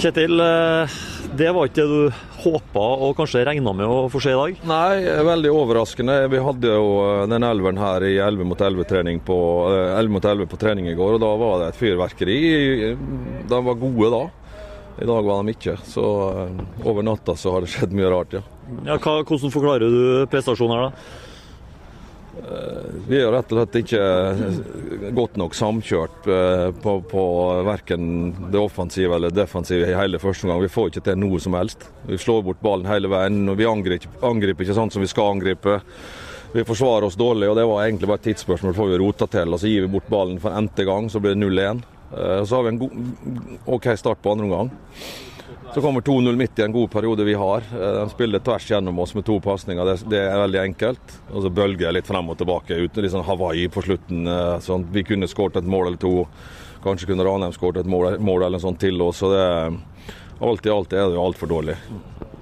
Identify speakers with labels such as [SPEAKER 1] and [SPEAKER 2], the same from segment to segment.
[SPEAKER 1] Kjetil, eh, det var ikke det du håpa og kanskje regna med å få se i dag?
[SPEAKER 2] Nei, eh, veldig overraskende. Vi hadde jo eh, den elveren her i 11 mot 11, trening på, eh, 11 mot 11 på trening i går, og da var det et fyrverkeri. De var gode da. I dag var de ikke. Så eh, over natta så har det skjedd mye rart, ja.
[SPEAKER 1] Ja, hva, hvordan forklarer du prestasjonen her, da?
[SPEAKER 2] Vi er rett og slett ikke godt nok samkjørt eh, på, på verken det offensive eller defensive i hele første omgang. Vi får ikke til noe som helst. Vi slår bort ballen hele veien. og Vi angriper, angriper ikke sånn som vi skal angripe. Vi forsvarer oss dårlig, og det var egentlig bare et tidsspørsmål før vi rota til. Og så gir vi bort ballen for n-te gang, så blir det 0-1. Eh, Så har vi en god, OK start på andre omgang. Så kommer 2-0 midt i en god periode vi har. Eh, De spiller tvers gjennom oss med to pasninger. Det, det er veldig enkelt. Og så bølger jeg litt frem og tilbake. Uten litt sånn Hawaii på slutten. eh, Sånn, vi kunne skåret et mål eller to. Kanskje kunne Ranheim skåret et mål, mål eller sånn til oss. Så det, alt i alt er det jo altfor dårlig.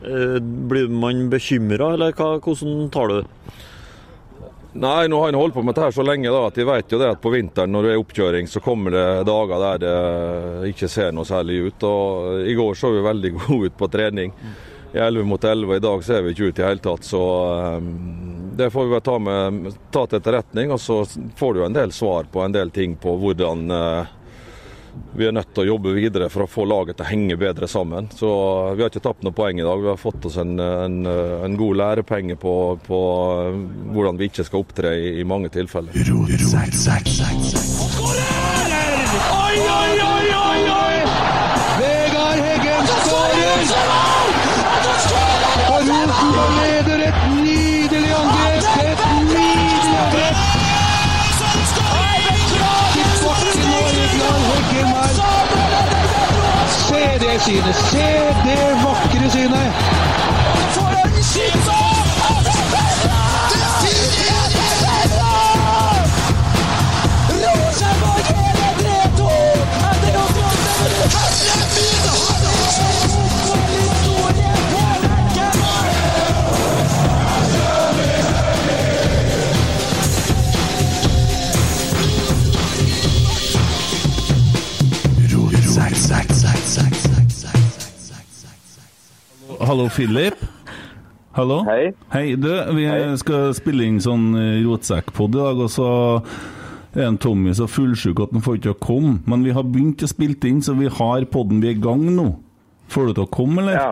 [SPEAKER 1] Eh, Blir man bekymra, eller hva, hvordan tar du det?
[SPEAKER 2] Nei, nå har han holdt på med dette her så lenge da, at de vet jo det at på vinteren når det er oppkjøring, så kommer det dager der det ikke ser noe særlig ut. Og eh, I går så vi veldig gode ut på trening. I 11 mot 11, i dag ser vi ikke ut i det hele tatt. Så eh, det får vi bare ta, med, ta til etterretning. Og så får du jo en del svar på en del ting på hvordan eh, vi er nødt til å jobbe videre for å få laget til å henge bedre sammen. Så Vi har ikke tapt noe poeng i dag. Vi har fått oss en, en, en god lærepenge på, på eh, hvordan vi ikke skal opptre i, i mange tilfeller.
[SPEAKER 3] Oi, oi, oi, oi, oi!
[SPEAKER 4] Vegard Heggen skårer! Og Rosenborg leder et nydelig angrep! Et nydelig angrep! Tilbake nå, Vegard Heggen her. Se det synet! Se det vakre synet!
[SPEAKER 5] Hallo, Philip. Hallo.
[SPEAKER 6] Hei.
[SPEAKER 5] Hei, du. Vi skal spille inn sånn eh, rotsekkpod i dag, og så er en Tommy så fullsjuk at han får ikke til å komme. Men vi har begynt å spille inn, så vi har podden. Vi er i gang nå. Får du til å komme, eller?
[SPEAKER 6] Ja.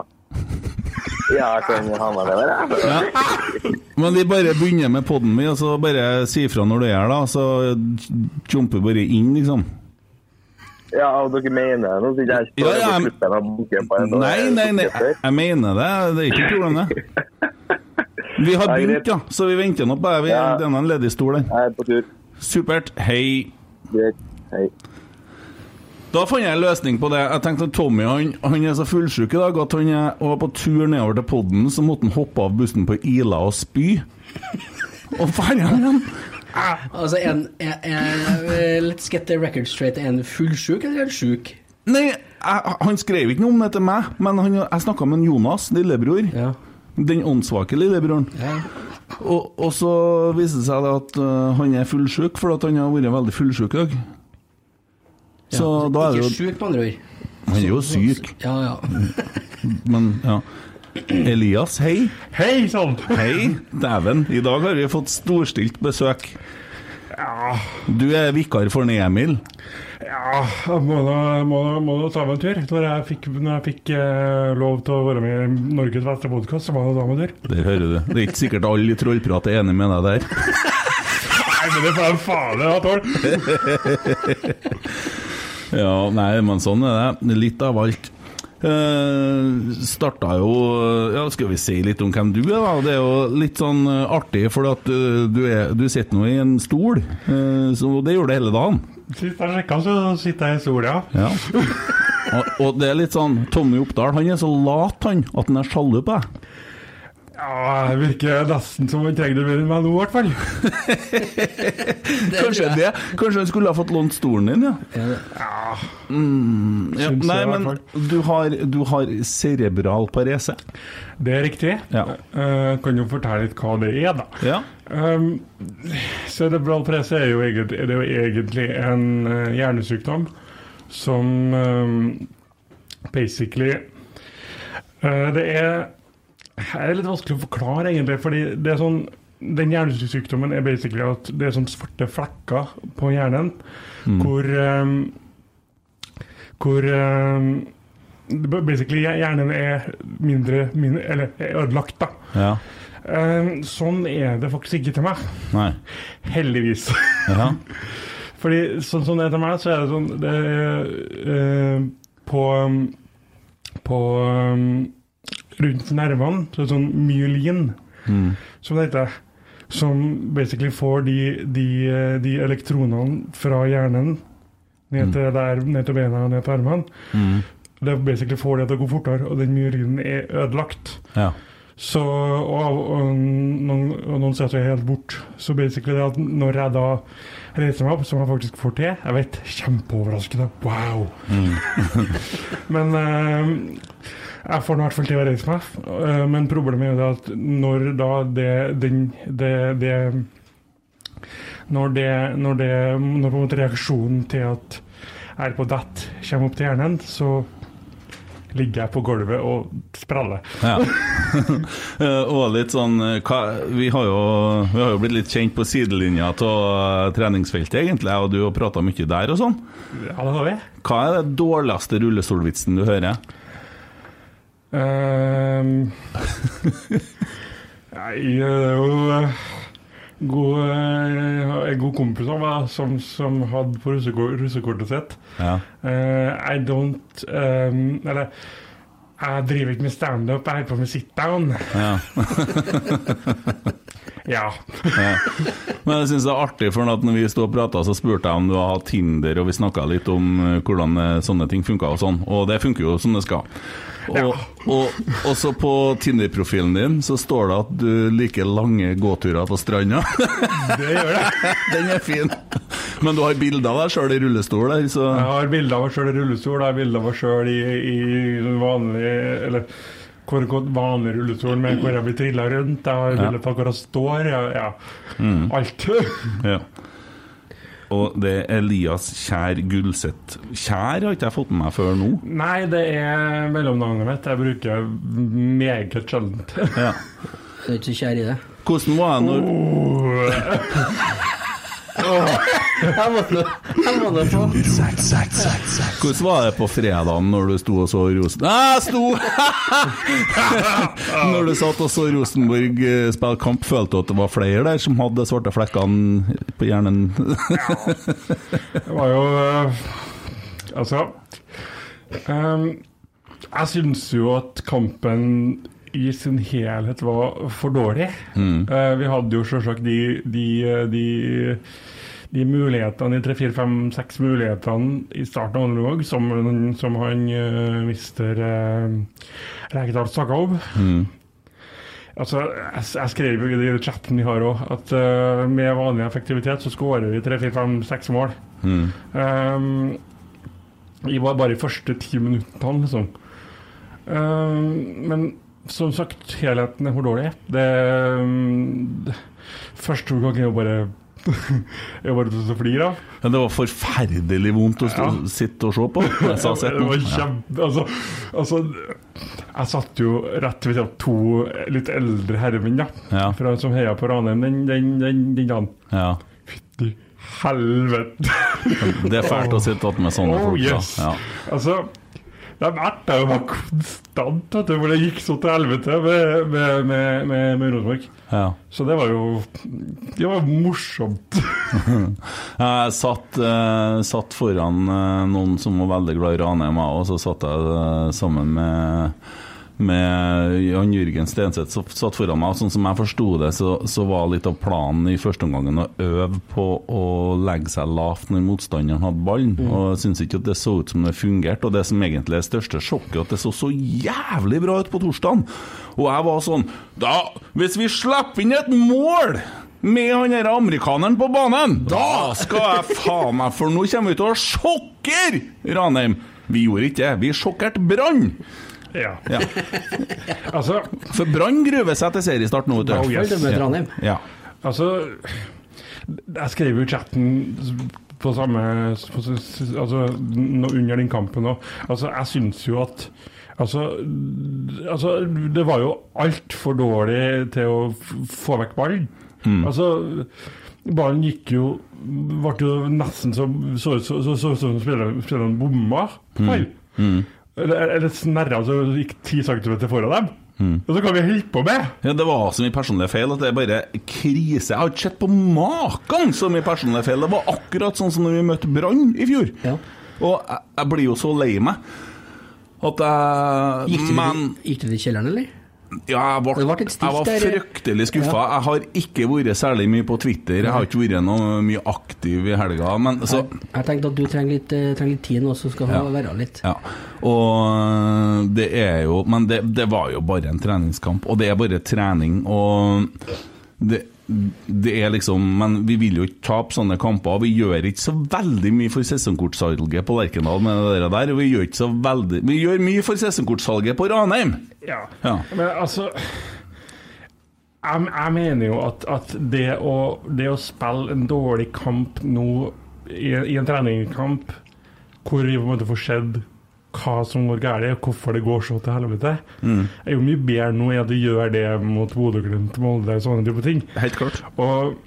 [SPEAKER 6] Ja, jeg kan ha med det der, jeg.
[SPEAKER 5] Men vi bare begynner med podden min, og så bare si ifra når du er her, da. Så jumper bare inn, liksom.
[SPEAKER 6] Ja, og dere mener det. Nå sitter jeg
[SPEAKER 5] Ja, ja,
[SPEAKER 6] her
[SPEAKER 5] jeg-
[SPEAKER 6] og slutter meg å bukke på en
[SPEAKER 5] Nei, nei, nei. Jeg jeg mener det. Det er ikke et problem, det. Vi har
[SPEAKER 6] Nei, greit.
[SPEAKER 5] begynt, ja. Så vi venter nå på deg. Vi-
[SPEAKER 6] Ja.
[SPEAKER 5] Det er en ledig stol der.
[SPEAKER 6] Jeg er på tur.
[SPEAKER 5] Supert. Hei.
[SPEAKER 6] Greit. Hei.
[SPEAKER 5] Da fant jeg en løsning på det. Jeg tenkte at Tommy han, han er så fullsjuk i dag at han er, og var på tur nedover til podden, så måtte han hoppe av bussen på Ila og spy. Og fant han han?
[SPEAKER 7] Altså, en, en, en, let's get the record straight. Er han fullsjuk eller er han sjuk?
[SPEAKER 5] Nei, jeg, han skrev ikke noe om det til meg, men han, jeg snakka med en Jonas, lillebror.
[SPEAKER 7] Ja.
[SPEAKER 5] Den åndssvake lillebroren.
[SPEAKER 7] Ja.
[SPEAKER 5] Og, og så viste det seg det at øh, han er fullsjuk, for at han har vært veldig fullsjuk i dag. Så da er det
[SPEAKER 7] Ikke
[SPEAKER 5] jo
[SPEAKER 7] sjuk, med andre ord.
[SPEAKER 5] Han er jo syk,
[SPEAKER 7] Ja, ja.
[SPEAKER 5] men ja. Elias, hei.
[SPEAKER 8] Hei sann!
[SPEAKER 5] Hei, dæven. I dag har vi fått storstilt besøk. Du er vikar for den Emil.
[SPEAKER 8] Ja, jeg må da, må, da, må da ta meg en tur. Når jeg fikk, når jeg fikk eh, lov til å være med i Norges beste podkast, så må jeg da ta meg en tur.
[SPEAKER 5] Der hører du. Det er ikke sikkert alle i Trollprat er enig med deg der.
[SPEAKER 8] Nei, men det får jeg faen meg ha tål!
[SPEAKER 5] Ja, nei, men sånn er det. Litt av alt. Uh, starta jo Ja, skal vi si litt om hvem du er, da? Det er jo litt sånn eh, artig, for at eh, du, er, du sitter nå i en stol, eh, så det gjorde du hele dagen.
[SPEAKER 8] Sist jeg sjekka, så sitter jeg i sola.
[SPEAKER 5] Ja. Og, og det er litt sånn Tommy Oppdal, han er så lat, han, at han er sjalu på deg.
[SPEAKER 8] Ja, det virker nesten som han trenger det mer enn meg nå, i hvert fall.
[SPEAKER 5] Kanskje det. Kanskje han skulle ha fått lånt stolen din, ja. Mm, ja.
[SPEAKER 8] Syns jeg
[SPEAKER 5] Nei,
[SPEAKER 8] i hvert
[SPEAKER 5] men du har, du har cerebral parese.
[SPEAKER 8] Det er riktig.
[SPEAKER 5] Ja.
[SPEAKER 8] Eh, kan jo fortelle litt hva det er, da.
[SPEAKER 5] Ja.
[SPEAKER 8] Um, cerebral presse er jo egentlig, er det jo egentlig en eh, hjernesykdom som um, basically eh, Det er, det er litt vanskelig å forklare, egentlig. fordi det er sånn, den hjernesykdommen er basically at det er sånn svarte flekker på hjernen hvor eh, Hvor eh, basically hjernen er mindre, mindre Eller er ødelagt, da.
[SPEAKER 5] Ja.
[SPEAKER 8] Eh, sånn er det faktisk ikke til meg.
[SPEAKER 5] Nei.
[SPEAKER 8] Heldigvis.
[SPEAKER 5] Ja.
[SPEAKER 8] Fordi sånn som det er til meg, så er det sånn det, er, eh, På um, På um, Rundt nervene så er det sånn myelin, som det heter. Som basically får de, de, eh, de elektronene fra hjernen ned til, der, ned til bena og ned til armene. Det basically får det til å gå fortere, og den myelinen er ødelagt.
[SPEAKER 5] Ja.
[SPEAKER 8] Så, og, av- og noen, og noen sier at jeg er helt borte. Så basically det at når jeg da reiser meg opp, som jeg faktisk får til Jeg vet, kjempeoverraskende. Wow! men eh, jeg får nå i hvert fall til å reise meg. Eh, men problemet er jo det at når da det, den, det, det når det, når det Når på en måte reaksjonen til at jeg er på dett kommer opp til hjernen, så ligger jeg på gulvet og spreller.
[SPEAKER 5] Ja. Eh, og litt sånn eh, hva, vi, har jo, vi har jo blitt litt kjent på sidelinja av eh, treningsfeltet, egentlig, og du har prata mye der og sånn.
[SPEAKER 8] Ja, det har vi.
[SPEAKER 5] Hå er det dårligste rullestolvitsen du hører?
[SPEAKER 8] Ehm, Nei, det er jo eh, god, eh, en god kompis av meg som, som hadde på russekor- russekortet sitt.
[SPEAKER 5] Ja.
[SPEAKER 8] Eh, I don't ehm, Eller jeg driver ikke med standup, jeg holder på med sit-down.
[SPEAKER 5] ja.
[SPEAKER 8] Ja.
[SPEAKER 5] Men jeg syns det er artig, for at når vi stod og prata, så spurte jeg om du har hatt Tinder, og vi snakka litt om eh, hvordan eh, sånne ting funka og sånn, og det funker jo som det skal. Og, og, og så på Tinder-profilen din så står det at du liker lange gåturer på stranda.
[SPEAKER 8] Det gjør det.
[SPEAKER 5] Den er fin. Men du har bilder av deg sjøl i rullestol der, så
[SPEAKER 8] Jeg har bilde av meg sjøl i rullestol, jeg har bilde av meg sjøl i, i vanlig Eller hvor, hvor vanlig rullestol, men hvor jeg blir trilla rundt. Jeg har bilde av hvor jeg står. Jeg, ja. Alt.
[SPEAKER 5] ja. Og det er Elias Kjær Gulseth. Kjær har ikke jeg fått med meg før nå.
[SPEAKER 8] Nei, det er mellomnavnet mitt. Jeg bruker meget sjeldent.
[SPEAKER 5] Ja.
[SPEAKER 7] Du er ikke så kjær i det.
[SPEAKER 5] Hvordan var det når
[SPEAKER 7] Jeg må nå- jeg må nå få
[SPEAKER 5] Hvordan var det på fredagen når du sto og så Rosen... Nei, jeg sto! når du satt og så Rosenborg eh, spille kamp, følte du at det var flere der som hadde svarte flekkene på hjernen?
[SPEAKER 8] Det var jo eh, Altså ehm, Jeg syns jo at kampen i sin helhet var for dårlig. Eh, vi hadde jo selvsagt de, de, eh, de, de mulighetene, de tre, fire, fem, seks mulighetene i starten av andre omgang som, som han eh, mister eh, Rekdal snakka om. Altså, jeg, jeg skrev jo i den chatten vi har òg, at eh, med vanlig effektivitet så skårer vi tre, fire, fem, seks mål. Um, I var bare de første ti minuttene, liksom. Um, men som sagt, helheten er for dårlig. Det, um, det Første gangen er jo bare Jeg er bare til å flire av.
[SPEAKER 5] Men det var forferdelig vondt å stå,
[SPEAKER 8] Ja.
[SPEAKER 5] sitte og se på. Jeg sa sett
[SPEAKER 8] Det var
[SPEAKER 5] den.
[SPEAKER 8] kjempe... Altså, altså Jeg satt jo rett ved siden av to litt eldre herremenn, da.
[SPEAKER 5] Ja.
[SPEAKER 8] Fra, som heia på Ranheim den, den, den, den dagen.
[SPEAKER 5] Ja.
[SPEAKER 8] Fytti helvete!
[SPEAKER 5] Det er fælt å sitte opp med sånne
[SPEAKER 8] Oh,
[SPEAKER 5] folk.
[SPEAKER 8] yes.
[SPEAKER 5] Da. Ja.
[SPEAKER 8] Altså, de erta jo meg konstant vet du, hvor det gikk så til helvete med, med, med, med, med Rosenborg.
[SPEAKER 5] Ja.
[SPEAKER 8] Så det var jo Det var morsomt.
[SPEAKER 5] Jeg satt, eh, satt foran eh, noen som var veldig glad i Ranheim, jeg og så satt jeg eh, sammen med med Jan Jørgen Stenseth som satt foran meg, og sånn som jeg forsto det, så, så var litt av planen i første omgangen å øve på å legge seg lavt når motstanderen hadde ballen. Og jeg syns ikke at det så ut som det fungerte. Og det som egentlig er det største sjokket, er at det så så jævlig bra ut på torsdagen. Og jeg var sånn Da, hvis vi slipper inn et mål med han her amerikaneren på banen, da skal jeg faen meg For nå kommer vi til å sjokkere Ranheim! Vi gjorde ikke det. Vi sjokkerte Brann!
[SPEAKER 8] Ja.
[SPEAKER 5] Ja.
[SPEAKER 8] Altså,
[SPEAKER 5] For Brann gruer seg til seriestart nå, vet du.
[SPEAKER 8] Oh, yes.
[SPEAKER 7] Følg det med Trondheim.
[SPEAKER 5] Ja.
[SPEAKER 8] altså Jeg skrev jo i chatten på samme på, s- s- altså, nå Under den kampen òg. Altså, jeg syns jo at Altså, d- altså det var jo altfor dårlig til å f- få vekk ballen. Altså, ballen gikk jo Ble jo nesten som så ut som så, så, så, som spilleren spilleren bomma på ball. Eller, eller snerra så gikk ti centimeter foran dem. Og så kan vi holde på med!
[SPEAKER 5] Ja, Det var så mye personlige feil at det er bare krise. Jeg har ikke sett på maken så mye personlige feil. Det var akkurat sånn som når vi møtte Brann i fjor.
[SPEAKER 7] Ja.
[SPEAKER 5] Og jeg, jeg blir jo så lei meg at jeg
[SPEAKER 7] Gikk du,
[SPEAKER 5] Men
[SPEAKER 7] gikk du til kjelleren, eller?
[SPEAKER 5] ja, jeg,
[SPEAKER 7] Det
[SPEAKER 5] ble,
[SPEAKER 7] ble et stikk
[SPEAKER 5] jeg var
[SPEAKER 7] der, ja.
[SPEAKER 5] fryktelig skuffa. Jeg har ikke vært særlig mye på Twitter. Jeg har ikke vært noe mye aktiv i helga. Men så
[SPEAKER 7] Jeg, jeg tenkte at du trenger litt, eh, trenger litt tid nå, så skal
[SPEAKER 5] Ja.
[SPEAKER 7] han være litt.
[SPEAKER 5] Ja, og øh, det er jo Men det, det var jo bare en treningskamp, og det er bare trening, og det, det er liksom Men vi vil jo ikke tape sånne kamper. Vi gjør ikke så veldig mye for sesongkortsalget på Lerkendal med det der, og vi gjør ikke så veldig Vi gjør mye for sesongkortsalget på Ranheim!
[SPEAKER 8] Ja.
[SPEAKER 5] Ja.
[SPEAKER 8] Men altså Jeg, jeg mener jo at, at det, å, det å spille en dårlig kamp nå i, i en treningskamp hvor vi på en måte får sett hva som går galt, og hvorfor det går så til helvete, er jo mye bedre nå enn at du gjør det mot Bodø, Glimt, Molde og sånne type ting.
[SPEAKER 5] Helt klart.
[SPEAKER 8] Og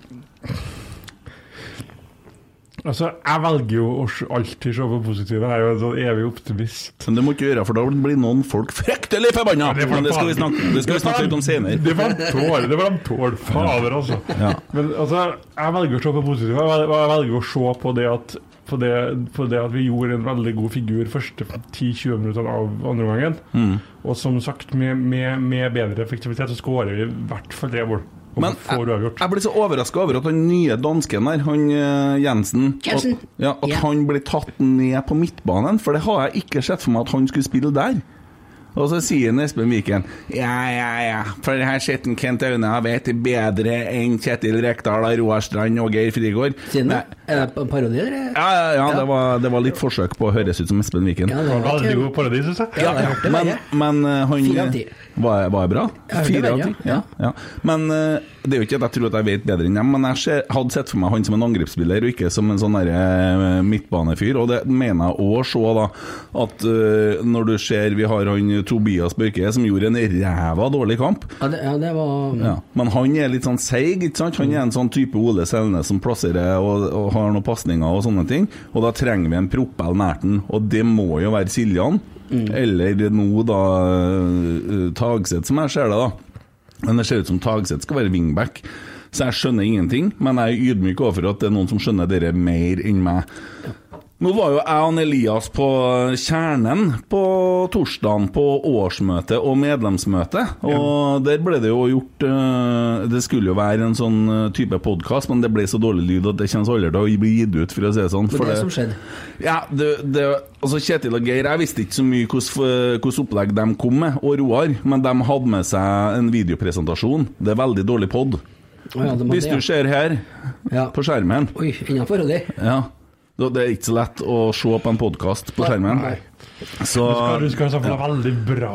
[SPEAKER 8] Altså, jeg velger jo å s- alltid se på positive. Jeg er jo en sånn evig optimist.
[SPEAKER 5] Men det må ikke gjøre, for da blir noen folk fryktelig forbanna!
[SPEAKER 8] det får
[SPEAKER 5] Men
[SPEAKER 8] de
[SPEAKER 5] det skal vi
[SPEAKER 8] faen-
[SPEAKER 5] snakke, det skal vi snakke litt om senere.
[SPEAKER 8] Det var de tål, det var de tål. Fader, altså. Men altså, jeg velger å se på positivt. Jeg vel- Jeg velger å se på det at på det, på det at vi gjorde en veldig god figur første 10-20 minutter av andre gangen.
[SPEAKER 5] Mm.
[SPEAKER 8] Og som sagt, med, med, med bedre effektivitet så skårer vi i hvert fall tre mål. Og
[SPEAKER 5] Men
[SPEAKER 8] får
[SPEAKER 5] jeg,
[SPEAKER 8] uavgjort.
[SPEAKER 5] jeg ble så overraska over at han nye dansken der, han eh, Jensen
[SPEAKER 7] Jensen.
[SPEAKER 5] At, ja, at
[SPEAKER 7] Ja.
[SPEAKER 5] han ble tatt ned på midtbanen, for det har jeg ikke sett for meg at han skulle spille der. Og så sier han Espen Viken Ja, ja, ja, for det her skitten Kent Aune har vet det bedre enn Kjetil Rekdal, Roar Strand og Geir Frigård.
[SPEAKER 7] Siden
[SPEAKER 5] Nei.
[SPEAKER 7] det? Er det en parodi, eller?
[SPEAKER 5] Ja, ja, ja, det var, det var litt forsøk på å høres ut som Espen Viken.
[SPEAKER 7] Ja,
[SPEAKER 8] Det
[SPEAKER 7] det
[SPEAKER 8] var
[SPEAKER 7] var
[SPEAKER 8] Veldig
[SPEAKER 7] ikke-
[SPEAKER 8] god parodi, syns jeg.
[SPEAKER 7] Ja, det hørte
[SPEAKER 5] Men,
[SPEAKER 7] jeg.
[SPEAKER 5] men eh, han
[SPEAKER 7] Fire av ti.
[SPEAKER 5] Var, var jeg bra?
[SPEAKER 7] Jeg hørte
[SPEAKER 5] Fire
[SPEAKER 7] det,
[SPEAKER 5] av
[SPEAKER 7] ja.
[SPEAKER 5] ti, ja. ja. Men eh, det er jo ikke at jeg tror at jeg vet bedre enn dem, men jeg ser, hadde sett for meg han som en angrepsspiller, og ikke som en sånn derre, eh, midtbanefyr. Og det mener jeg òg å se, da, at eh, når du ser vi har han Tobias Børke, som gjorde en ræva dårlig kamp.
[SPEAKER 7] Ja, det, ja, det var
[SPEAKER 5] Ja. Men han er litt sånn seig, ikke sant? Han er en sånn type Ole Selnes som plasserer og, og har noen pasninger og sånne ting. Og da trenger vi en propell nært den, og det må jo være Siljan. Eller nå da eh, Tagseth, som jeg ser det, da. Men det ser ut som Tagseth skal være wingback. Så jeg skjønner ingenting, men jeg er ydmyk overfor at det er noen som skjønner dere mer enn meg. Nå var jo jeg og Elias på Kjernen på torsdagen på årsmøte og medlemsmøte. Og der ble det jo gjort eh, Det skulle jo være en sånn eh, type podkast, men det ble så dårlig lyd at det kommer aldri til å bli gitt ut, for å si det sånn.
[SPEAKER 7] det
[SPEAKER 5] for
[SPEAKER 7] er det som skjedde.
[SPEAKER 5] Ja, det, det, altså Kjetil og Geir, jeg visste ikke så mye hvordan hvordan opplegg de kom med, og Roar, men de hadde med seg en videopresentasjon. Det er veldig dårlig pod.
[SPEAKER 7] Å, ja, det var
[SPEAKER 5] Hvis
[SPEAKER 7] det,
[SPEAKER 5] du ser her,
[SPEAKER 7] ja.
[SPEAKER 5] på skjermen
[SPEAKER 7] Oi, enda parodi.
[SPEAKER 5] ja. Da- Det er ikke så lett å se på en podkast på skjermen.
[SPEAKER 7] Nei.
[SPEAKER 5] Så
[SPEAKER 8] Du skal ha en veldig bra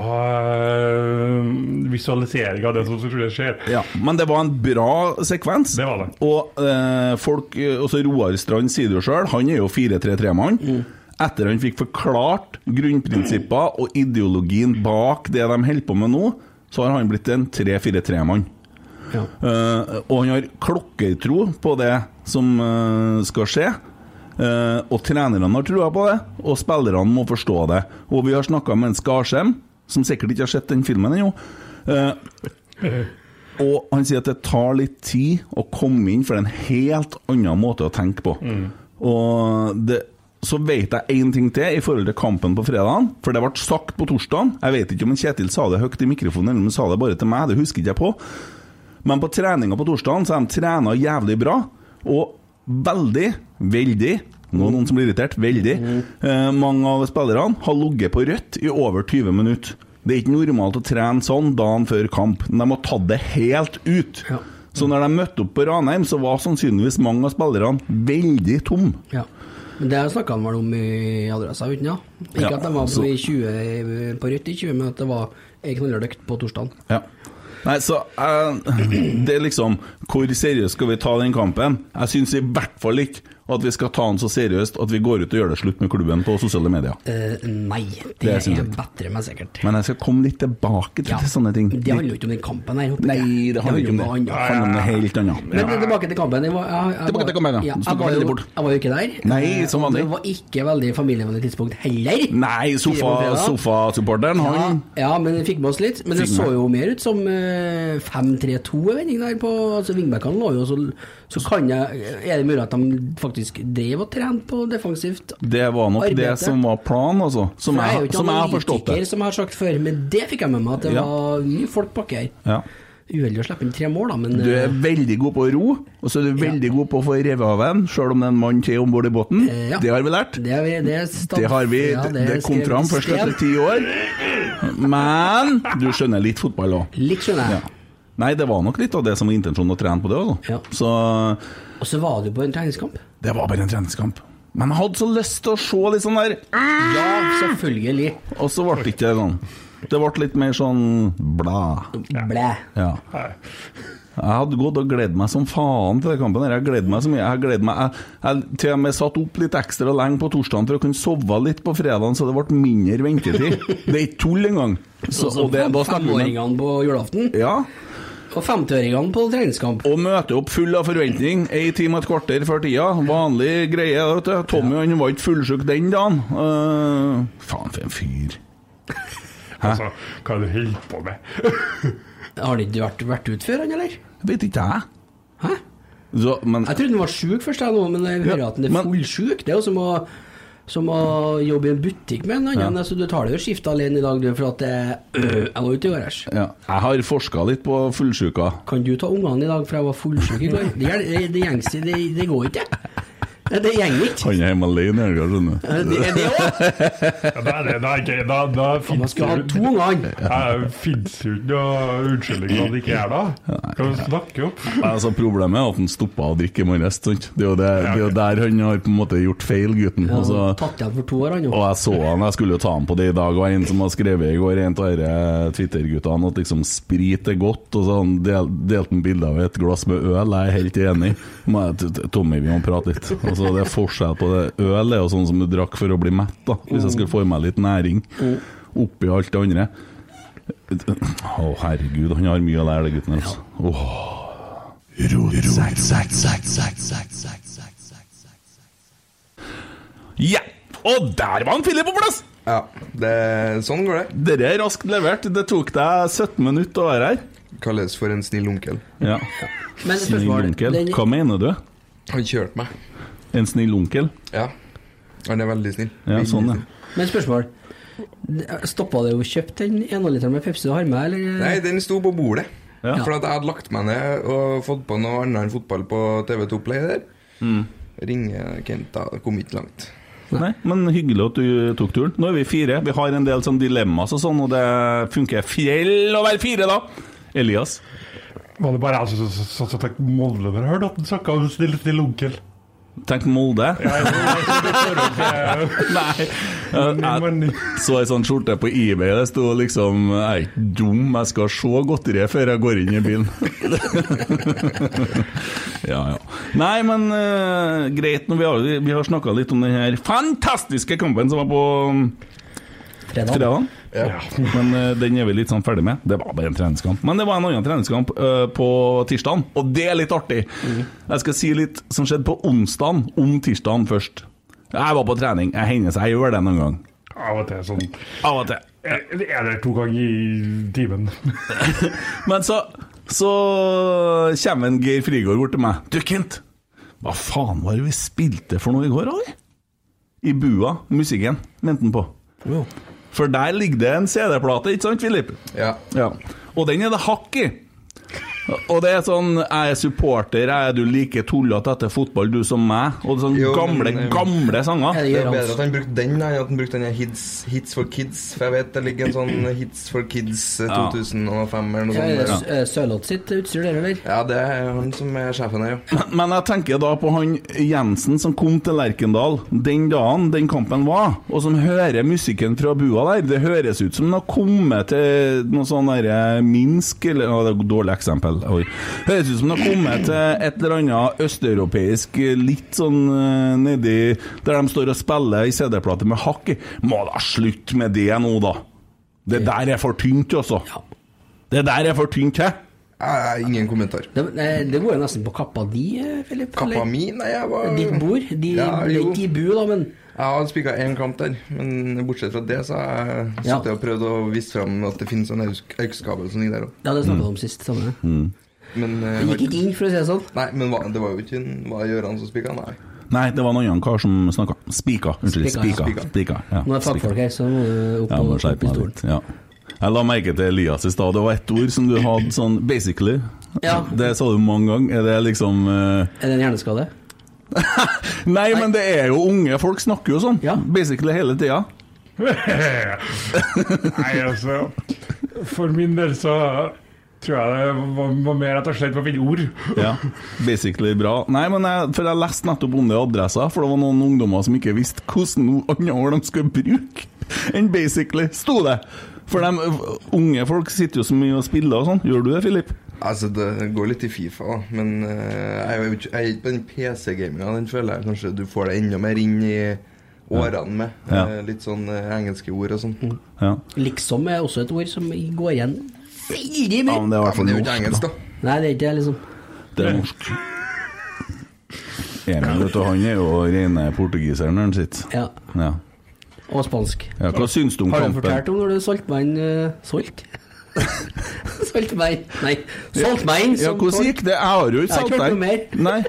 [SPEAKER 8] øh, visualisering av det som skulle skje.
[SPEAKER 5] ja. Men det var en bra sekvens.
[SPEAKER 8] Det var det.
[SPEAKER 5] Og eh, folk, eh, også Roar Strand sier det jo sjøl, han er jo 4-3-3-mann. Etter han fikk forklart grunnprinsipper og ideologien bak det de holder på med nå, så har han blitt en 3-4-3-mann.
[SPEAKER 7] Ja.
[SPEAKER 5] Eh, og han har klokkertro på det som eh, skal skje. Eh, og trenerne har trua på det, og spillerne må forstå det. Og vi har snakka med en Skarsheim, som sikkert ikke har sett den filmen ennå. Eh, og han sier at det tar litt tid å komme inn, for det er en helt annen måte å tenke på. Og det, så vet jeg én ting til i forhold til kampen på fredagen, for det ble sagt på torsdagen. Jeg vet ikke om en Kjetil sa det høyt i mikrofonen, eller om han sa det bare til meg, det husker ikke jeg på. Men på treninga på torsdagen så har de trena jævlig bra, og veldig, veldig nå er det noen som blir irritert. Veldig. Eh, mange av spillerne har ligget på rødt i over 20 minutter. Det er ikke normalt å trene sånn dagen før kamp. De har tatt det helt ut.
[SPEAKER 7] Ja.
[SPEAKER 5] Så når de møtte opp på Ranheim, så var sannsynligvis mange av spillerne veldig tomme.
[SPEAKER 7] Ja. Men det snakka han vel om i Adressa uten, ja. Ikke
[SPEAKER 5] Ja,
[SPEAKER 7] at de var på,
[SPEAKER 5] så-
[SPEAKER 7] i 20, på rødt i 20, men at det var ei knallrøkt på torsdag.
[SPEAKER 5] Ja. Nei, så eh, Det er liksom Hvor seriøst skal vi ta den kampen? Jeg syns i hvert fall ikke at vi skal ta han så seriøst at vi går ut og gjør det slutt med klubben på sosiale medier.
[SPEAKER 7] Eh, nei, det,
[SPEAKER 5] Det synes
[SPEAKER 7] er
[SPEAKER 5] jeg.
[SPEAKER 7] bedre, men sikkert.
[SPEAKER 5] Men jeg skal komme litt tilbake til,
[SPEAKER 7] Ja.
[SPEAKER 5] til sånne ting.
[SPEAKER 7] Det handler jo ikke om den kampen her. håper
[SPEAKER 5] Nei,
[SPEAKER 7] jeg.
[SPEAKER 5] det handler ikke om det.
[SPEAKER 7] annet.
[SPEAKER 5] Det handler om noe helt annet.
[SPEAKER 7] Men tilbake til kampen. Jeg var, jeg, jeg,
[SPEAKER 5] Tilbake til kampen, ja.
[SPEAKER 7] ja.
[SPEAKER 5] Du
[SPEAKER 7] jeg,
[SPEAKER 5] snakker
[SPEAKER 7] var
[SPEAKER 5] veldig
[SPEAKER 7] jo,
[SPEAKER 5] fort.
[SPEAKER 7] jeg var jo ikke der.
[SPEAKER 5] Nei, som vanlig.
[SPEAKER 7] Det var ikke veldig familievennlig tidspunkt heller.
[SPEAKER 5] Nei, sofa-
[SPEAKER 7] Fire mot fredag.
[SPEAKER 5] sofasupporteren,
[SPEAKER 7] Ja,
[SPEAKER 5] han
[SPEAKER 7] ja, men det fikk med oss litt. Men det
[SPEAKER 5] Fikk
[SPEAKER 7] så
[SPEAKER 5] med.
[SPEAKER 7] jo mer ut som eh, 5-3-2 en vending der på altså Vingbekkene lå jo så Så kan jeg Er det mulig at de faktisk drev og trente på defensivt?
[SPEAKER 5] Det var nok
[SPEAKER 7] Arbeidet.
[SPEAKER 5] det som var planen, altså. Som
[SPEAKER 7] For
[SPEAKER 5] jeg, som jeg har forstått det.
[SPEAKER 7] som jeg har sagt før, men det fikk jeg med meg, at det
[SPEAKER 5] Ja.
[SPEAKER 7] var mye folk baki her.
[SPEAKER 5] Ja.
[SPEAKER 7] Uheldig å slippe inn tre mål, da, men
[SPEAKER 5] Du er
[SPEAKER 7] eh,
[SPEAKER 5] veldig god på å ro, og så er du
[SPEAKER 7] Ja.
[SPEAKER 5] veldig god på å få revet av en, sjøl om det er en mann til om bord i båten.
[SPEAKER 7] Eh, ja.
[SPEAKER 5] Det har vi lært.
[SPEAKER 7] det, er vi- det, er stand-
[SPEAKER 5] Det har vi,
[SPEAKER 7] Ja,
[SPEAKER 5] det, det kom
[SPEAKER 7] skrev-
[SPEAKER 5] fram først
[SPEAKER 7] skrev.
[SPEAKER 5] etter ti år. Men du skjønner litt fotball òg.
[SPEAKER 7] Litt, skjønner
[SPEAKER 5] Ja.
[SPEAKER 7] jeg.
[SPEAKER 5] Nei, det var nok litt av det som var intensjonen å trene på det. Også.
[SPEAKER 7] Ja.
[SPEAKER 5] Så
[SPEAKER 7] Og så var du på en treningskamp.
[SPEAKER 5] det var bare en treningskamp. Men jeg hadde så lyst til å se litt sånn der,
[SPEAKER 7] Ja, selvfølgelig.
[SPEAKER 5] og så ble det ikke sånn. Det ble litt mer sånn blæ.
[SPEAKER 7] Blæ.
[SPEAKER 5] Ja. Jeg hadde gått og gledet meg som faen til den kampen. her. Jeg gledet meg så mye. Jeg gledet meg jeg, jeg til og med satt opp litt ekstra lenge på torsdagen for å kunne sove litt på fredagen, så det ble mindre ventetid. Det er ikke tull engang. Så,
[SPEAKER 7] Altså,
[SPEAKER 5] og det, da snakker vi
[SPEAKER 7] Femåringene
[SPEAKER 5] om-
[SPEAKER 7] på julaften
[SPEAKER 5] Ja.
[SPEAKER 7] og femtiåringene på treningskamp.
[SPEAKER 5] Og møte opp full av forventning, ei time og et kvarter før tida. Vanlig greie. vet du. Tommy han var ikke fullsjuk den dagen. Eh, faen, for en fyr.
[SPEAKER 8] Altså, hva er det du holder på med?
[SPEAKER 7] Har det ikke vært, vært ut før, han, eller?
[SPEAKER 5] Vet ikke jeg.
[SPEAKER 7] Hæ?
[SPEAKER 5] Så, men
[SPEAKER 7] Jeg trodde han var sjuk først, jeg nå, men jeg hører
[SPEAKER 5] Ja,
[SPEAKER 7] at han er
[SPEAKER 5] men-
[SPEAKER 7] fullsjuk. Det er jo som å, som å jobbe i en butikk med en annen. Altså, du tar det jo skiftet alene i dag, du, for at det, øh, jeg var ute i går. æsj.
[SPEAKER 5] ja, jeg har forska litt på fullsjuka.
[SPEAKER 7] Kan du ta ungene i dag, for jeg var fullsjuk i går? Det, gjør- det, det, gjengs- det, det går ikke. Det, det gjenger ikke.
[SPEAKER 5] Han er hjemme alene i helga, skjønner du.
[SPEAKER 7] Det er det òg.
[SPEAKER 8] Ja, da, er det- da, er ikke- da, da
[SPEAKER 7] Man
[SPEAKER 8] finnes
[SPEAKER 7] skal ha
[SPEAKER 8] det
[SPEAKER 7] to
[SPEAKER 8] jo
[SPEAKER 7] unger.
[SPEAKER 8] Ja, finnes jo ikke noe unnskyldning for at det ikke er da. Hva snakker du om?
[SPEAKER 5] Altså, problemet er at han stoppa å drikke i morges. sant? Det er jo det, det er jo der han har på en måte gjort feil, gutten.
[SPEAKER 7] Ja,
[SPEAKER 5] Altså,
[SPEAKER 7] tatt igjen for to år, han jo.
[SPEAKER 5] Og jeg så han, jeg skulle jo ta han på det i dag, og en som har skrevet i går, en av disse Twitter-guttene, at liksom sprit er godt, og så han del, delte han bilde av et glass med øl, jeg er helt enig. Må jeg- t- t- Tommy, vi må prate litt. Altså, det er forskjell på det. Øl er jo sånn som du drakk for å bli mett, da, hvis jeg skulle få i meg litt næring oppi alt det andre. Å, herregud, han har mye å lære, det gutten her, altså. Åh. Ja! Og der var han Philip på plass!
[SPEAKER 9] Ja, det, sånn går det.
[SPEAKER 5] Dette er raskt levert. Det tok deg 17 minutter å være her.
[SPEAKER 9] Kalles for en snill onkel.
[SPEAKER 5] Ja.
[SPEAKER 7] Men
[SPEAKER 5] Snill
[SPEAKER 7] spørsmål
[SPEAKER 5] onkel.
[SPEAKER 7] den-
[SPEAKER 5] Hva mener du?
[SPEAKER 9] Han kjørte meg.
[SPEAKER 5] En snill onkel?
[SPEAKER 9] Ja. Han er veldig snill.
[SPEAKER 5] Ja,
[SPEAKER 9] Veldig
[SPEAKER 5] sånn, ja.
[SPEAKER 9] snill.
[SPEAKER 7] Men spørsmål. Stoppa det å kjøpe den ene literen med Pepsi du har med, eller? eh,
[SPEAKER 9] Nei, den sto på bordet.
[SPEAKER 5] Ja.
[SPEAKER 9] For at jeg hadde lagt meg ned og fått på noe annet enn fotball på TV2 Play der. Ringer Kent da, det kom ikke langt.
[SPEAKER 5] Nei, men hyggelig at du tok turen. Nå er vi fire. Vi har en del sånn dilemmas og sånn, og det funker fjell å være fire, da. Elias.
[SPEAKER 8] Var det bare jeg som altså, satt og tenkte Molde når jeg hørte at han snakka om snill, snill onkel?
[SPEAKER 5] Tenk Molde. Nei. Eh,
[SPEAKER 8] Men,
[SPEAKER 5] Så ei sånn skjorte på eBay, det sto liksom Jeg er ikke dum, jeg skal se godteriet før jeg går inn i bilen. ja, ja. Nei, men eh, greit, nå, vi har, vi har snakka litt om den her fantastiske kampen som var på um,
[SPEAKER 7] Fredag.
[SPEAKER 5] fredag. Men eh, den er vi litt sånn ferdig med. Det var bare en treningskamp. Men det var en annen treningskamp eh, på tirsdagen, og det er litt artig. Jeg skal si litt som skjedde på onsdagen, om tirsdagen først. Jeg var på trening. Jeg hender seg jeg gjør det noen gang.
[SPEAKER 8] av og til sånn
[SPEAKER 5] Av og til.
[SPEAKER 8] En eller to ganger i timen.
[SPEAKER 5] Men så, så kommer en Geir Frigård bort til meg. Du, Kent, hva faen var det vi spilte for noe i går, Ali? I bua, musikken, mente han på. For der ligger det en CD-plate, ikke sant, Filip?
[SPEAKER 9] Ja.
[SPEAKER 5] Ja. Og den er det hakk i. Og det er sånn Jeg er supporter, jeg er du like tullete etter fotball, du som meg? Og det er sånn
[SPEAKER 9] Jo,
[SPEAKER 5] gamle,
[SPEAKER 9] men, eh,
[SPEAKER 5] gamle
[SPEAKER 7] Er
[SPEAKER 5] sanger.
[SPEAKER 7] det
[SPEAKER 9] Det er
[SPEAKER 7] Gjørans?
[SPEAKER 9] bedre at han brukte den da, enn at han brukte den her hits, hits for Kids. For jeg vet det ligger en sånn Hits for Kids eh,
[SPEAKER 5] Ja.
[SPEAKER 9] 2005
[SPEAKER 7] Ja,
[SPEAKER 9] eller noe
[SPEAKER 7] er det
[SPEAKER 9] sånt. der.
[SPEAKER 7] S- eh, Sørloth sitt utstyr, der, eller?
[SPEAKER 9] Ja, det er han som er sjefen her, jo.
[SPEAKER 5] Men jeg tenker da på han Jensen som kom til Lerkendal den dagen den kampen var, og som hører musikken fra bua der. eh, Det høres ut som han har kommet til noe sånn derre Minsk eller ja, Det er et dårlig eksempel. Vel, oi. Høres ut som det har kommet til et eller annet østeuropeisk eh, litt sånn eh, nedi Der de står og spiller i CD-plate med hakk i. Må da slutte med det nå, da. Det der er for tynt, altså. Det der er for tynt, hæ?
[SPEAKER 9] Eh, ingen kommentar.
[SPEAKER 7] Det, eh, det går jo nesten på kappa di, eh, Filip. eller?
[SPEAKER 9] Kappa mi? Nei, jeg var
[SPEAKER 7] Ditt bord. De
[SPEAKER 9] Ja,
[SPEAKER 7] ble
[SPEAKER 9] jo.
[SPEAKER 7] ikke i bu, da, men
[SPEAKER 9] Jeg har spikka én kamp der, men bortsett fra det så har jeg
[SPEAKER 7] Ja.
[SPEAKER 9] sittet og prøvd å vise fram at det finnes en aux- AUX-kabel som ligger der òg.
[SPEAKER 7] ja, det snakket vi om sist. Samme.
[SPEAKER 5] Mm.
[SPEAKER 9] Men, eh,
[SPEAKER 7] Det gikk ikke inn, for å si det sånn.
[SPEAKER 9] Nei, men hva, det var jo ikke en- var det Gøran som spikka, nei.
[SPEAKER 5] Nei, det var en annen kar som snakka. Spika. Unnskyld.
[SPEAKER 7] Spika, ja.
[SPEAKER 5] Spika. Spika. Ja,
[SPEAKER 7] Nå er det
[SPEAKER 5] spika.
[SPEAKER 7] fagfolk her, så nå må du opp
[SPEAKER 5] Ja,
[SPEAKER 7] og
[SPEAKER 5] må
[SPEAKER 7] opp i
[SPEAKER 5] skjerpe meg
[SPEAKER 7] stolen.
[SPEAKER 5] litt. Ja. Jeg la merke til Elias i stad. Det var ett ord som du hadde sånn basically.
[SPEAKER 7] Ja.
[SPEAKER 5] Det sa du mange ganger. Er det liksom eh,
[SPEAKER 7] Er det en hjerneskade?
[SPEAKER 5] Nei, men det er jo unge folk snakker jo sånn.
[SPEAKER 7] Ja.
[SPEAKER 5] Basically hele tida.
[SPEAKER 8] Nei, altså For min del så tror jeg det var, var mer rett og slett på å finne ord.
[SPEAKER 5] Ja, basically bra. Nei, men jeg, for jeg leste nettopp om det i Adressa, for det var noen ungdommer som ikke visste hvordan andre ord de skulle bruke enn basically, sto det. For de unge folk sitter jo så mye og spiller og sånn. Gjør du det, Filip?
[SPEAKER 9] Altså, det går litt i Fifa, da, men eh, jeg er jo ikke jeg er ikke på den PC-gaminga. Den føler jeg kanskje du får deg enda mer inn i årene med.
[SPEAKER 5] Ja.
[SPEAKER 9] Eh, Litt sånn eh, engelske ord og sånn.
[SPEAKER 5] Ja.
[SPEAKER 7] Liksom er også et ord som går igjen veldig
[SPEAKER 5] ja,
[SPEAKER 7] mye.
[SPEAKER 5] men det er i
[SPEAKER 9] Ja,
[SPEAKER 5] hvert
[SPEAKER 9] men
[SPEAKER 5] fall
[SPEAKER 9] det er jo ikke
[SPEAKER 5] norsk,
[SPEAKER 9] engelsk,
[SPEAKER 5] da.
[SPEAKER 9] da.
[SPEAKER 7] Nei, det er ikke det, liksom.
[SPEAKER 5] Det er norsk. Emil, vet du, han er jo rene portugiser når han sitter.
[SPEAKER 7] Ja.
[SPEAKER 5] Ja.
[SPEAKER 7] Og spansk.
[SPEAKER 5] ja. Hva syns du om
[SPEAKER 7] Har du
[SPEAKER 5] kampen?
[SPEAKER 7] fortalt om når du solgte meg inn eh, Solgt? solgte meg inn Nei, solgte meg inn
[SPEAKER 5] Ja,
[SPEAKER 7] som
[SPEAKER 5] hvordan
[SPEAKER 7] tolk.
[SPEAKER 5] gikk det? Jeg har jo ikke
[SPEAKER 7] Jeg har
[SPEAKER 5] sagt
[SPEAKER 7] ikke hørt noe
[SPEAKER 5] det. Nei.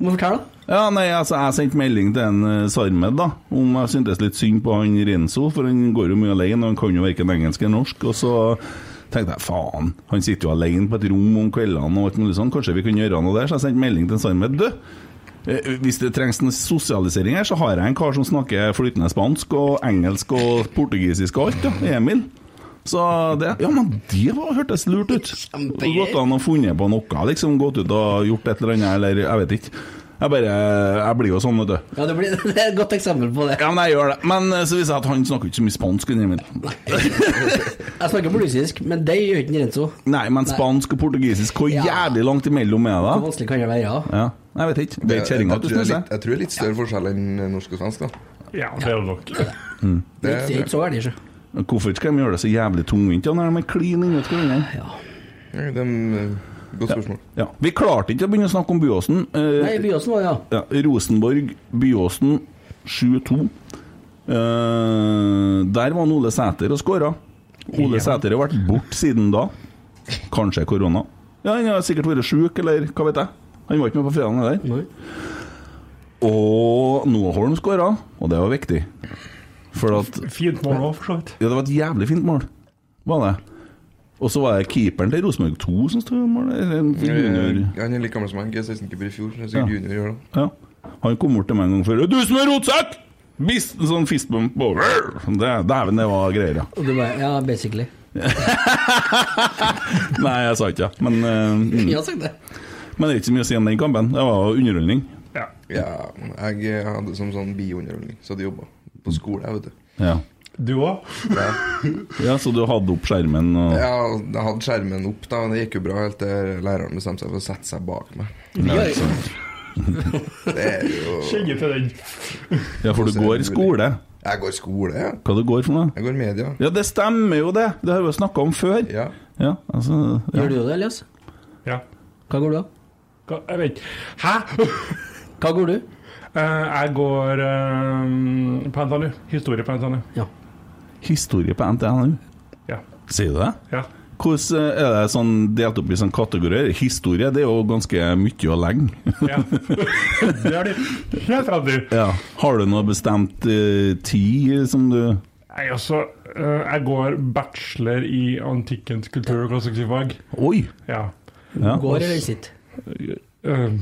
[SPEAKER 7] Må fortelle, da.
[SPEAKER 5] Ja, nei, altså, jeg sendte melding til en eh, Sarmed da, om jeg syntes litt synd på han Renzo, for han går jo mye alene, og han kan jo verken engelsk eller norsk, og så tenkte jeg, faen, han sitter jo alene på et rom om kveldene og alt mulig sånn, kanskje vi kunne gjøre noe der, så jeg sendte melding til en Sarmed, du, eh, hvis det trengs en sosialisering her, så har jeg en kar som snakker flytende spansk og engelsk og portugisisk og alt, ja, Emil. Så det, ja, men det var, hørtes lurt ut.
[SPEAKER 7] Kjempegøy.
[SPEAKER 5] Godt han har funnet på noe, liksom gått ut og gjort et eller annet, eller jeg vet ikke. Jeg bare, jeg blir jo sånn, vet du.
[SPEAKER 7] Ja, det, blir, det er et godt eksempel på det.
[SPEAKER 5] Ja, men jeg gjør det. Men eh, så viser jeg at han snakker ikke så mye spansk. enn Emil.
[SPEAKER 7] Jeg snakker portugisisk, men det gjør ikke Renzo.
[SPEAKER 5] Nei, men spansk og portugisisk, hvor
[SPEAKER 7] Ja.
[SPEAKER 5] jævlig langt imellom er
[SPEAKER 7] Hvor
[SPEAKER 5] det?
[SPEAKER 7] vanskelig kan det være? Ja.
[SPEAKER 5] Ja, jeg vet ikke. Vet
[SPEAKER 9] Jeg, jeg,
[SPEAKER 5] kjerringa at
[SPEAKER 9] tror
[SPEAKER 5] du
[SPEAKER 9] det er
[SPEAKER 5] snuser?
[SPEAKER 9] litt- jeg tror det er litt større forskjell enn eh, norsk og svensk, da.
[SPEAKER 8] Ja, det er det nok.
[SPEAKER 7] Det er ikke så gærent, sjø.
[SPEAKER 5] Hvorfor skal de gjøre det så jævlig tungvint ja, når de er klin inni hverandre?
[SPEAKER 7] Ja.
[SPEAKER 9] Ja, det er en, eh, Godt spørsmål.
[SPEAKER 5] Ja. Vi klarte ikke å begynne å snakke om Byåsen. Eh,
[SPEAKER 7] Nei, Byåsen var det, ja.
[SPEAKER 5] ja, Rosenborg, Byåsen 7-2. Eh, der var han Ole Sæter og skåra. Ole Sæter har vært borte siden da. Kanskje korona. Ja, Han har sikkert vært sjuk, eller hva vet jeg. Han var ikke med på fredagen heller.
[SPEAKER 7] Nei.
[SPEAKER 5] Og Noah Holm skåra, og det var viktig. For at
[SPEAKER 8] Fint mål òg, for så vidt.
[SPEAKER 5] Ja, det var et jævlig fint mål, var det. Og så var det keeperen til Rosenborg 2 som sto i mål. eller en junior.
[SPEAKER 9] Eh, Han er like gammel som meg. Jeg er 16-keeper i fjor. Jeg er sikkert
[SPEAKER 5] Ja.
[SPEAKER 9] junior i år, da.
[SPEAKER 5] Ja. Han kom bort til meg en gang før. 'Du som er rotsekk!' Bist, sånn fistbump og Det- Dæven, det var greier, ja.
[SPEAKER 7] Og du bare Ja, basically.
[SPEAKER 5] Nei, jeg sa ikke det. Men, eh, mm.
[SPEAKER 7] Jeg har sagt det.
[SPEAKER 5] men det er ikke så mye å si om den kampen. Det var underholdning.
[SPEAKER 8] Ja.
[SPEAKER 9] Ja, jeg eh, hadde som sånn biunderholdning, så hadde jeg jobba på skole, jeg, vet du.
[SPEAKER 5] Ja.
[SPEAKER 8] Du òg?
[SPEAKER 5] ja, så du hadde opp skjermen og
[SPEAKER 9] Ja, jeg hadde skjermen opp, da, og det gikk jo bra helt til læreren bestemte seg for å sette seg bak meg.
[SPEAKER 7] Vi har,
[SPEAKER 9] Det er jo
[SPEAKER 8] Kjenner til den.
[SPEAKER 5] Ja, for du går i skole.
[SPEAKER 9] Jeg går skole, ja.
[SPEAKER 5] Hva du går for noe?
[SPEAKER 9] Jeg går media.
[SPEAKER 5] Ja, det stemmer jo, det! Det har vi jo snakka om før.
[SPEAKER 9] Ja.
[SPEAKER 5] Ja, altså ja.
[SPEAKER 7] gjør du det, Elias?
[SPEAKER 8] Ja.
[SPEAKER 7] Hva går du, da?
[SPEAKER 8] Hva- Jeg vet Hæ?
[SPEAKER 7] Hva går du?
[SPEAKER 8] Eh, jeg går eh, på NTNU. Historie på NTNU.
[SPEAKER 7] Ja.
[SPEAKER 5] Historie på NTNU.
[SPEAKER 8] Ja.
[SPEAKER 5] Sier du det?
[SPEAKER 8] ja.
[SPEAKER 5] Hvordan eh, er det sånn delt opp i sånn kategorier? Historie det er jo ganske mye og lenge.
[SPEAKER 8] ja. det er det. Helt rett, du.
[SPEAKER 5] Ja. Har du noe bestemt eh, tid som du
[SPEAKER 8] Jeg, også, eh, jeg går bachelor i antikkens kultur- og klassikkfag.
[SPEAKER 5] Oi!
[SPEAKER 8] Ja.
[SPEAKER 5] Ja.
[SPEAKER 7] Går eller sitter?
[SPEAKER 8] Eh,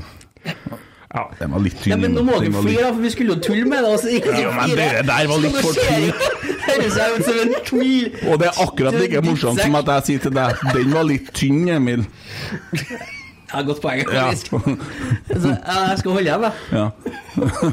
[SPEAKER 5] Den var litt tynn.
[SPEAKER 7] Ja, men nå må du
[SPEAKER 5] Den var litt-
[SPEAKER 7] flire, da, for vi skulle jo tulle med det. Altså, ikke
[SPEAKER 5] Ja, men det der var litt for tungt.
[SPEAKER 7] Høres jeg ut som en tull?
[SPEAKER 5] Og det er akkurat like morsomt som at jeg sier til deg den var litt tynn, Emil.
[SPEAKER 7] Ja, godt poeng,
[SPEAKER 5] Ja.
[SPEAKER 7] faktisk. Så, ja, jeg skal holde igjen, da.
[SPEAKER 5] ja.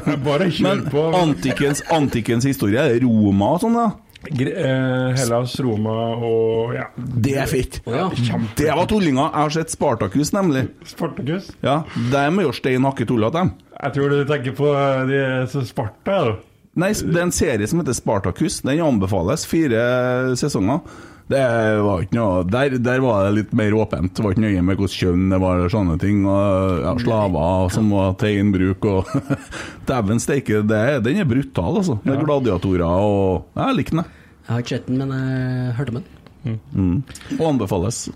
[SPEAKER 8] jeg bare kjør
[SPEAKER 5] Men
[SPEAKER 8] på. eh,
[SPEAKER 5] antikkens, antikkens historie, er det Roma og sånn, da?
[SPEAKER 8] Gre- eh, Hellas, Roma og ja,
[SPEAKER 5] Det er fett!
[SPEAKER 7] Ja.
[SPEAKER 5] Det var tullinger. Jeg har sett Spartacus, nemlig.
[SPEAKER 8] Spartacus.
[SPEAKER 5] Ja, De er jo stein hakke tullete, dem.
[SPEAKER 8] Jeg tror du tenker på eh, de som Sparta. da.
[SPEAKER 5] Nei, det er en serie som heter Spartacus. Den anbefales. Fire sesonger. Det var ikke noe Der, der var det litt mer åpent. Det var ikke nøye med hvilket kjønn det var, og sånne ting. Og, ja, slaver som var til egen bruk og Dæven steike, det er- den er brutal, altså. Det er gladiatorer og Jeg liker den, jeg.
[SPEAKER 7] Jeg har ikke sett den, men jeg hørte om den.
[SPEAKER 5] Og anbefales.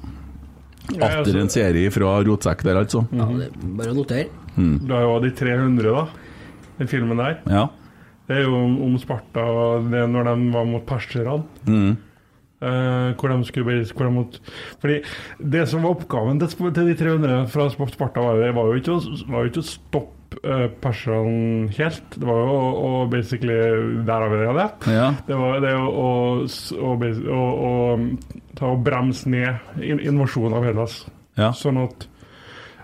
[SPEAKER 8] Ja,
[SPEAKER 5] Atter en
[SPEAKER 8] altså, Mm.
[SPEAKER 5] serie fra rotsekk der, altså.
[SPEAKER 7] Ja, det er bare å notere.
[SPEAKER 8] Du har jo de 300, da. Den filmen der.
[SPEAKER 5] Ja.
[SPEAKER 8] Det er jo om, om Sparta og det når de var mot perserne.
[SPEAKER 5] Mm.
[SPEAKER 8] Eh, hvor de skulle bli hvor de måtte, Fordi det som var oppgaven til Sp- til de 300 fra Sp- Sparta, var, jo- var, jo, ikke å, var jo ikke å stoppe eh, perserne helt. Det var jo å, å basically Der har vi det. det.
[SPEAKER 5] ja.
[SPEAKER 8] Det var det å, å, s- å, bas- å, å ta og bremse ned in- invasjonen av Hellas.
[SPEAKER 5] Ja.
[SPEAKER 8] Sånn at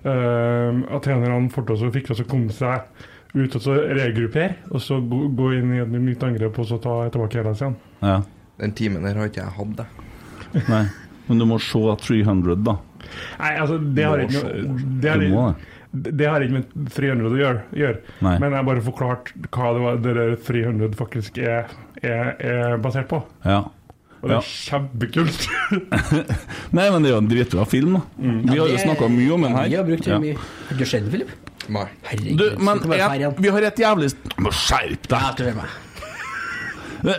[SPEAKER 8] uh, atenerne fort også fikk også komme seg ut og så regruppere, og så gå, gå inn i et nytt angrep og så ta tilbake Hellas igjen.
[SPEAKER 5] ja.
[SPEAKER 9] Den timen der har ikke jeg hatt, jeg.
[SPEAKER 5] Nei. Men du må se 300, da.
[SPEAKER 8] Nei, altså, det har ikke noe det har,
[SPEAKER 5] Du må det.
[SPEAKER 8] det har ikke med 300 å gjøre, gjøre.
[SPEAKER 5] Nei.
[SPEAKER 8] men jeg har bare forklart hva det, var, det der 300 faktisk er, er, er basert på.
[SPEAKER 5] Ja.
[SPEAKER 8] Og det
[SPEAKER 5] Ja.
[SPEAKER 8] er kjempekult!
[SPEAKER 5] Nei, men det er jo en dritbra film, da. Vi har jo snakka mye om den her.
[SPEAKER 7] Vi har brukt
[SPEAKER 5] Ja.
[SPEAKER 7] mye. Har du sett den, Philip?
[SPEAKER 9] Nei.
[SPEAKER 7] Herregud.
[SPEAKER 5] Du,
[SPEAKER 7] skal
[SPEAKER 5] men
[SPEAKER 7] ikke være
[SPEAKER 5] jeg-
[SPEAKER 7] fær igjen.
[SPEAKER 5] vi har et jævlig Men Skjerp
[SPEAKER 7] Ja,
[SPEAKER 5] deg!
[SPEAKER 7] tror jeg meg.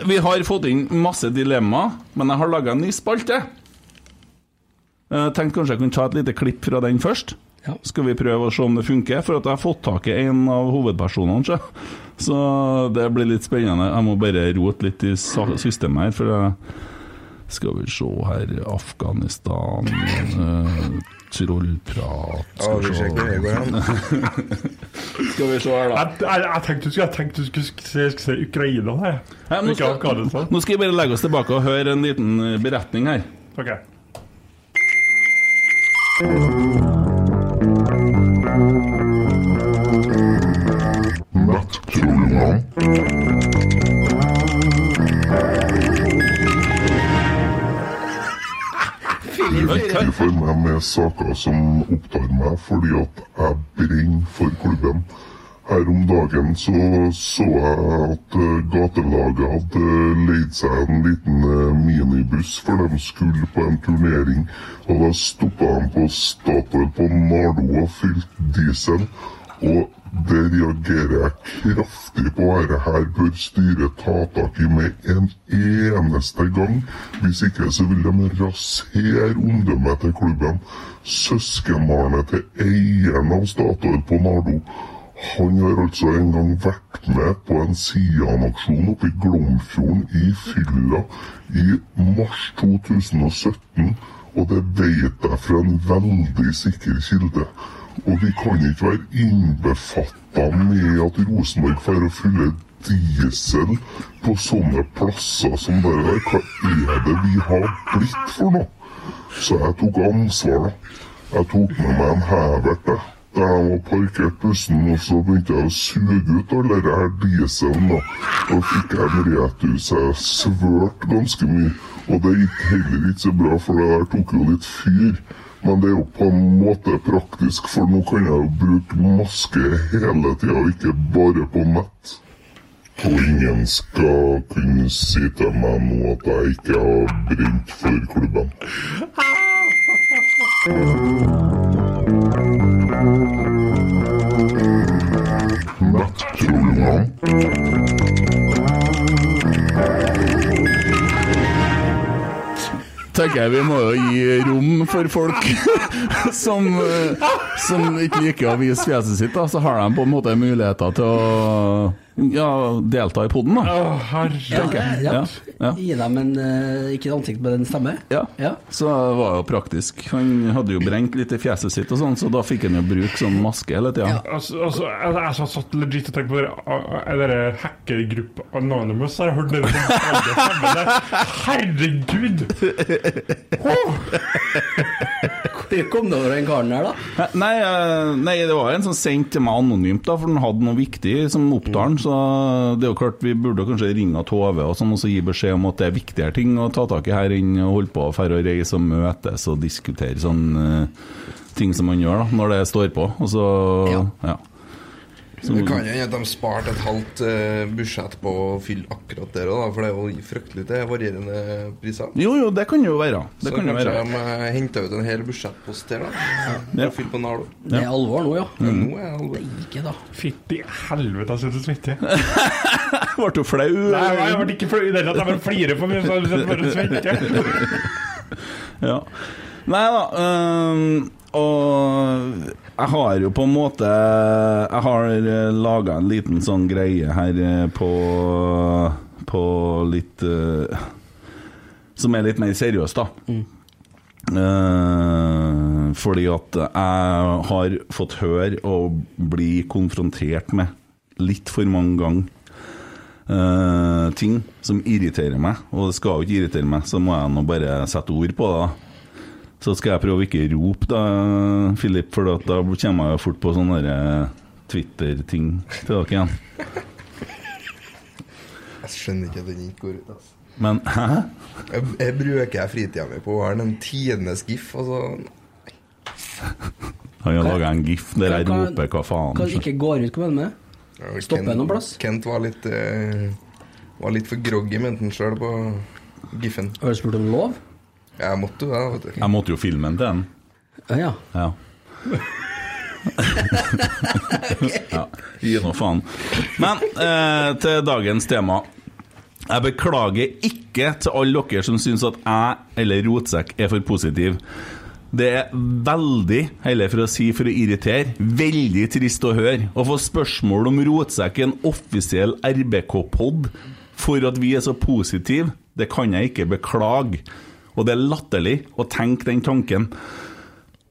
[SPEAKER 5] Vi har fått inn masse dilemmaer, men jeg har laga en ny spalte. Eh, Tenkte kanskje jeg kunne ta et lite klipp fra den først.
[SPEAKER 7] Ja.
[SPEAKER 5] Skal vi prøve å se om det funker? For at jeg har fått tak i en av hovedpersonene. sjø. Så det blir litt spennende. Jeg må bare rote litt i sa- systemet her, for jeg Skal vi se her Afghanistan eh, Trollprat
[SPEAKER 9] Ja,
[SPEAKER 5] Skal
[SPEAKER 9] vi
[SPEAKER 5] vi se
[SPEAKER 9] ser hvor det går an.
[SPEAKER 5] Skal vi se her, da.
[SPEAKER 8] Jeg, jeg, jeg tenkte du skulle, jeg tenkte du skulle sk- se, sk- se Ukraina, jeg.
[SPEAKER 5] Nei, nå,
[SPEAKER 8] Ikke
[SPEAKER 5] skal,
[SPEAKER 8] Afghanistan.
[SPEAKER 5] nå skal jeg bare legge oss tilbake og høre en liten eh, beretning her.
[SPEAKER 8] Ok.
[SPEAKER 10] Jeg trekker for meg med saker som opptar meg, fordi at jeg brenner for klubben. Her om dagen så, så jeg at eh, gatelaget hadde leid seg en liten eh, minibuss, for de skulle på en turnering. Og da stoppa de på Statoil på Nardo og fylte diesel. Og det reagerer jeg kraftig på. Dette her bør styret ta tak i med en eneste gang. Hvis ikke så vil de rasere omdømmet til klubben. Søskenbarnet til eieren av Statoil på Nardo. Han har altså en gang vært med på en Sian-aksjon oppe i Glomfjorden i fylla i mars 2017. Og det vet jeg fra en veldig sikker kilde. Og vi kan ikke være innbefatta med at Rosenborg får å fylle diesel på sånne plasser som det der. Hva er det vi har blitt for noe? Så jeg tok ansvar, da. Jeg tok med meg en hevert, jeg. Da jeg var parkert bussen, og så begynte jeg å suge ut all den her dieselen, da. Da fikk jeg en retur, så jeg svørte ganske mye. Og det gikk heller ikke så bra, for det der tok jo litt fyr. Men det er jo på en måte praktisk, for nå kan jeg jo bruke maske hele tida, ikke bare på nett. Og ingen skal kunne si til meg nå at jeg ikke har brent for klubben. Nettrollene.
[SPEAKER 5] Tenker jeg Vi må jo gi rom for folk som, eh, som ikke liker å vise fjeset sitt. Da. Så har de på en måte muligheter til å ja, delta i poden, da.
[SPEAKER 8] Å, herre...
[SPEAKER 7] Ja, ja.
[SPEAKER 5] Ja, ja.
[SPEAKER 7] Gi dem en eh, Ikke et ansikt med en stemme.
[SPEAKER 5] Ja.
[SPEAKER 7] Ja.
[SPEAKER 5] Så det var jo praktisk. Han hadde jo brent litt i fjeset sitt, og sånn, så da fikk han jo bruke sånn maske hele tida.
[SPEAKER 8] Altså, altså, jeg, jeg satt- satt legit og tenkte på dere, a- a- dere hackergruppa Anonymous. Har jeg hørt dere som alle sammen der? Herregud! Åh!
[SPEAKER 7] det kom det over den karen her, da?
[SPEAKER 5] Hæ? Nei, eh, nei, det var en som sendte til meg anonymt, da, for han hadde noe viktig som opptar han. Så det er jo klart, vi burde kanskje ringe Tove og sånn, og så gi beskjed om at det er viktigere ting å ta tak i her enn å holde på å fære og reise og møtes og diskutere sånn eh, ting som man gjør da, når det står på. Og så, ja. Så-
[SPEAKER 9] Det kan jo hende at de sparte et halvt eh, budsjett på å fylle akkurat der òg, for det er jo fryktelig det er varierende priser.
[SPEAKER 5] Jo, jo, det kan jo være. Det
[SPEAKER 9] så
[SPEAKER 5] kan jo
[SPEAKER 9] kanskje
[SPEAKER 5] være.
[SPEAKER 9] de eh, henter ut en hel budsjettpost der, da.
[SPEAKER 5] Ja.
[SPEAKER 9] Og fyller på Nalo.
[SPEAKER 5] Det er Ja. alvor nå, ja. Mm.
[SPEAKER 9] nå er det alvor.
[SPEAKER 7] Ikke da.
[SPEAKER 8] Fytti helvete, jeg synes det er svittig.
[SPEAKER 5] Ble du flau?
[SPEAKER 8] Nei, jeg ble ikke flau i det hele tatt. Jeg bare flirer for mye, så jeg synes jeg bare svetter.
[SPEAKER 5] ja. Nei da. øhm, og jeg har jo på en måte Jeg har laga en liten sånn greie her eh, på, på litt eh, Som er litt mer seriøst, da. Eh, fordi at jeg har fått høre og bli konfrontert med litt for mange ganger eh, ting som irriterer meg, og det skal jo ikke irritere meg, så må jeg nå bare sette ord på det. da. Så skal jeg prøve å ikke rope, da, Philip, for at da kommer jeg jo fort på sånne der eh, Twitter-ting til dere igjen.
[SPEAKER 9] Jeg skjønner ikke at den ikke går ut, altså.
[SPEAKER 5] Men hæ?
[SPEAKER 9] Jeg, jeg bruker jeg fritida mi på å være den tiendes gif, altså.
[SPEAKER 5] Han har laga en gif der jeg
[SPEAKER 9] Hva-
[SPEAKER 5] roper hva faen.
[SPEAKER 7] Kan ikke går ut, hva mener du med det? Stoppe
[SPEAKER 9] Kent-
[SPEAKER 7] noen plass?
[SPEAKER 9] Kent var litt, eh, var litt for groggy, mente han sjøl, på Giffen.
[SPEAKER 7] Har du spurt om lov?
[SPEAKER 9] Jeg måtte jo det, vet du.
[SPEAKER 5] Jeg måtte jo filme den til den.
[SPEAKER 7] Ja.
[SPEAKER 5] ja. ja. Gi nå faen. Men eh, til dagens tema. Jeg beklager ikke til alle dere som syns at jeg eller Rotsekk er for positiv. Det er veldig, heller for å si for å irritere, veldig trist å høre å få spørsmål om Rotsekk er en offisiell RBK-pod for at vi er så positive. Det kan jeg ikke beklage. Og det er latterlig å tenke den tanken.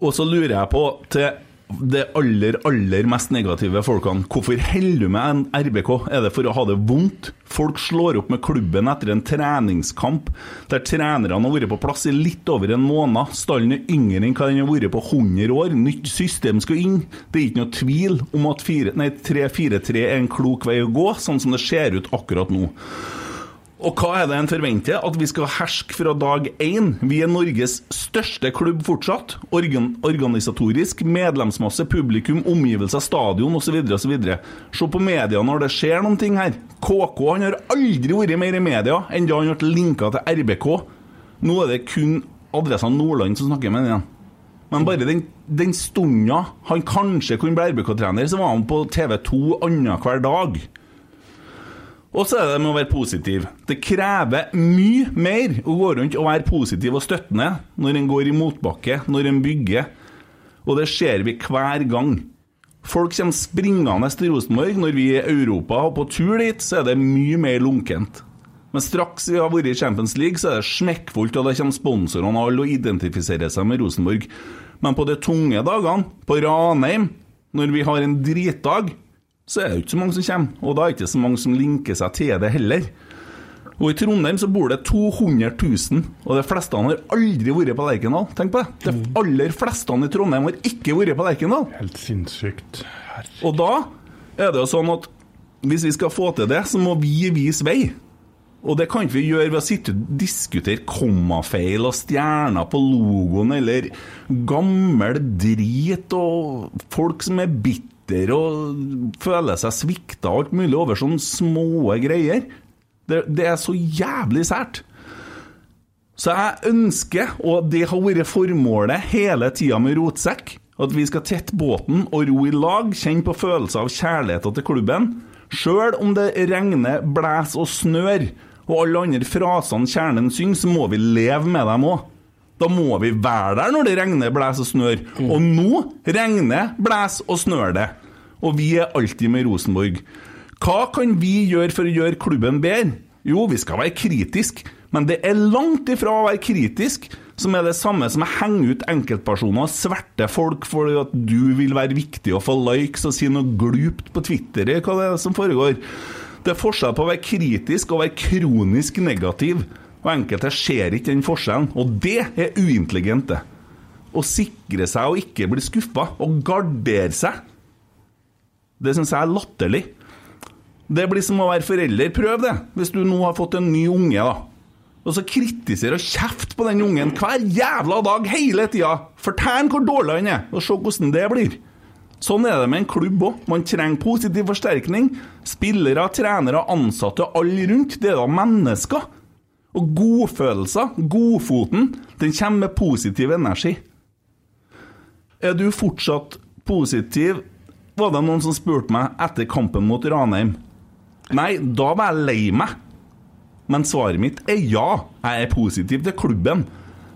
[SPEAKER 5] Og så lurer jeg på til det aller, aller mest negative folkene. Hvorfor holder du med en RBK? Er det for å ha det vondt? Folk slår opp med klubben etter en treningskamp der trenerne har vært på plass i litt over en måned. Stallen er yngre enn hva den har vært på 100 år. Nytt system skal inn. Det er ikke noe tvil om at fire- nei, 3-4-3 er en klok vei å gå, sånn som det ser ut akkurat nå. Og hva er det en forventer? At vi skal herske fra dag én? Vi er Norges største klubb fortsatt. Organ organisatorisk, medlemsmasse, publikum, omgivelser, stadion osv. osv. Se på media når det skjer noen ting her. KK han har aldri vært mer i media enn da han ble linka til RBK. Nå er det kun adressa Nordland som snakker med han igjen. Men bare den, den stunda han kanskje kunne bli RBK-trener, så var han på TV 2 annenhver dag. Og så er det med å være positiv. Det krever mye mer å gå rundt og være positiv og støttende når en går i motbakke, når en bygger. Og det ser vi hver gang. Folk kommer springende til Rosenborg når vi er i Europa, og på tur dit så er det mye mer lunkent. Men straks vi har vært i Champions League, så er det smekkfullt, og det kommer sponsorene og alle og identifiserer seg med Rosenborg. Men på de tunge dagene, på Ranheim, når vi har en dritdag, så er det jo ikke så mange som kommer. Og da er det ikke så mange som linker seg til det heller. Og i Trondheim så bor det 200 000, og de fleste har aldri vært på Lerkendal. Tenk på det. De aller fleste i Trondheim har ikke vært på Lerkendal.
[SPEAKER 8] Helt sinnssykt.
[SPEAKER 5] Og da er det jo sånn at hvis vi skal få til det, så må vi vise vei. Og det kan ikke vi gjøre ved å sitte og diskutere kommafeil og stjerner på logoen, eller gammel drit og folk som er bitter og føler seg svikta og alt mulig over sånne små greier. Det, det er så jævlig sært. Så jeg ønsker, og det har vært formålet hele tida med Rotsekk, at vi skal tette båten og ro i lag, kjenne på følelser av kjærligheten til klubben, sjøl om det regner, blæs og snør, og alle andre frasene kjernen synger, så må vi leve med dem òg. Da må vi være der når det regner, blæs og snør. Og nå regner, blæs og snør det. Og vi er alltid med Rosenborg. Hva kan vi gjøre for å gjøre klubben bedre? Jo, vi skal være kritisk, men det er langt ifra å være kritisk som er det samme som å henge ut enkeltpersoner og sverte folk fordi at du vil være viktig og få likes og si noe glupt på Twitter, eller hva det er som foregår. Det er forskjell på å være kritisk og å være kronisk negativ, og enkelte ser ikke den forskjellen, og det er uintelligente. å sikre seg og ikke bli skuffa, og gardere seg. Det syns jeg er latterlig. Det blir som å være forelder. Prøv det, hvis du nå har fått en ny unge, da. Og så kritisere og kjefte på den ungen hver jævla dag hele tida! Fortell han hvor dårlig han er, og se hvordan det blir. Sånn er det med en klubb òg. Man trenger positiv forsterkning. Spillere, trenere, ansatte, alle rundt. Det er da mennesker. Og godfølelser, godfoten, den kommer med positiv energi. Er du fortsatt positiv? Var det noen som spurte meg etter kampen mot Ranheim? Nei, da var jeg lei meg. Men svaret mitt er ja. Jeg er positiv til klubben.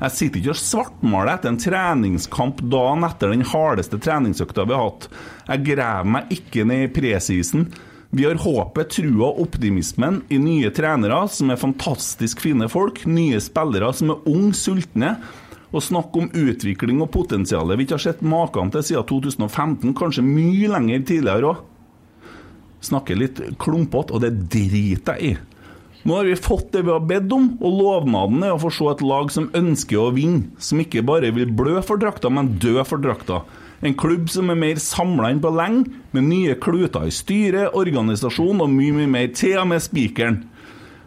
[SPEAKER 5] Jeg sitter ikke og svartmaler etter en treningskamp dagen etter den hardeste treningsøkta vi har hatt. Jeg graver meg ikke ned i presisen. Vi har håpet, trua og optimismen i nye trenere som er fantastisk fine folk, nye spillere som er unge, sultne. Og snakk om utvikling og potensialet vi ikke har sett maken til siden 2015, kanskje mye lenger tidligere òg snakker litt klumpete, og det driter jeg i. Nå har vi fått det vi har bedt om, og lovnaden er å få se et lag som ønsker å vinne. Som ikke bare vil blø for drakta, men dø for drakta. En klubb som er mer samla enn på lenge, med nye kluter i styret, organisasjon og mye, mye mer. Til og med spikeren.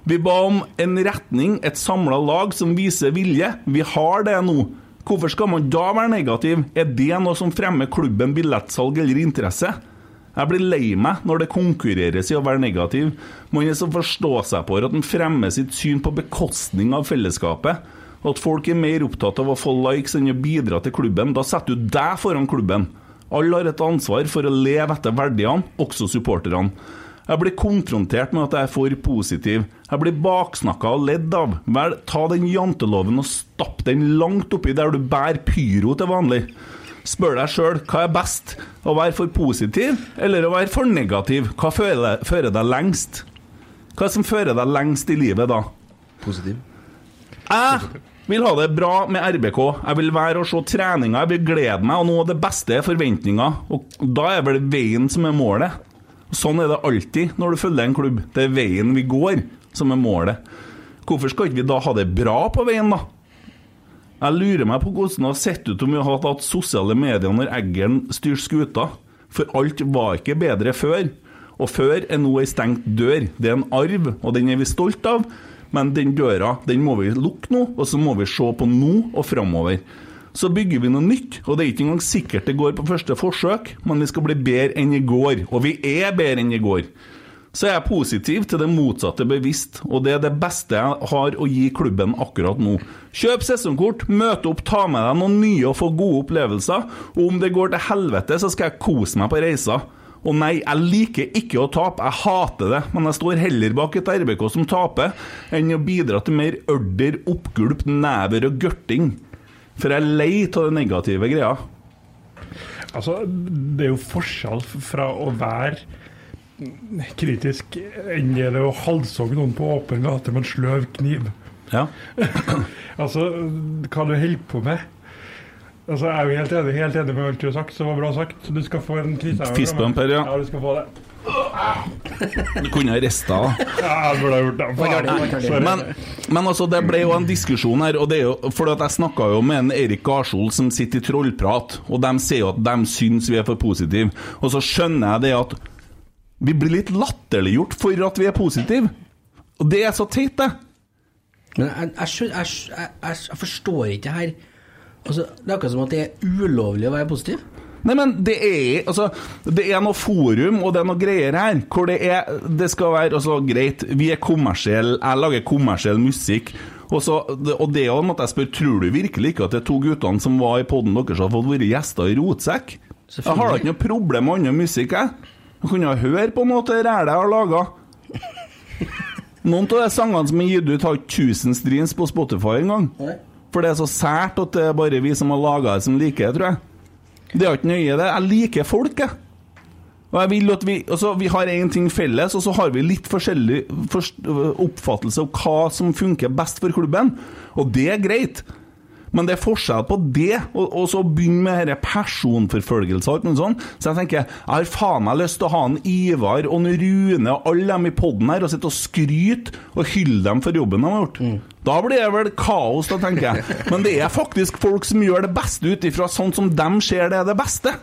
[SPEAKER 5] Vi ba om en retning, et samla lag som viser vilje. Vi har det nå. Hvorfor skal man da være negativ? Er det noe som fremmer klubben billettsalg eller interesse? Jeg blir lei meg når det konkurreres i å være negativ. Man er så forstå seg på at man fremmer sitt syn på bekostning av fellesskapet. Og at folk er mer opptatt av å få likes enn å bidra til klubben. Da setter du deg foran klubben. Alle har et ansvar for å leve etter verdiene, også supporterne. Jeg blir konfrontert med at jeg er for positiv. Jeg blir baksnakka og ledd av. Vel, ta den janteloven og stapp den langt oppi der du bærer pyro til vanlig. Spør deg sjøl hva er best, å være for positiv eller å være for negativ? Hva fører, fører deg lengst? Hva er det som fører deg lengst i livet da? Ah!
[SPEAKER 9] Positiv.
[SPEAKER 5] Jeg vil ha det bra med RBK. Jeg vil være og se treninga, jeg vil glede meg, og noe av det beste er forventninger. Og da er vel veien som er målet. Sånn er det alltid når du følger en klubb. Det er veien vi går, som er målet. Hvorfor skal ikke vi da ha det bra på veien, da? Jeg lurer meg på hvordan det har sett ut om vi hadde hatt sosiale medier når Eggern styrte skuta. For alt var ikke bedre før. Og før er nå ei stengt dør. Det er en arv, og den er vi stolt av. Men den døra den må vi lukke nå, og så må vi se på nå og framover. Så bygger vi noe nytt, og det er ikke engang sikkert det går på første forsøk, men vi skal bli bedre enn i går. Og vi er bedre enn i går. Så jeg er positiv til det motsatte bevisst, og det er det beste jeg har å gi klubben akkurat nå. Kjøp sesongkort, møt opp, ta med deg noen nye og få gode opplevelser. Og om det går til helvete, så skal jeg kose meg på reisa. Og nei, jeg liker ikke å tape, jeg hater det, men jeg står heller bak et RBK som taper, enn å bidra til mer ørder, oppgulp, never og gørting. For jeg er lei av det negative greia.
[SPEAKER 8] Altså, det er jo forskjell fra å være kritisk enn det er å halshogge noen på åpen gate med en sløv kniv.
[SPEAKER 5] Ja.
[SPEAKER 8] altså, hva du holder på med. Altså, Jeg er jo helt enig, helt enig med alt du har sagt, så var bra sagt. Du skal få en krise.
[SPEAKER 5] Fistbump her, ja.
[SPEAKER 8] ja. Du skal få det.
[SPEAKER 5] Du kunne ha rista, da.
[SPEAKER 8] Ja, jeg burde ha gjort det. Faen. Sorry.
[SPEAKER 5] Men, men altså, det ble jo en diskusjon her, og det er jo fordi at jeg snakka jo med en Erik Garsol som sitter i Trollprat, og de sier jo at de syns vi er for positive. Og så skjønner jeg det at vi blir litt latterliggjort for at vi er positive. Og det er så teit, det.
[SPEAKER 7] Men jeg, jeg, skjøn- jeg, skj- jeg, jeg, jeg forstår ikke det her. Altså, det er akkurat som at det er ulovlig å være positiv.
[SPEAKER 5] Nei, men det er altså, Det er noe forum og det er noe greier her hvor det er Det skal være altså, greit, vi er kommersielle, jeg lager kommersiell musikk. Og, så, og det er jo at jeg spør Tror du virkelig ikke at de to guttene som var i poden deres, har fått være gjester i Rotsekk? Jeg har da ikke noe problem med annen musikk, jeg. Jeg kunne jo høre på noe av det rælet jeg har laga. Noen av de sangene som er gitt ut, har ikke 1000 streams på Spotify engang. For det er så sært at det er bare vi som har laga det, som liker det, tror jeg. Det er jo ikke nøye, det. Jeg liker folk, jeg. Og jeg vil at vi, altså, vi har én ting felles, og så har vi litt forskjellig forst- oppfattelse av hva som funker best for klubben. Og det er greit. Men det er forskjell på det og, og så begynne med denne personforfølgelse og alt mulig sånt. Så jeg tenker, jeg har faen meg lyst til å ha en Ivar og en Rune og alle dem i poden her og sitte og skryte og hylle dem for jobben de har gjort. Da blir det vel kaos, da, tenker jeg. Men det er faktisk folk som gjør det beste ut ifra sånn som dem ser det er det beste.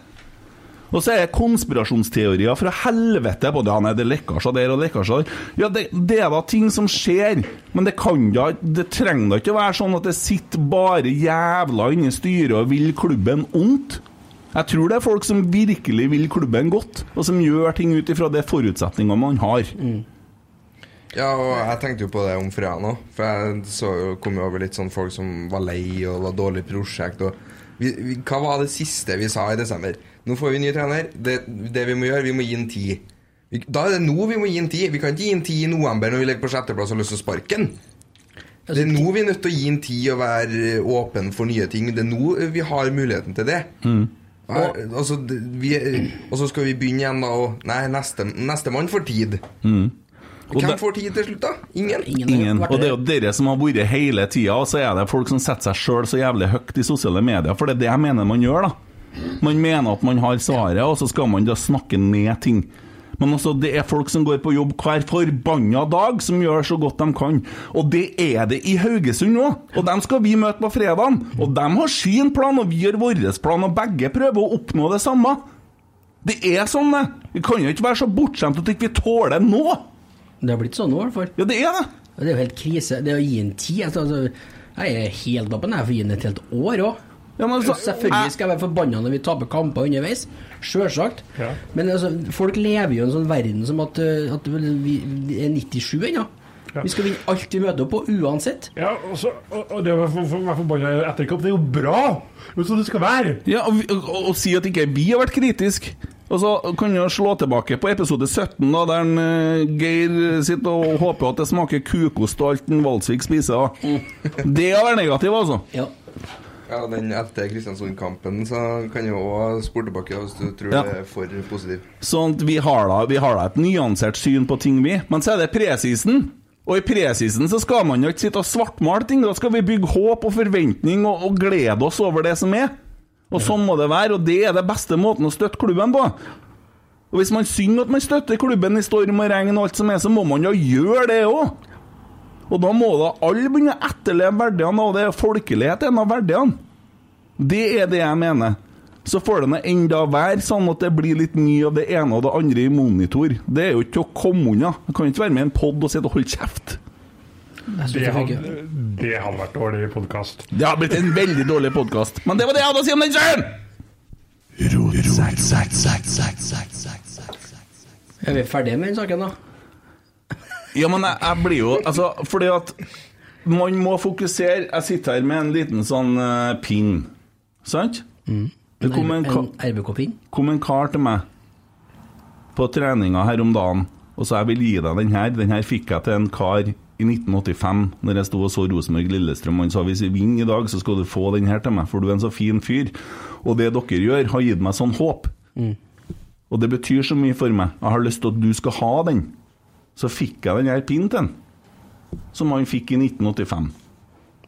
[SPEAKER 5] Og så er det konspirasjonsteorier fra helvete på det. Ja, nei, det er lekkasjer der og lekkasjer der. Ja, det, det er da ting som skjer, men det kan da Det trenger da ikke være sånn at det sitter bare jævla inne i styret og vil klubben ondt. Jeg tror det er folk som virkelig vil klubben godt, og som gjør ting ut ifra de forutsetningene man har.
[SPEAKER 9] Ja, og jeg tenkte jo på det om fredagen òg. For jeg så jo, kom jo over litt sånn folk som var lei og det var dårlig prosjekt. Og vi, vi, hva var det siste vi sa i desember? Nå får vi ny trener. Det, det vi må gjøre, vi må gi en ti. Vi, da er det nå vi må gi en ti. Vi kan ikke gi en ti i november når vi ligger på sjetteplass og har lyst til å sparke den. Det er nå vi er nødt til å gi en ti og være eh, åpen for nye ting. Det er nå eh, vi har muligheten til det.
[SPEAKER 5] Mm.
[SPEAKER 9] Ja, altså, det- vi, og så skal vi begynne igjen da og Nei, neste- nestemann får tid.
[SPEAKER 5] Mm. Og
[SPEAKER 9] Hvem
[SPEAKER 5] det-
[SPEAKER 9] får tid til slutt, da? Ingen?
[SPEAKER 5] Ingen. Og det er jo dere som har vært hele tida, og så er det folk som setter seg sjøl så jævlig høyt i sosiale medier, for det er det jeg mener man gjør, da. Man mener at man har svaret, og så skal man da snakke ned ting. Men også, det er folk som går på jobb hver forbanna dag, som gjør så godt de kan. Og det er det i Haugesund òg! Og dem skal vi møte på fredag. Og dem har sin plan, og vi har vår plan, og begge prøver å oppnå det samme. Det er sånn, det. Vi kan jo ikke være så bortskjemt at vi ikke tåler nå.
[SPEAKER 7] Det har blitt sånn nå, i hvert fall.
[SPEAKER 5] Ja, det er det.
[SPEAKER 7] Det er jo helt krise. Det å gi en ti altså, altså, Jeg er helt oppe når jeg får gi den et helt år òg. altså, Selvfølgelig skal jeg være forbanna når vi taper kamper underveis. Sjølsagt. Men altså, folk lever jo i en sånn verden som at, uh, at vi vi er 97 ennå. Vi skal vinne alt vi møter opp på, uansett.
[SPEAKER 8] Ja, og, så, og, og det å være for- for- være forbanna etter kamp, det er jo bra! Det er jo sånn det skal være!
[SPEAKER 5] Ja, og, vi- og, og si at ikke vi har vært kritisk Og så kan jeg slå tilbake på episode 17 da, Der en, eh, Geir sitter og håper at det smaker kukost Og alt en Valsvik spiser da. Det har vært negativ altså
[SPEAKER 9] Ja, den etter Kristiansund-kampen så kan jeg også spore tilbake hvis du tror
[SPEAKER 5] Ja.
[SPEAKER 9] det er for positivt.
[SPEAKER 5] Sånn at vi har, da, vi har da et nyansert syn på ting vi Men så er det presisen og i presisen så skal man jo ikke sitte og svartmale ting, da skal vi bygge håp og forventning og, og glede oss over det som er. Og sånn må det være, og det er det beste måten å støtte klubben på. Og hvis man synger at man støtter klubben i storm og regn og alt som er, så må man jo gjøre det òg. Og da må da alle begynne å etterleve verdiene, og det er folkelighet en av verdiene. Det er det jeg mener. Så får det nå enda være sånn at det blir litt mye av det ene og det andre i monitor. Det er jo ikke til å komme unna. Jeg kan ikke være med i en pod og sitte og holde kjeft.
[SPEAKER 8] Det hadde, det hadde vært dårlig podkast.
[SPEAKER 5] Det har blitt en veldig dårlig podkast. Men det var det jeg hadde å si om den sjøl!
[SPEAKER 7] Er vi ferdige med den saken, da?
[SPEAKER 5] Ja, men jeg, jeg blir jo Altså, fordi at man må fokusere Jeg sitter her med en liten sånn eh, pin. Sant? Det kom Mm. en, ka-
[SPEAKER 7] RBK-pinn.
[SPEAKER 5] kom en kar til meg på treninga her om dagen, og sa jeg vil gi deg den her. Den her fikk jeg til en kar i 1985, når jeg sto og så Rosenborg-Lillestrøm. Han sa hvis vi vinner i dag, så skal du få den her til meg, for du er en så fin fyr. Og det dere gjør, har gitt meg sånn håp. Og det betyr så mye for meg. Jeg har lyst til at du skal ha den. Så fikk jeg den her pinnen til han, som han fikk i 1985.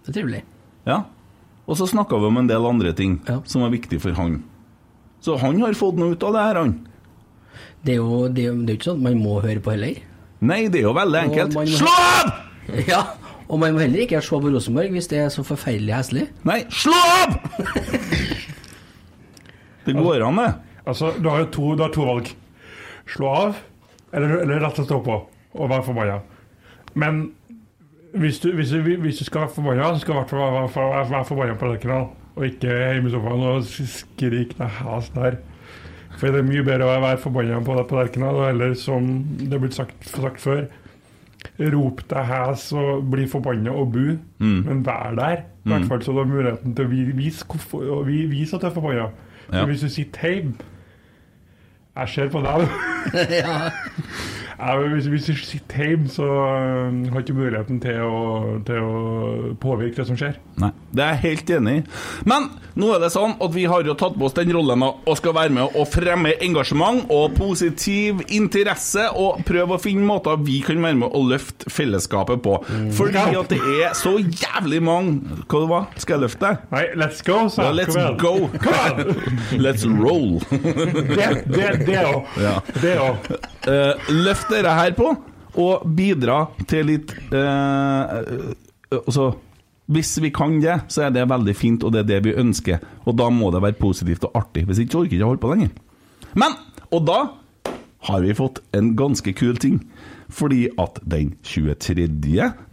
[SPEAKER 7] Det er trivelig.
[SPEAKER 5] Ja. Og så snakka vi om en del andre ting som var viktig for han. Så han har fått noe ut av det her, han.
[SPEAKER 7] Det er jo det er, jo- det er jo ikke sånn at man må høre på heller.
[SPEAKER 5] Nei, det er jo veldig enkelt. Slå av!
[SPEAKER 7] Ja, og man må heller ikke se på Rosenborg hvis det er så forferdelig heslig.
[SPEAKER 5] Nei, slå av! Det går an, det.
[SPEAKER 8] Altså, du har jo to, du har to valg. Slå av, eller, eller rett og slett stå på og være forbanna. Men hvis du, hvis, du, hvis du skal være forbanna, så skal du i hvert fall være- være- være- være forbanna på Lerkendal. Og ikke hjemme i sofaen og skrike deg has der. For det er mye bedre å være forbanna på, på Lerkendal, eller som det er blitt sagt, sagt før, rop deg hes og bli forbanna og bu,
[SPEAKER 5] Mm.
[SPEAKER 8] men vær der. I
[SPEAKER 5] Mm.
[SPEAKER 8] hvert fall så du har muligheten til å vi- vise, hvorfor, og vi- vise at du er forbanna.
[SPEAKER 5] Ja.
[SPEAKER 8] Men Hvis du sitter hjemme Jeg ser på deg. ja. men hvis, hvis du sitter hjemme, så øh, har du ikke muligheten til å, til å påvirke det som skjer.
[SPEAKER 5] Nei, Det er jeg helt enig i. Men nå er det sånn at vi har jo tatt på oss den rollen nå, og skal være med å fremme engasjement og positiv interesse og prøve å finne måter vi kan være med å løfte fellesskapet på. Fordi at det er så jævlig mange Hva det var Skal jeg løfte deg?
[SPEAKER 8] Nei, let's go, sa
[SPEAKER 5] ja,
[SPEAKER 8] jeg.
[SPEAKER 5] Let's
[SPEAKER 8] Kom igjen.
[SPEAKER 5] go. Let's roll.
[SPEAKER 8] Det- det- det òg.
[SPEAKER 5] Ja.
[SPEAKER 8] Det òg.
[SPEAKER 5] Eh, løft dere her på, og bidra til litt eh, ø, altså, Hvis vi kan det, så er det veldig fint, og det er det vi ønsker. Og da må det være positivt og artig. Hvis ikke så orker jeg ikke å holde på lenger. Men! Og da har vi fått en ganske kul ting. Fordi at den 23.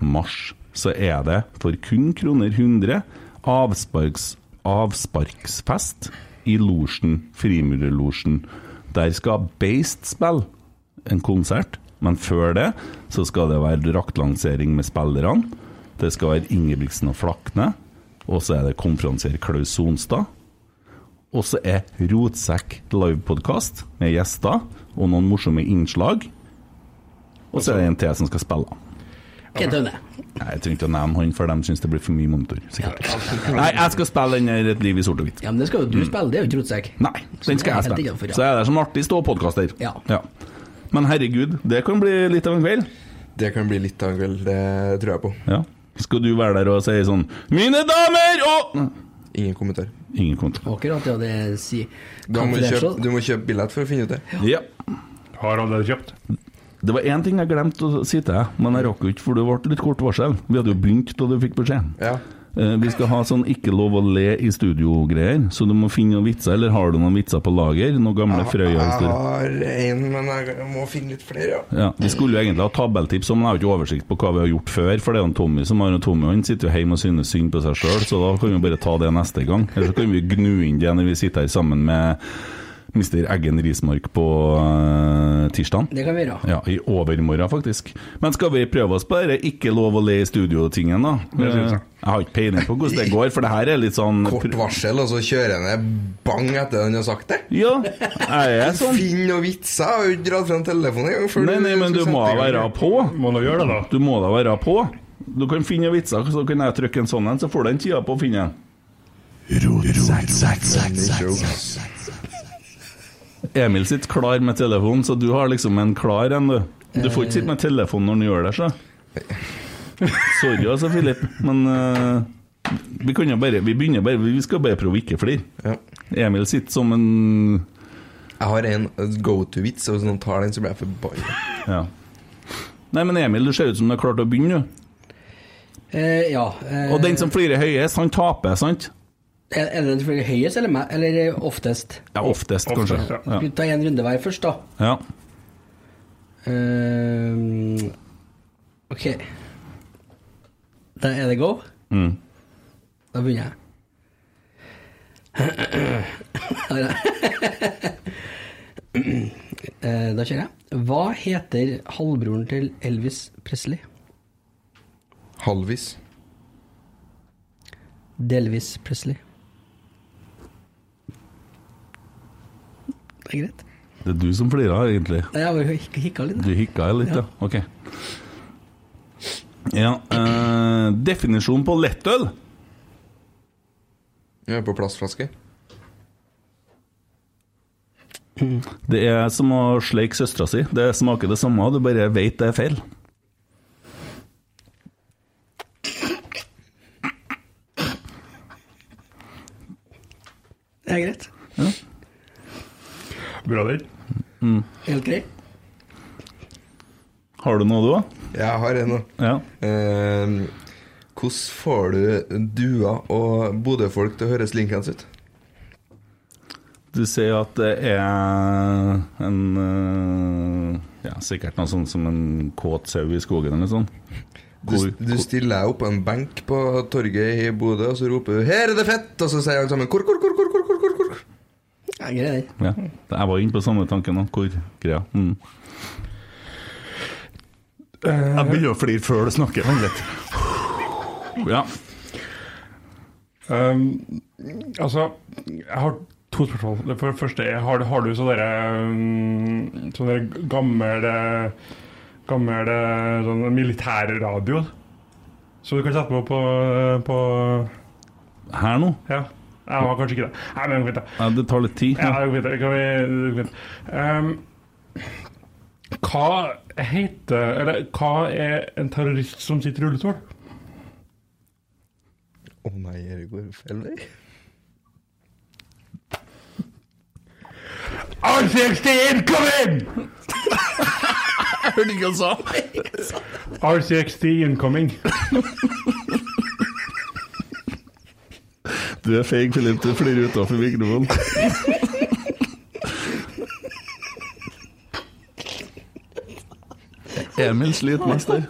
[SPEAKER 5] mars så er det for kun kroner 100 avsparks, avsparksfest i losjen, Frimurerlosjen. Der skal Beist spille en konsert, men før det så skal det være draktlansering med spillerne. Det skal være Ingebrigtsen og Flakne, og så er det konferansier Klaus Sonstad. Og så er Rotsekk livepodkast med gjester og noen morsomme innslag. Og så er det en til som skal spille.
[SPEAKER 7] Kjente du det?
[SPEAKER 5] Nei, Jeg trenger ikke å nevne han, for de syns det blir for mye monitor. sikkert. Nei, jeg skal spille den der Et liv i sort og hvitt.
[SPEAKER 7] Ja, men det skal jo du spille, det er jo ikke rotsekk.
[SPEAKER 5] Nei, den skal jeg spille. Så jeg er der som artig ståpodkaster.
[SPEAKER 7] Ja.
[SPEAKER 5] Ja. Men herregud, det kan bli litt av en kveld.
[SPEAKER 9] Det kan bli litt av en kveld, det tror jeg på.
[SPEAKER 5] Ja. Skal du være der og si sånn Mine damer og
[SPEAKER 9] Ingen kommentar.
[SPEAKER 5] Ingen kommentar.
[SPEAKER 7] Akkurat, ja, det sier
[SPEAKER 9] Du må, kjøpe,
[SPEAKER 7] Confidential.
[SPEAKER 9] du må kjøpe billett for å finne ut det.
[SPEAKER 5] Ja.
[SPEAKER 8] Har allerede kjøpt.
[SPEAKER 5] Det var én ting jeg glemte å si til deg, men jeg rakk jo ikke, for det ble litt kort varsel. Vi hadde jo begynt da du fikk beskjeden.
[SPEAKER 9] Ja.
[SPEAKER 5] Eh, Vi skal ha sånn ikke lov å le i studio-greier, så du må finne noen vitser. Eller har du noen vitser på lager? Noen gamle
[SPEAKER 9] Jeg
[SPEAKER 5] Frøya-historier?
[SPEAKER 9] har én, men jeg må finne litt flere. Ja.
[SPEAKER 5] Ja, Vi skulle jo egentlig ha tabelltips, men jeg har jo ikke oversikt på hva vi har gjort før. For det er jo en Tommy som har en Tommy, og han sitter jo hjemme og synes synd på seg sjøl, så da kan vi bare ta det neste gang. Eller så kan vi gnu inn det når vi sitter her sammen med Mr. Eggen Rismark på uh, tirsdag.
[SPEAKER 7] Det kan vi gjøre.
[SPEAKER 5] Ja, I overmorgen, faktisk. Men skal vi prøve oss på dette ikke lov å le i studio-tingen, da?
[SPEAKER 9] Det synes jeg.
[SPEAKER 5] Eh, Jeg har ikke peiling på hvordan det går, for det her er litt sånn
[SPEAKER 9] Kort varsel, og så kjører jeg ned bang etter den har sagt det.
[SPEAKER 5] Ja, jeg er sånn.
[SPEAKER 9] Finn noen vitser. Jeg har jo ikke dratt fram telefonen engang. før
[SPEAKER 5] Nei, nei, men du
[SPEAKER 9] skal
[SPEAKER 5] må
[SPEAKER 9] sette i gang.
[SPEAKER 5] være på. Må da gjøre det, da. Du må da være på. Du kan finne vitser, så kan jeg trykke en sånn en, så får du den tida på å finne en. Emil sitter klar med telefonen, så du har liksom en klar en, du. Du får ikke sitte med telefonen når du gjør det, så. Sorry altså, Filip, men eh, vi kan jo bare Vi begynner bare Vi skal bare prøve å ikke flire. Emil sitter som en
[SPEAKER 9] Jeg har en go to-vits, og hvis noen tar den, så blir jeg forbanna.
[SPEAKER 5] Ja. Nei, men Emil, du ser ut som du har klart å begynne, du.
[SPEAKER 7] Eh, ja. eh,
[SPEAKER 5] Og den som flirer høyest, han taper, sant?
[SPEAKER 7] Er er det selvfølgelig høyest eller, me- eller oftest?
[SPEAKER 5] Ja, oftest, kanskje.
[SPEAKER 7] Skal vi ta en runde hver først, da?
[SPEAKER 5] Ja.
[SPEAKER 7] Eh, ok. Da er det go?
[SPEAKER 5] Mm.
[SPEAKER 7] Da begynner jeg. Her er Eh, Da kjører jeg. Hva heter halvbroren til Elvis Presley?
[SPEAKER 9] Halvis.
[SPEAKER 7] Delvis Presley. Det er greit.
[SPEAKER 5] Det er du som flirer, egentlig.
[SPEAKER 7] Nei, Jeg bare hik- hikka litt.
[SPEAKER 5] Du hikka jo litt, ja.
[SPEAKER 7] Ja.
[SPEAKER 5] Ok. Ja, eh, definisjon på lettøl?
[SPEAKER 9] Jeg er på plastflaske.
[SPEAKER 5] Det er som å sleike søstera si. Det smaker det samme, du bare veit det er feil.
[SPEAKER 7] Det er greit.
[SPEAKER 8] Bra den.
[SPEAKER 7] Helt grei.
[SPEAKER 5] Har du noe, du òg?
[SPEAKER 9] Jeg har en nå.
[SPEAKER 5] Ja.
[SPEAKER 9] Eh, hvordan får du dua og Bodø-folk til å høres linkens ut?
[SPEAKER 5] Du sier at det er en eh, Ja, sikkert noe sånt som en kåt sau i skogen eller noe sånt.
[SPEAKER 9] Du, du stiller deg opp på en benk på torget i Bodø, og så roper du 'Her er det fett!' Og så sier alle sammen 'Kork, kork, kork, kork, kork, kork, kork'.
[SPEAKER 7] Det er greit.
[SPEAKER 5] Ja. Jeg var inne på samme tanken òg, hvor greia mm. Jeg begynner å flire før du snakker. vent litt. Ja.
[SPEAKER 8] Um, altså, jeg har to spørsmål. Det for det første er, har, har du sånne der, um, sånne der gamle, gamle eh, sånn militærradio som du kan sette på på, på
[SPEAKER 5] Her nå?
[SPEAKER 8] Ja. Jeg har kanskje ikke det. Nei, men vent da.
[SPEAKER 5] Ja, det tar litt tid.
[SPEAKER 8] Ja, det går fint, det kan vi, det går fint. Ehm, hva heter Eller hva er en terrorist som sitter i rullestol?
[SPEAKER 9] Å nei, dette går feil vei.
[SPEAKER 8] Arnstein, kom inn!
[SPEAKER 5] Jeg hørte ikke hva han sa.
[SPEAKER 8] RCXT incoming.
[SPEAKER 5] Du er feig, Filip. Du flirer utafor mikrofonen. Emil sliter mest der.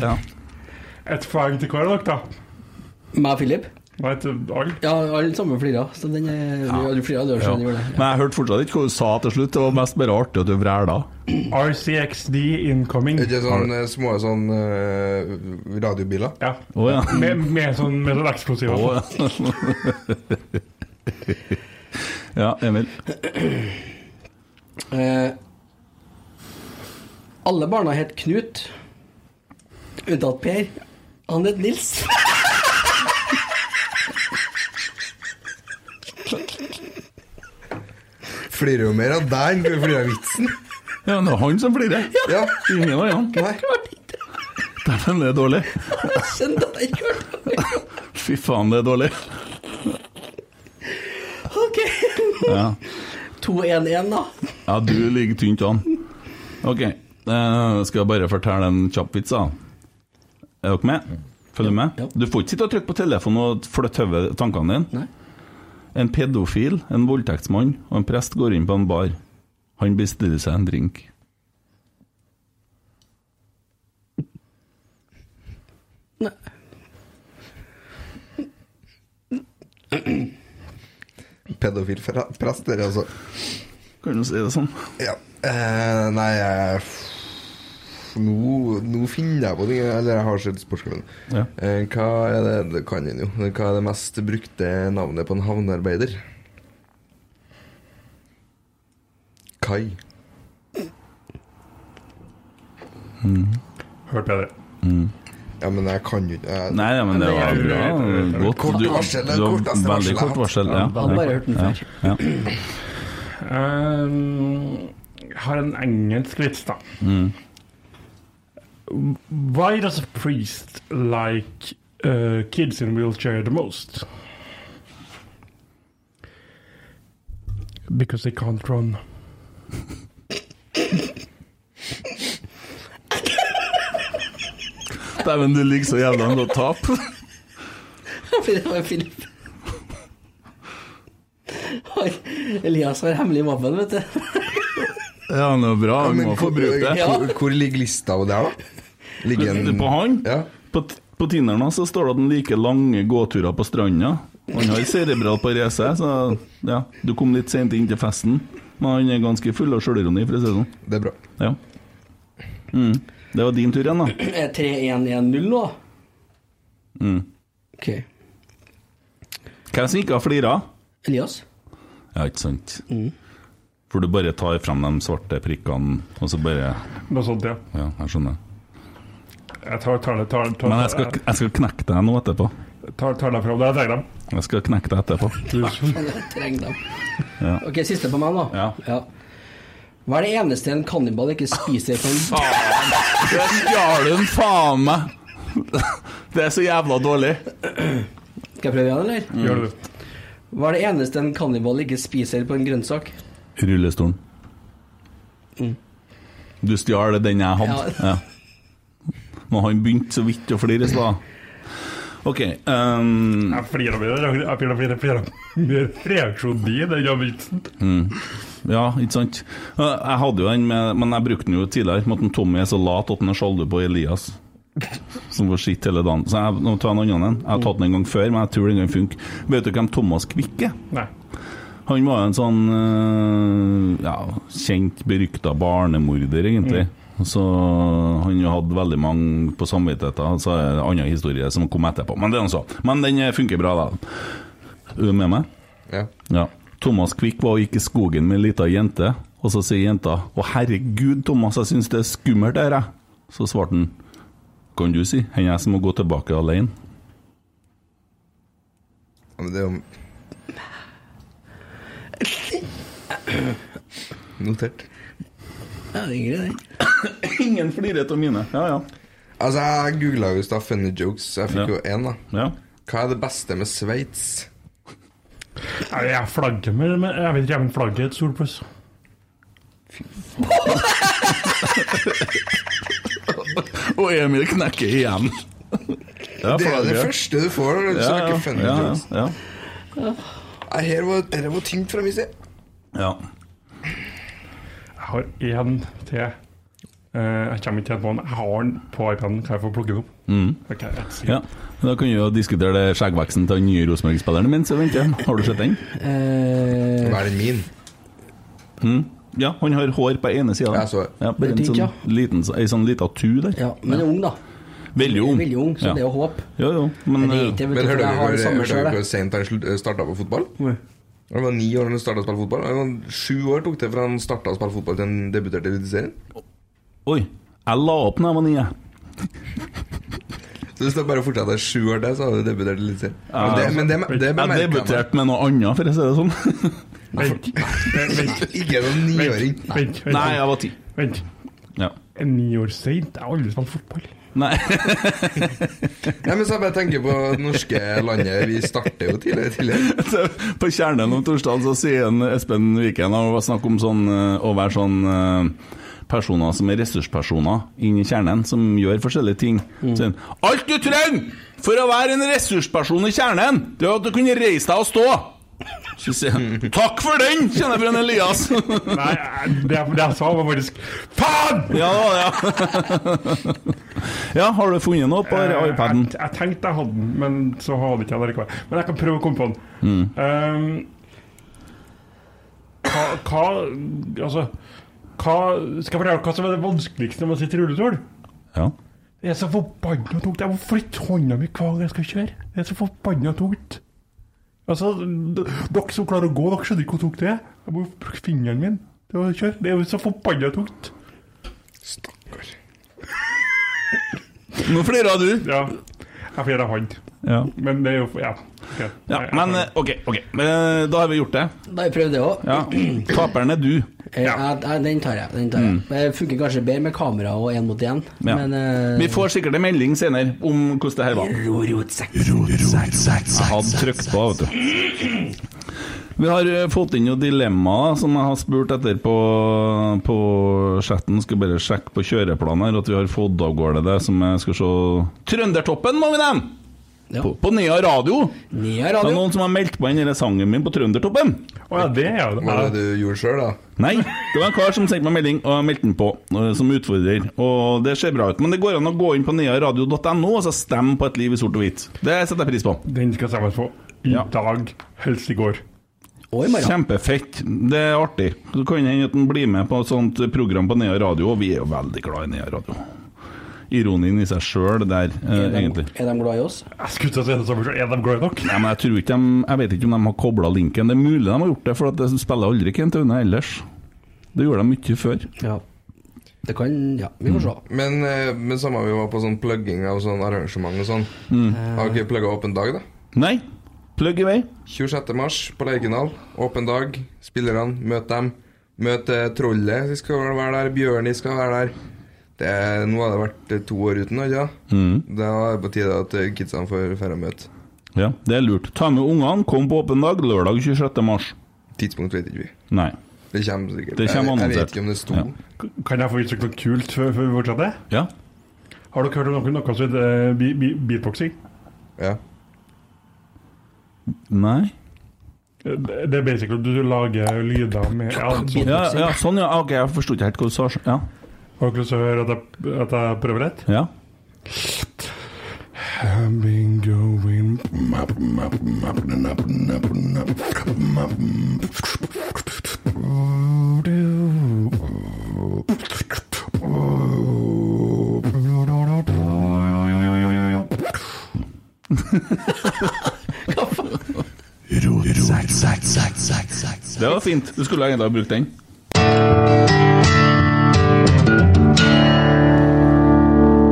[SPEAKER 5] Ja.
[SPEAKER 8] Et poeng til hver av dere, da.
[SPEAKER 7] Meg og Philip?
[SPEAKER 8] Nei, til alle.
[SPEAKER 7] Ja, alle sammen flirer. Så den er ja. Du flirer, du har
[SPEAKER 5] Ja.
[SPEAKER 7] skjønt gjorde det.
[SPEAKER 5] Men jeg hørte fortsatt ikke hva du sa til slutt. Det var mest bare artig at du vræla.
[SPEAKER 8] RCXD incoming.
[SPEAKER 9] Er det sånn eh, små sånn eh, radiobiler?
[SPEAKER 8] Ja.
[SPEAKER 5] Å ja.
[SPEAKER 8] Med, med sånn, med sånn eksplosiv.
[SPEAKER 5] Å, Ja, Emil.
[SPEAKER 7] Eh, alle barna het Knut, unntatt Per. Han het Nils.
[SPEAKER 9] Flirer jo mer av deg enn du flirer av vitsen.
[SPEAKER 5] Ja, det er han som flirer.
[SPEAKER 9] Ja.
[SPEAKER 5] Ingen av han. Dæven, det er dårlig.
[SPEAKER 7] Skjønte at jeg ikke hørte
[SPEAKER 5] Fy faen, det er dårlig.
[SPEAKER 7] OK.
[SPEAKER 5] Ja.
[SPEAKER 7] 2-1-1, da.
[SPEAKER 5] Ja, du ligger tynt an. Ok, eh, skal jeg bare fortelle en kjapp vits, da. Er dere med? Følger med? Du får ikke sitte og trykke på telefonen og flytte hodet tankene dine. En pedofil, en voldtektsmann og en prest går inn på en bar. Han bestiller seg en drink.
[SPEAKER 9] Pedofil fra- prest, dere, altså.
[SPEAKER 5] Kan du si det sånn?
[SPEAKER 9] Ja. Eh, nei, jeg f- nå, nå finner jeg på ting. Eller jeg har sett Sportsklubben.
[SPEAKER 5] Ja.
[SPEAKER 9] Eh, hva er det Det kan en jo. Men Hva er det mest brukte navnet på en havnearbeider? Kai.
[SPEAKER 8] Hørt bedre.
[SPEAKER 9] Ja, men jeg kan jo ikke jeg-
[SPEAKER 5] Nei, ja, men det var bra. Godt.
[SPEAKER 9] Kort
[SPEAKER 5] Du-
[SPEAKER 9] varsel, det er
[SPEAKER 5] du har
[SPEAKER 9] korteste varsel jeg
[SPEAKER 5] Veldig
[SPEAKER 9] har
[SPEAKER 5] kort
[SPEAKER 9] hatt.
[SPEAKER 5] varsel. Ja.
[SPEAKER 7] Jeg hadde bare hørt den
[SPEAKER 5] Ja,
[SPEAKER 7] før.
[SPEAKER 5] ja.
[SPEAKER 8] Um, har en engelsk vits, da.
[SPEAKER 5] Mm.
[SPEAKER 8] Why does a priest like uh, kids in wheelchair the most? Because they can't run.
[SPEAKER 5] Dæven, du ligger så jævla an til å tape.
[SPEAKER 7] Fordi det var Philip. Oi, Elias har hemmelig våpen, vet du.
[SPEAKER 5] Ja, det er bra.
[SPEAKER 9] Ja,
[SPEAKER 5] Vi
[SPEAKER 9] men
[SPEAKER 5] må få
[SPEAKER 9] hvor,
[SPEAKER 5] bruke det.
[SPEAKER 9] hvor, hvor ligger lista der, da? Ligger en
[SPEAKER 5] På han?
[SPEAKER 9] Ja.
[SPEAKER 5] På, t- på Tinderen hans så står det at han liker lange gåturer på stranda. Han har cerebral parese, så ja, du kom litt sent inn til festen. Men han er ganske full av sjølironi, for å si det sånn.
[SPEAKER 9] Det er bra.
[SPEAKER 5] Ja. Mm. Det var din tur igjen, da.
[SPEAKER 7] Er 3-1-1-0 nå?
[SPEAKER 5] Mm.
[SPEAKER 7] OK.
[SPEAKER 5] Hvem som ikke har flira?
[SPEAKER 7] Elias?
[SPEAKER 5] Ja, ikke sant. For du bare tar frem de svarte prikkene, og så bare
[SPEAKER 8] Noe sånt, ja.
[SPEAKER 5] Ja, jeg skjønner.
[SPEAKER 8] Jeg tar, tar, det- tar, tar,
[SPEAKER 5] Men jeg skal, jeg skal knekke deg nå etterpå.
[SPEAKER 8] tar, tar det fra deg. Jeg trenger dem.
[SPEAKER 5] Jeg skal knekke deg etterpå.
[SPEAKER 7] Jeg trenger dem.
[SPEAKER 5] Ja.
[SPEAKER 7] OK, siste på meg, da. Ja. Hva er det eneste en kannibal ikke spiser på en
[SPEAKER 5] Den jarlen, faen meg! Det er så jævla dårlig.
[SPEAKER 7] Skal jeg prøve igjen, eller?
[SPEAKER 5] Mm.
[SPEAKER 8] Gjør det.
[SPEAKER 7] Hva er det eneste en kannibal ikke spiser på en grønnsak?
[SPEAKER 5] Rullestolen.
[SPEAKER 7] Mm.
[SPEAKER 5] Du stjal den jeg hadde.
[SPEAKER 7] Ja.
[SPEAKER 5] Ja. Men han begynte så vidt å flire i stad. OK ehm,
[SPEAKER 8] Jeg flirer av det. Jeg flirer, flirer, flirer. Mer reaksjon din enn av vitsen.
[SPEAKER 5] mm. Ja, ikke sant? Eh, Jeg hadde jo den, med, men jeg brukte den jo tidligere. Med at en Tommy er så lat at han er sjalu på Elias. Som får skitt hele dagen. Så jeg, nå tar jeg en annen en. Jeg har tatt den en gang før, men jeg tror den gang funker. Vet du hvem Thomas Quick er?
[SPEAKER 8] Nei.
[SPEAKER 5] Han var en sånn eh, ja, kjent, berykta barnemorder, egentlig. Så han hadde veldig mange på samvittigheten, så er det en annen historie som kom etterpå. Men det er noe så. Men den eh, funker bra, da. Er du med meg?
[SPEAKER 9] Ja.
[SPEAKER 5] Ja. Thomas Quick var og gikk i skogen med ei lita jente, og så sier jenta 'Å, herregud, Thomas, jeg syns det er skummelt her', jeg. Så svarte han 'Kan du si? Hen jeg som må gå tilbake alene'.
[SPEAKER 9] Ja, Men det er jo Notert.
[SPEAKER 7] Ja, det er greit, det.
[SPEAKER 5] Ingen flirer av mine. Ja, ja.
[SPEAKER 9] Altså, jeg googla jo i stad 'funny jokes'. Jeg fikk jo én, da.
[SPEAKER 5] Ja.
[SPEAKER 9] Hva er det beste med Sveits?
[SPEAKER 8] Nei, Jeg flagger med, med Jeg vet ikke, jeg men flagget er et solpluss.
[SPEAKER 5] Og Emil knekker igjen.
[SPEAKER 9] Det er det
[SPEAKER 5] flagget.
[SPEAKER 9] første du får når du
[SPEAKER 5] Ja, ja,
[SPEAKER 9] snakker funny
[SPEAKER 5] ja,
[SPEAKER 9] jokes.
[SPEAKER 5] ja,
[SPEAKER 9] Nei, her var, her var tyngt fra min side.
[SPEAKER 5] ja.
[SPEAKER 8] Jeg har én til. Eh, jeg kommer ikke helt på den. Jeg har den på iPaden. Kan jeg få plukke den opp?
[SPEAKER 5] Mm.
[SPEAKER 8] Ok, rett
[SPEAKER 5] ja. Da kan vi jo diskutere det skjeggveksten til den nye Rosenborg-spilleren min. Så venter jeg. Har du sett den?
[SPEAKER 7] Eh,
[SPEAKER 9] Hva er den min?
[SPEAKER 5] Mm. Ja, han har hår på ene sida.
[SPEAKER 9] Jeg så det.
[SPEAKER 5] Ja, bare en
[SPEAKER 7] Det er tynt, ja.
[SPEAKER 5] sånn liten, ei sånn lita tu der.
[SPEAKER 7] Ja, men han er ung, da.
[SPEAKER 5] Veldig ung.
[SPEAKER 7] Veldig ung, så
[SPEAKER 5] Ja.
[SPEAKER 7] det er jo håp.
[SPEAKER 5] Jo, jo, men,
[SPEAKER 7] Men det er ikke-
[SPEAKER 9] Men
[SPEAKER 7] for
[SPEAKER 9] hørte
[SPEAKER 7] jeg
[SPEAKER 9] dere
[SPEAKER 7] har det samme
[SPEAKER 9] hørte
[SPEAKER 7] selv,
[SPEAKER 9] dere
[SPEAKER 7] jeg.
[SPEAKER 9] hvor sent han starta på fotball? Han var ni år da han starta å spille fotball. Han var Sju år tok det fra han starta å spille fotball til han debuterte i Eliteserien.
[SPEAKER 5] eh, Oi, jeg la opp da jeg var nye.
[SPEAKER 9] Så hvis det bare fortsatte sju år der, så hadde du debutert i Eliteserien. Men det-
[SPEAKER 5] Jeg-
[SPEAKER 9] Men det, det
[SPEAKER 5] jeg
[SPEAKER 9] bemerker jeg.
[SPEAKER 5] debuterte med noe annet, for å si det sånn.
[SPEAKER 9] meg. Ikke noen niåring.
[SPEAKER 8] Vent, vent,
[SPEAKER 5] Nei, jeg var ti.
[SPEAKER 8] vent.
[SPEAKER 5] Ja.
[SPEAKER 8] En Ni år seint? Jeg har aldri spilt fotball.
[SPEAKER 5] Nei.
[SPEAKER 9] Nei, men så jeg bare tenker på det norske landet. Vi starter jo tidligere. tidligere.
[SPEAKER 5] Så På kjernen om torsdagen så sier en Espen Viken og var snakk om sånn, eh, å være sånn eh, personer som er ressurspersoner inni kjernen, som gjør forskjellige ting. Så sier han, Alt du trenger for å være en ressursperson i kjernen, det er at du kunne reise deg og stå! Så sier han Takk for den, kjenner jeg fra en Elias.
[SPEAKER 8] Nei, jeg- det, jeg- det jeg sa, var faktisk Faen!
[SPEAKER 5] ja, ja. ja, har du funnet noe på
[SPEAKER 8] Eh,
[SPEAKER 5] iPaden?
[SPEAKER 8] Jeg, jeg tenkte jeg hadde den, men så hadde ikke jeg den likevel. Men jeg kan prøve å komme på den.
[SPEAKER 5] Mm.
[SPEAKER 8] Ehm, hva, hva Altså hva, Skal jeg fortelle hva som er det vanskeligste når man sitter i rullestol?
[SPEAKER 5] Ja.
[SPEAKER 8] Det er så forbanna tungt. Jeg må flytte hånda mi hver gang jeg skal kjøre. Det er så forbanna tungt. Altså, d- dere som klarer å gå, dere skjønner ikke hvor tungt det er. Jeg må jo bruke fingeren min til å kjøre. Det er jo så forbanna tungt.
[SPEAKER 9] Stakkar.
[SPEAKER 5] Nå flirer du.
[SPEAKER 8] Ja. Jeg får gjøre det hånd.
[SPEAKER 5] Ja.
[SPEAKER 8] Men det er jo Ja. ok.
[SPEAKER 5] ja.
[SPEAKER 8] Jeg- jeg
[SPEAKER 5] Men
[SPEAKER 8] får-
[SPEAKER 5] eh, OK, ok. Eh, da har vi gjort det.
[SPEAKER 7] Da har jeg prøvd det òg.
[SPEAKER 5] Ja. Taperen er du.
[SPEAKER 7] Den tar jeg. den tar jeg Det funker kanskje bedre med kamera og én mot én,
[SPEAKER 5] Mm. Ja.
[SPEAKER 7] men eh,
[SPEAKER 5] Vi får sikkert en melding senere om hvordan det her var.
[SPEAKER 7] ro, rotsekk.
[SPEAKER 5] Jeg hadde trykt på, vet du. Vi har eh, fått inn noen dilemmaer som jeg har spurt etter på, på chatten. Skal bare sjekke på kjøreplanen her at vi har fått av gårde det som jeg skal se Trøndertoppen, må vi nevne!
[SPEAKER 7] Ja.
[SPEAKER 5] På, på Nea Radio.
[SPEAKER 7] Nea
[SPEAKER 5] Det er
[SPEAKER 7] radio.
[SPEAKER 5] noen som har meldt på inn denne sangen min på Trøndertoppen.
[SPEAKER 8] Å ja, det er jo det.
[SPEAKER 9] Hva var det du gjorde sjøl, da?
[SPEAKER 5] Nei, det var en kar som sendte meg melding, og jeg meldte den på eh, som utfordrer. Og det ser bra ut, men det går an å gå inn på nearadio.no og så altså stemme på Et liv i sort og hvit. Det setter jeg pris på.
[SPEAKER 8] Den skal stemmes på i
[SPEAKER 5] Ja.
[SPEAKER 8] dag, helst i går.
[SPEAKER 7] Og i morgen.
[SPEAKER 5] Kjempefett. Det er artig. Så kan det hende at han blir med på et sånt program på Nea Radio, og vi er jo veldig glad i Nea Radio. Ironien i seg sjøl der, eh,
[SPEAKER 7] Er de,
[SPEAKER 5] egentlig.
[SPEAKER 7] er de glad i oss?
[SPEAKER 8] Jeg skulle ikke si det samme selv, er de glad nok?
[SPEAKER 5] Nei, men jeg, tror ikke de, jeg vet ikke om de har kobla linken. Det er mulig de har gjort det, for at det spiller aldri Kent Aune ellers. Det gjorde de mye før.
[SPEAKER 7] Ja. Det kan Ja, vi
[SPEAKER 5] Mm.
[SPEAKER 7] får se.
[SPEAKER 9] Men, eh, men samme vi var på sånn plugging av sånn arrangement og sånn.
[SPEAKER 5] Mm.
[SPEAKER 9] Har dere plugga åpen dag, da?
[SPEAKER 5] Nei, plugg i vei.
[SPEAKER 9] 26. mars på Lerkendal. Åpen dag. Spillerne, møt dem. Møt eh, Trollet, de skal vel være der. Bjørni skal være der. Det, er- nå har det vært eh, to år uten, ikke sant?
[SPEAKER 5] Mm.
[SPEAKER 9] Da er det på tide at eh, kidsene får dra og møte.
[SPEAKER 5] Ja, det er lurt. Ta med ungene, kom på åpen dag lørdag 26. mars.
[SPEAKER 9] Tidspunkt vet ikke vi.
[SPEAKER 5] Nei.
[SPEAKER 9] Det kommer sikkert.
[SPEAKER 5] Det kommer
[SPEAKER 9] jeg, jeg
[SPEAKER 5] annonsert.
[SPEAKER 9] vet ikke om det sto.
[SPEAKER 5] Ja.
[SPEAKER 8] Kan jeg få uttrykt noe kult før, før vi fortsetter?
[SPEAKER 5] Ja.
[SPEAKER 8] Har dere hørt om noe, noe som heter eh, be- be- beatboxing?
[SPEAKER 9] Ja.
[SPEAKER 5] Nei.
[SPEAKER 8] Eh, Det det er basically at du lager lyder med ja, så,
[SPEAKER 5] Ja, ja, sånn, ja. Ok, jeg forsto ikke helt hva du sa. Ja.
[SPEAKER 8] Har dere lyst til å høre at jeg, at jeg prøver litt?
[SPEAKER 5] ja.
[SPEAKER 8] I've been going
[SPEAKER 5] Det var fint. Du skulle egentlig ha brukt den.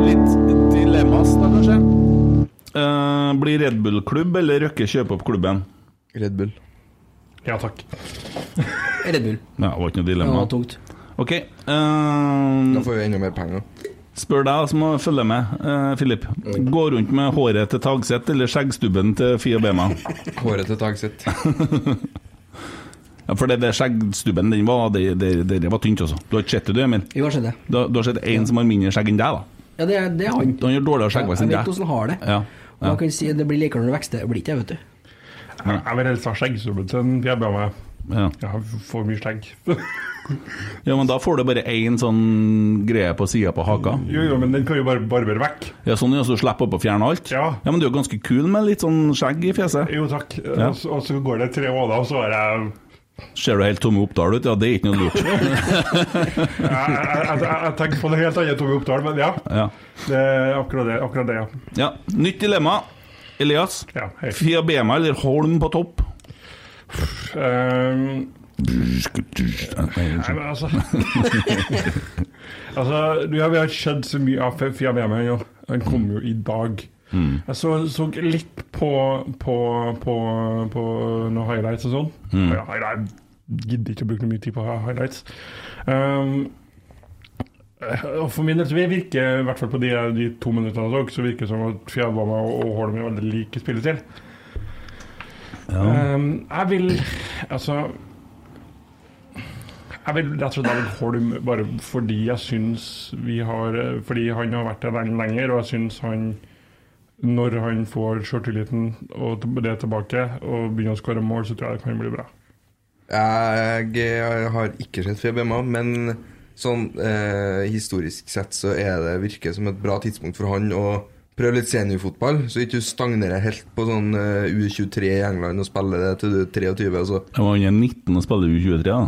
[SPEAKER 5] Litt dilemmas, da, kanskje? Eh, blir Red Bull-klubb eller Røkke kjøpe opp klubben?
[SPEAKER 9] Red Bull.
[SPEAKER 8] Ja takk.
[SPEAKER 7] Red Bull.
[SPEAKER 5] Ja, det var ikke noe
[SPEAKER 7] Det
[SPEAKER 5] dilemma.
[SPEAKER 7] var tungt.
[SPEAKER 5] Ok. eh,
[SPEAKER 9] Da får vi enda mer penger.
[SPEAKER 5] spør deg som må følge med, eh, Filip. Gå rundt med håret til Tagseth eller skjeggstubben til Fie Bema?
[SPEAKER 9] Håret til Tagset.
[SPEAKER 5] Ja, for det, det skjeggstubben, den var, det, det, det var tynt, altså. Du har ikke sett det, du, Emil?
[SPEAKER 7] Jo, jeg har sett det.
[SPEAKER 5] Du, har- du har sett en som har mindre skjegg enn deg, da?
[SPEAKER 7] Ja, det, er- det er han.
[SPEAKER 5] Han har dårligere skjeggvekst
[SPEAKER 7] Jeg
[SPEAKER 5] enn
[SPEAKER 7] vet
[SPEAKER 5] deg.
[SPEAKER 7] hvordan han har det.
[SPEAKER 5] Ja.
[SPEAKER 7] Og jeg kan si at det blir likere når du vokser. Det blir ikke jeg, vet du.
[SPEAKER 8] Jeg vil helst ha skjeggsubben til en fjebbe av meg.
[SPEAKER 5] Ja.
[SPEAKER 8] Jeg har for mye skjegg.
[SPEAKER 5] ja, men da får du bare én sånn greie på sida på haka.
[SPEAKER 8] Jo, jo, men den kan jo bare barbere vekk.
[SPEAKER 5] Ja, sånn ja, så du slipper opp å fjerne alt? Ja. Men du er jo ganske kul med litt sånn skjegg i fjeset.
[SPEAKER 8] Jo, takk.
[SPEAKER 5] Ja.
[SPEAKER 8] Og så- Og så går det tre måneder, og så er jeg
[SPEAKER 5] Ser du helt Tomme Oppdal ut? Ja, det er ikke noe lurt.
[SPEAKER 8] Jeg, jeg, jeg, jeg tenker på det helt annet Tove Oppdal, men ja.
[SPEAKER 5] Ja.
[SPEAKER 8] Det er akkurat det. Akkurat det ja.
[SPEAKER 5] ja. Nytt dilemma. Elias. Fiabema eller Holm på topp?
[SPEAKER 8] Ehm, Nei, men altså Altså, du, ja, Vi har skjedd så mye av Fia Bema nå. Den kom jo i dag.
[SPEAKER 5] Mm.
[SPEAKER 8] Jeg så, så litt på, på, på, på noen highlights og sånn.
[SPEAKER 5] Mm.
[SPEAKER 8] Ja, highlight- jeg gidder ikke å bruke noe mye tid på highlights. Um, eh, og for min del så virker i hvert fall på de, de to minuttene jeg så, så virker det som at Fia Bema og og Holm er veldig like spillestil.
[SPEAKER 5] Ja.
[SPEAKER 8] Um, jeg vil Altså jeg vil rett og slett David Holm bare fordi jeg syns vi har eh, Fordi han har vært der lenge lenger, og jeg syns han Når han får sjøltilliten og t- det tilbake, og begynner å skåre mål, så tror jeg det kan bli bra.
[SPEAKER 9] Jeg har ikke sett Fjellbemma, men sånn eh, historisk sett så er det virker som et bra tidspunkt for han å prøve litt seniorfotball, så ikke du stagnerer helt på sånn eh, U23 i England og spiller det til du er 23. Altså.
[SPEAKER 5] Jeg var under 19 og spiller U23, da.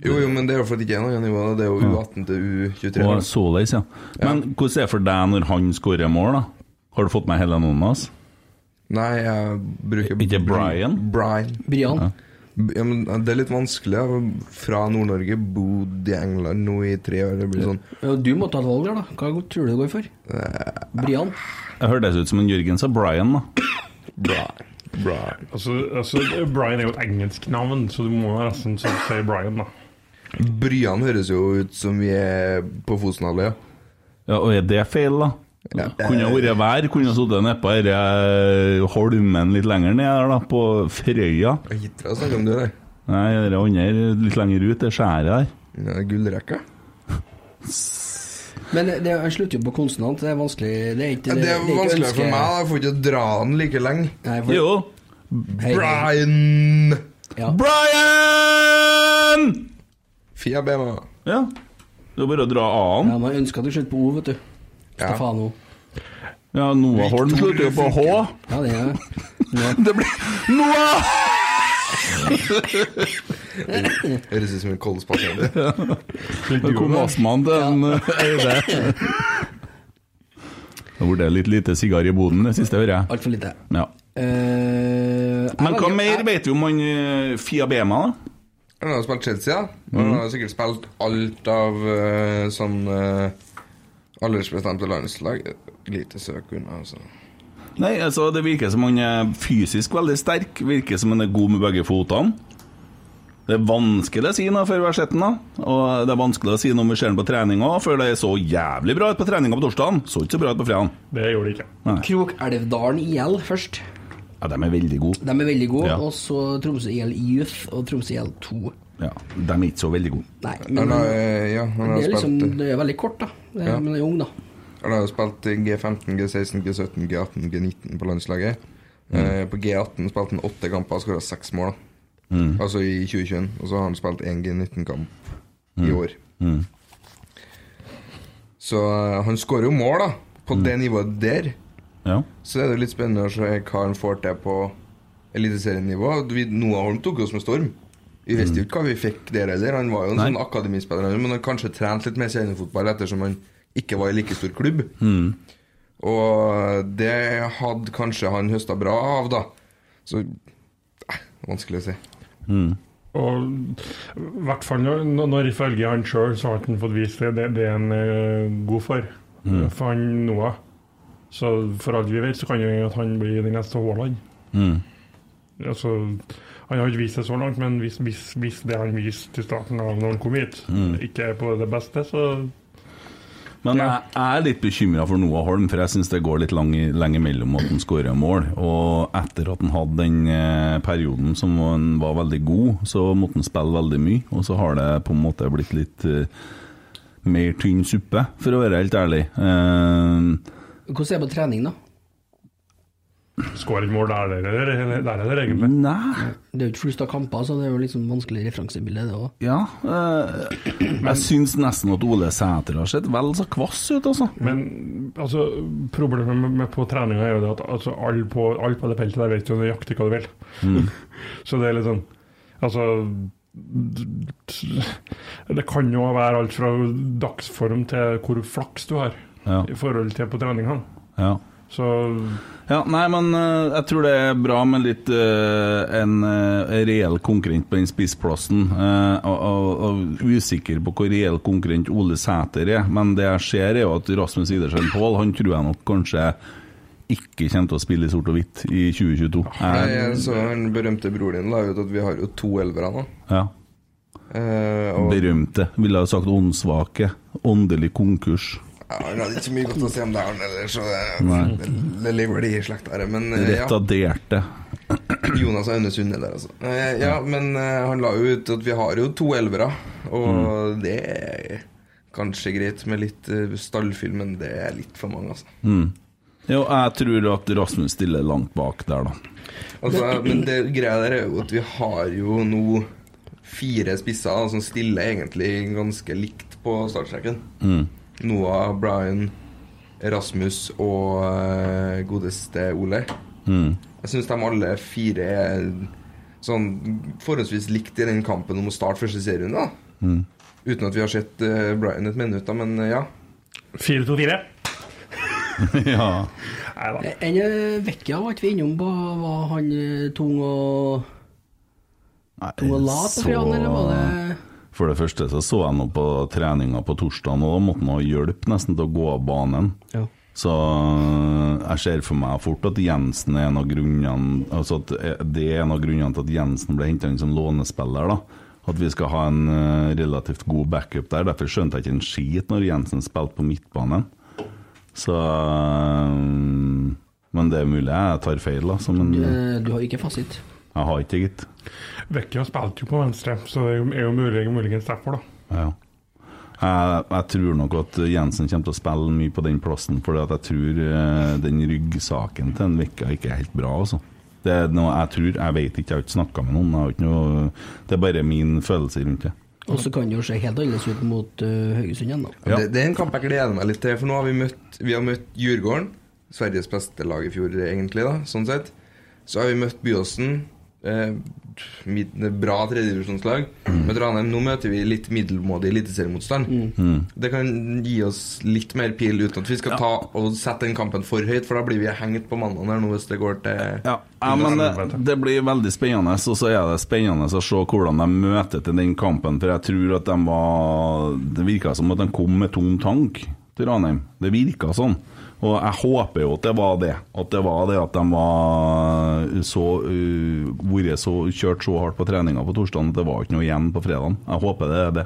[SPEAKER 9] Jo, jo, men det er jo fordi det ikke er noe annet nivå. Det er jo U18 til U23.
[SPEAKER 5] Og såleis, ja. Men hvordan er det for deg når han skårer mål, da? Har du fått med hele noen av oss?
[SPEAKER 9] Nei, jeg bruker
[SPEAKER 5] Ikke Brian?
[SPEAKER 9] Brian.
[SPEAKER 7] Brian.
[SPEAKER 5] Ja.
[SPEAKER 9] B- Ja, men det er litt vanskelig. Jeg har Fra Nord-Norge, bodd i England nå i tre år. Det blir sånn
[SPEAKER 7] Ja, Du må ta et valg der, da. Hva tror du det går for? Brian?
[SPEAKER 5] Jeg hørtes ut som en Jørgen sa Brian, da.
[SPEAKER 8] Brian. Altså, altså, Brian er jo et engelsk navn, så du må nesten så si Brian, da.
[SPEAKER 9] Bryan høres jo ut som vi er på Fosenhalvøya.
[SPEAKER 5] Ja, og er det feil, da? Kunne ha vært vær, kunne ha sittet nedpå denne holmen litt lenger ned her, da, på Frøya.
[SPEAKER 9] Hitra snakker om det der.
[SPEAKER 5] Nei, det andre litt lenger ut, det skjæret der.
[SPEAKER 9] Ja, Gullrekka?
[SPEAKER 7] Men det, det, jeg slutter jo på konsonant. Det er vanskelig. Det er ikke
[SPEAKER 9] Ja, det er
[SPEAKER 7] ikke
[SPEAKER 9] vanskeligere for
[SPEAKER 7] ønske-
[SPEAKER 9] meg. da. Jeg får ikke dra den like lenge.
[SPEAKER 7] Nei, for- Jo. Hei, hei.
[SPEAKER 9] Brian!
[SPEAKER 5] Brian!
[SPEAKER 9] Fia Bema.
[SPEAKER 5] Ja. Det er bare å dra A-en.
[SPEAKER 7] Ja, Man ønsker at du slutter på O, vet du. Stefano.
[SPEAKER 5] Ja, Noah Holm slutter jo på H.
[SPEAKER 7] Ja, det er
[SPEAKER 5] Det blir Noah!
[SPEAKER 9] Høres ut som en koldspasient.
[SPEAKER 5] Det kom astmaen til en eh, Eide. Det har vært litt lite sigar i boden det siste, hører jeg.
[SPEAKER 7] altfor lite.
[SPEAKER 5] Ja.
[SPEAKER 7] Eh, jeg
[SPEAKER 5] Men hva
[SPEAKER 7] velger-
[SPEAKER 5] mer vet vi om han eh, Fia Bema, da?
[SPEAKER 9] Han har spilt Chelsea, da. Han har sikkert spilt alt av eh, sånn eh, aldersbestemte landslag. Lite søk unna, altså.
[SPEAKER 5] Nei, altså Det virker som han er fysisk veldig sterk. Virker som han er god med begge fotene. Det er vanskelig å si noe før vi har sett den, da. Og det er vanskelig å si noe om vi ser den på trening òg, før det så jævlig bra ut på treninga på torsdagen. Så ikke så bra ut på fredagen.
[SPEAKER 8] Det gjorde det ikke.
[SPEAKER 5] Nei.
[SPEAKER 7] Krokelvdalen IL først.
[SPEAKER 5] Ja, de er veldig gode.
[SPEAKER 7] De er veldig gode.
[SPEAKER 5] Ja.
[SPEAKER 7] Og så Tromsø IL Youth og Tromsø IL 2.
[SPEAKER 5] Ja, de er ikke så veldig gode.
[SPEAKER 7] Nei,
[SPEAKER 9] Han har, eh, ja, han
[SPEAKER 7] det
[SPEAKER 9] har
[SPEAKER 7] er liksom
[SPEAKER 9] spilt
[SPEAKER 7] Det er veldig kort, da. Det er,
[SPEAKER 9] Ja.
[SPEAKER 7] Men det er ung, da.
[SPEAKER 9] Han har jo spilt i G15, G16, G17, G18, G19 på landslaget.
[SPEAKER 5] Mm.
[SPEAKER 9] Eh, på G18 spilte han åtte kamper og skåra seks mål. da.
[SPEAKER 5] Mm.
[SPEAKER 9] Altså i 2021. Og så har han spilt én G19-kamp i
[SPEAKER 5] Mm.
[SPEAKER 9] år.
[SPEAKER 5] Mm.
[SPEAKER 9] Så eh, han skårer jo mål, da. På
[SPEAKER 5] Mm.
[SPEAKER 9] det nivået der.
[SPEAKER 5] Ja.
[SPEAKER 9] Så er det jo litt spennende å se hva han får til på eliteserienivå. Vi- Noah Holm tok oss med storm. Vi visste jo ikke hva vi fikk der heller. Han var jo en
[SPEAKER 5] Mm. Nei.
[SPEAKER 9] sånn akademispiller, han, men han kanskje trent litt mer seniorfotball ettersom han ikke var i like stor klubb.
[SPEAKER 5] Mm.
[SPEAKER 9] Og det hadde kanskje han høsta bra av, da. Så eh, Vanskelig å si.
[SPEAKER 8] Og i hvert fall når, når ifølge han sjøl så har han fått vist det, det, det er han eh, god for.
[SPEAKER 5] Mm.
[SPEAKER 8] For han Noah. Så for alt vi vet, så kan det hende at han blir den neste Haaland.
[SPEAKER 5] Mm.
[SPEAKER 8] Altså, han har ikke vist det så langt, men hvis, hvis, hvis det han viste i starten av når han kom hit,
[SPEAKER 5] Mm.
[SPEAKER 8] ikke er på det beste, så
[SPEAKER 5] Men jeg, jeg er litt bekymra for Noah Holm, for jeg syns det går litt lang, lenge mellom at han skårer mål. Og etter at han hadde den eh, perioden som han var veldig god, så måtte han spille veldig mye. Og så har det på en måte blitt litt eh, mer tynn suppe, for å være helt ærlig. Eh,
[SPEAKER 7] Hvordan er det på trening, da?
[SPEAKER 8] Skårer ikke mål der, der, der, der, der, der egentlig.
[SPEAKER 5] Mm. Nei.
[SPEAKER 7] Det er jo ikke flust av kamper, så det er jo liksom vanskelig referansebilde, det òg.
[SPEAKER 5] ja eh, Jeg syns nesten at Ole Sæter har sett vel så kvass ut, altså.
[SPEAKER 8] Men altså, problemet med, med på treninga er jo det at altså, alle på, alle på det feltet der vet jo nøyaktig hva du vil. Så det er litt sånn Altså d- d- Det kan jo være alt fra dagsform til hvor flaks du har
[SPEAKER 5] Ja.
[SPEAKER 8] i forhold til på treningene.
[SPEAKER 5] Ja.
[SPEAKER 8] Så
[SPEAKER 5] Ja, nei, men eh, jeg tror det er bra med litt eh, en eh, reell konkurrent på den spissplassen. eh, og, og, og usikker på hvor reell konkurrent Ole Sæter er, men det jeg ser er jo at Rasmus Idersen Pål, han tror jeg nok kanskje ikke kommer til å spille i sort og hvitt i 2022.
[SPEAKER 9] Nei,
[SPEAKER 5] Jeg-
[SPEAKER 9] jeg så den berømte broren din la ut at vi har jo to elvere nå.
[SPEAKER 5] ja.
[SPEAKER 9] Eh, og
[SPEAKER 5] Berømte. Ville ha sagt åndssvake. Åndelig konkurs.
[SPEAKER 9] ja, han hadde ikke så mye godt å si om det han ellers, så
[SPEAKER 5] Nei.
[SPEAKER 9] det, det lever de i slekta her. Men eh, ja.
[SPEAKER 5] Retarderte.
[SPEAKER 9] Jonas og Aune Sunde der, altså. Eh, ja, men eh, han la jo ut at vi har jo to elvere, og det er kanskje greit med litt eh, stallfyll, men det er litt for mange, altså.
[SPEAKER 5] Mm. Jo, jeg tror at Rasmus stiller langt bak der, da.
[SPEAKER 9] altså men det greia der er jo at vi har jo nå fire spisser da, som stiller egentlig ganske likt på startstreken.
[SPEAKER 5] Mm.
[SPEAKER 9] Noah, Brian, Rasmus og eh, godeste Ole.
[SPEAKER 5] Mm.
[SPEAKER 9] Jeg syns de alle fire er sånn forholdsvis likt i den kampen om å starte første serien, da.
[SPEAKER 5] Mm.
[SPEAKER 9] Uten at vi har sett eh, Brian et minutt, da, men eh, ja.
[SPEAKER 8] 4-2-4.
[SPEAKER 5] ja.
[SPEAKER 8] Nei da.
[SPEAKER 7] Enn Vekkia eh, var ikke vi innom på Var han eh, tung og Tung og lat på
[SPEAKER 5] så-
[SPEAKER 7] fredagen, eller var det
[SPEAKER 5] For det første så så jeg noe på treninga på torsdagen, og da måtte han ha hjelp nesten til å gå av banen.
[SPEAKER 7] Ja.
[SPEAKER 5] Så eh, jeg ser for meg fort at Jensen er en av grunnene Altså at det er en av grunnene til at Jensen ble henta inn som lånespiller, da. At vi skal ha en eh, relativt god backup der. Derfor skjønte jeg ikke en skit når Jensen spilte på midtbanen. Så eh, Men det er mulig jeg tar feil, altså. Men jeg
[SPEAKER 7] Eh, Du har ikke fasit.
[SPEAKER 5] har ikke det, gitt.
[SPEAKER 8] Vecchia spilte jo på venstre, så det er jo- er jo mulig, muligens derfor, da.
[SPEAKER 5] Ja. Jeg, jeg tror nok at Jensen kommer til å spille mye på den plassen, for jeg tror eh, den ryggsaken til en Vekka ikke er helt bra. Altså. Det er noe jeg tror Jeg vet ikke, jeg har ikke snakka med noen. Jeg har ikke noe, det er bare min følelse rundt det.
[SPEAKER 7] Og så kan det jo se helt annerledes ut mot eh, Haugesund igjen, da.
[SPEAKER 9] Det, det er en kamp jeg gleder meg litt til, for nå har vi møtt, vi har møtt Djurgården, Sveriges beste lag i fjor, egentlig, da, sånn sett. Så har vi møtt Byåsen, eh, mid, bra tredjedivisjonslag.
[SPEAKER 5] Mm.
[SPEAKER 9] Med Ranheim nå møter vi litt middelmådig eliteseriemotstand.
[SPEAKER 5] Mm.
[SPEAKER 9] Det kan gi oss litt mer pil uten at vi skal ta og sette den kampen for høyt, for da blir vi hengt på mandagen her nå hvis det går til
[SPEAKER 5] Ja, men det, det blir veldig spennende, og så er det spennende å se hvordan de møter til den kampen. For jeg tror at de var Det virka som at de kom med tom tank til Ranheim. Det virka sånn. Og jeg håper jo at det var det. At det var det at de var så uh, vært så kjørt så hardt på treninga på torsdag at det var ikke noe igjen på fredagen. Jeg håper det er det.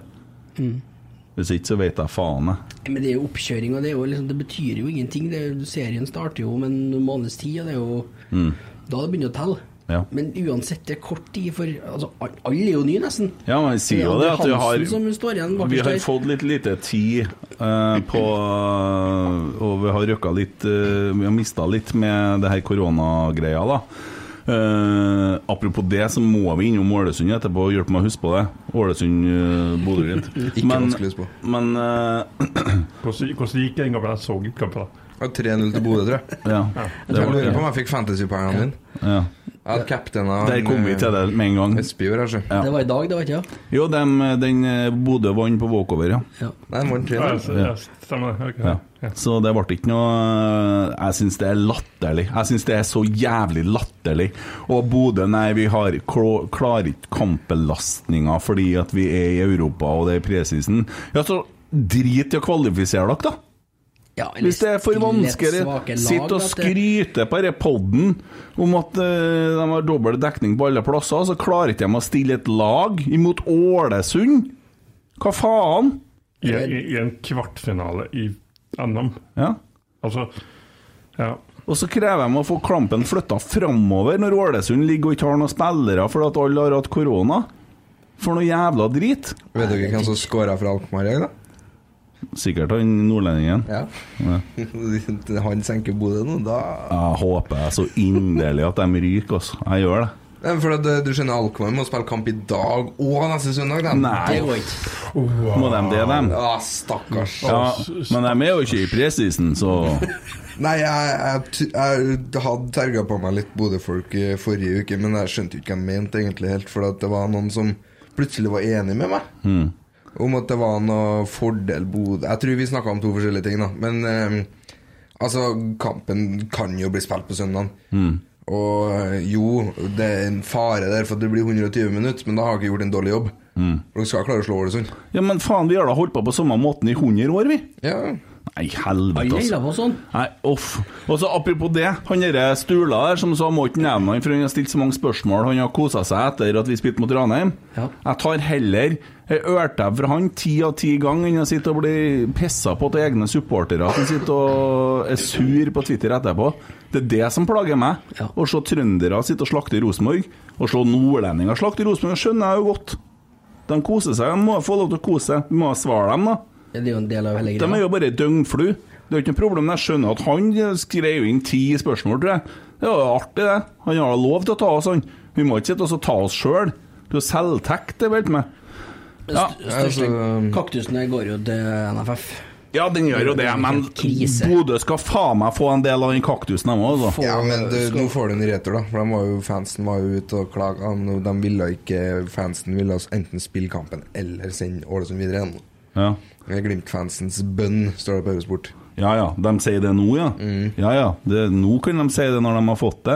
[SPEAKER 7] Mm.
[SPEAKER 5] Hvis ikke så vet jeg faen, jeg.
[SPEAKER 7] Men det er jo oppkjøring, og det, er jo liksom, det betyr jo ingenting. Det er, jo- serien starter jo om en måneds tid, og det er jo
[SPEAKER 5] Mm.
[SPEAKER 7] da det begynner å telle.
[SPEAKER 5] Ja.
[SPEAKER 7] Men uansett, det er kort tid, for altså, all- alle er jo nye, nesten.
[SPEAKER 5] Ja, men jeg sier jo det at
[SPEAKER 7] Hansen
[SPEAKER 5] vi har
[SPEAKER 7] som står igjen
[SPEAKER 5] Vi
[SPEAKER 7] bakerst
[SPEAKER 5] har
[SPEAKER 7] der.
[SPEAKER 5] fått litt lite tid eh, på eh, Og vi har røkka litt eh, Vi har mista litt med det her koronagreia, da. Eh, apropos det, så må vi innom Ålesund etterpå og hjelpe meg å huske på det. Ålesund-Bodø-Glimt.
[SPEAKER 8] Ikke vanskelig å huske på.
[SPEAKER 5] Men eh,
[SPEAKER 8] Hvordan, hvordan gikk den kampen? Jeg så ikke kampen, da.
[SPEAKER 9] 3-0 til Bodø, tror jeg.
[SPEAKER 5] Ja.
[SPEAKER 9] Jeg lurer på om jeg fikk fantasypoengene mine.
[SPEAKER 5] Ja.
[SPEAKER 9] Jeg hadde eh, captaina
[SPEAKER 5] Der kom vi til det med en gang.
[SPEAKER 9] altså.
[SPEAKER 7] Det var i dag, det var ikke det?
[SPEAKER 5] Jo, dem, den eh, Bodø vant på walkover, ja.
[SPEAKER 7] ja.
[SPEAKER 9] Nei, morgen
[SPEAKER 8] Ja, jeg- jeg- Stemmer det. ok.
[SPEAKER 5] Ja. Så det ble ikke noe eh, Jeg syns det er latterlig. Jeg syns det er så jævlig latterlig. Og Bodø, nei, vi har klo- klarer ikke kampbelastninga fordi at vi er i Europa og det er presisen. Ja, så drit i å kvalifisere dere, da!
[SPEAKER 7] Ja, eller
[SPEAKER 5] Hvis det er for
[SPEAKER 7] stillhet,
[SPEAKER 5] vanskelig,
[SPEAKER 7] svake lag,
[SPEAKER 5] sitt og
[SPEAKER 7] at det-
[SPEAKER 5] skryte på denne podden om at eh, de har dobbel dekning på alle plasser, så klarer ikke de å stille et lag imot Ålesund! Hva faen?
[SPEAKER 8] I, i, I en kvartfinale i NM.
[SPEAKER 5] Ja.
[SPEAKER 8] Altså, ja.
[SPEAKER 5] Og så krever de å få klampen flytta framover når Ålesund ligger og ikke har noen spillere fordi at alle har hatt korona. For noe jævla drit.
[SPEAKER 9] Vet dere hvem som skåra for Alkmaar i dag, da?
[SPEAKER 5] Sikkert han nordlendingen.
[SPEAKER 9] Ja.
[SPEAKER 5] Ja.
[SPEAKER 9] Han senker Bodø nå, da
[SPEAKER 5] Jeg håper så inderlig at de ryker, altså. Jeg gjør det.
[SPEAKER 9] Nei, For at, eh, du skjønner, Alkmaar må spille kamp i dag og neste søndag, da.
[SPEAKER 5] Nei. Det går Må de det, dem?
[SPEAKER 9] Ja, stakkars.
[SPEAKER 5] Ja, men de er jo ikke i presisen, så
[SPEAKER 9] Nei, jeg, jeg, t- jeg hadde terga på meg litt Bodø-folk i forrige uke, men jeg skjønte jo ikke hva de mente egentlig helt, for at det var noen som plutselig var enig med meg
[SPEAKER 5] mm.
[SPEAKER 9] om at det var noe fordel Bodø Jeg tror vi snakka om to forskjellige ting, da. Men eh, altså, kampen kan jo bli spilt på søndag.
[SPEAKER 3] Mm.
[SPEAKER 9] Og eh, jo, det er en fare der for at det blir 120 minutter, men da har jeg ikke gjort en dårlig jobb.
[SPEAKER 5] Mm.
[SPEAKER 9] For dere skal klare å slå Ålesund.
[SPEAKER 5] Ja, men faen, vi har da holdt på på samme måten i 100 år, vi.
[SPEAKER 9] Ja.
[SPEAKER 5] Nei, helvete,
[SPEAKER 7] Alle
[SPEAKER 5] altså.
[SPEAKER 7] holder på sånn.
[SPEAKER 5] Nei, off. Og så apropos det, han derre Stula der som sa må ikke nevne han, for han har stilt så mange spørsmål, han har kosa seg etter at vi spilte mot Ranheim. Jeg tar heller ei ørtau fra han ti av ti ganger enn å sitte og bli pissa på til egne supportere som sitter og er sur på Twitter etterpå. Det er det som plager meg. Å se trøndere sitte og slakte Rosenborg, og se nordlendinger slakte Rosenborg, skjønner jeg jo godt. De koser seg. De må få lov til å kose seg. Vi må svare dem, da.
[SPEAKER 7] Det er jo en del av hele
[SPEAKER 5] De er
[SPEAKER 7] greia.
[SPEAKER 5] jo bare døgnflu. Det er jo ikke noe problem. Jeg skjønner at han skrev inn ti spørsmål, tror jeg. Det var jo artig, det. Han har lov til å ta oss, han. Vi må ikke sitte og så ta oss sjøl. Det er jo selvtekt, det, vet du. meg. Ja,
[SPEAKER 7] St- Største kaktusene går jo til NFF.
[SPEAKER 5] ja, den gjør jo det, men
[SPEAKER 7] Krise.
[SPEAKER 5] Bodø skal faen meg få en del av den kaktusen, dem òg, altså.
[SPEAKER 9] Ja, men du, nå får du en retur, da. For de var jo, fansen var jo ute og klaga. De de ville ikke Fansen ville altså enten spille kampen eller sende Ålesund videre igjen.
[SPEAKER 5] Ja.
[SPEAKER 9] Det er Glimt-fansens bønn, står det på Eurosport.
[SPEAKER 5] Ja ja, de sier det nå, ja. Ja ja, det, nå kan de si det når de har fått det.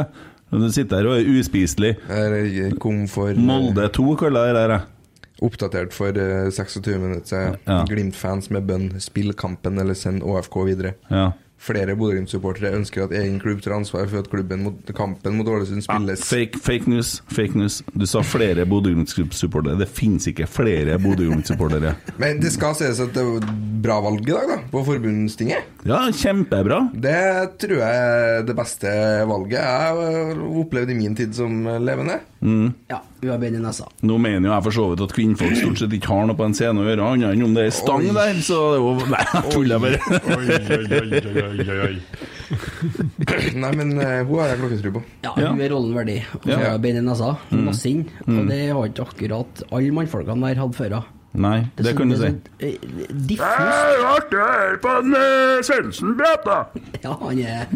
[SPEAKER 5] Men Du sitter her og er uspiselig.
[SPEAKER 9] eh, Kom for
[SPEAKER 5] Molde 2, kaller jeg det der. jeg.
[SPEAKER 9] Oppdatert for eh, 26 minutter siden.
[SPEAKER 5] Ja.
[SPEAKER 9] Glimt-fans med bønn spill kampen eller send OFK videre.
[SPEAKER 5] Ja.
[SPEAKER 9] Flere Bodø-Glimt-supportere ønsker at egen klubb tar ansvar for at klubben mot, kampen mot Ålesund spilles.
[SPEAKER 5] Ah, Fake, fake news, fake news. Du sa flere Bodø Glimt-supportere. Det finnes ikke flere Bodø Glimt-supportere.
[SPEAKER 9] Men det skal sies at det var et bra valg i dag, da, på forbundstinget.
[SPEAKER 5] Ja, kjempebra.
[SPEAKER 9] Det tror jeg er det beste valget jeg har opplevd i min tid som levende.
[SPEAKER 5] Mm.
[SPEAKER 7] Ja, UAB i nesa.
[SPEAKER 5] Nå mener jo jeg for så vidt at kvinnfolk stort sett ikke har noe på en scene å gjøre, annet enn om det er stang
[SPEAKER 8] Oi.
[SPEAKER 5] der, så det er jo Nei, jeg tuller
[SPEAKER 8] Oi, oi, oi, oi,
[SPEAKER 5] bare.
[SPEAKER 8] oi, oi, oi.
[SPEAKER 9] Nei, men eh, hun har jeg klokketro på.
[SPEAKER 7] Ja, hun er rollen verdig. Og så
[SPEAKER 9] Ja.
[SPEAKER 7] er Benny Nessa,
[SPEAKER 9] Mm.
[SPEAKER 7] masse inn.
[SPEAKER 9] Mm.
[SPEAKER 7] Og det har ikke akkurat alle mannfolkene der hatt før av.
[SPEAKER 5] Nei, det kan du si.
[SPEAKER 7] sånn, eh, Diffust.
[SPEAKER 5] Artig å høre på en eh, Svendsen prate!
[SPEAKER 7] Ja, han er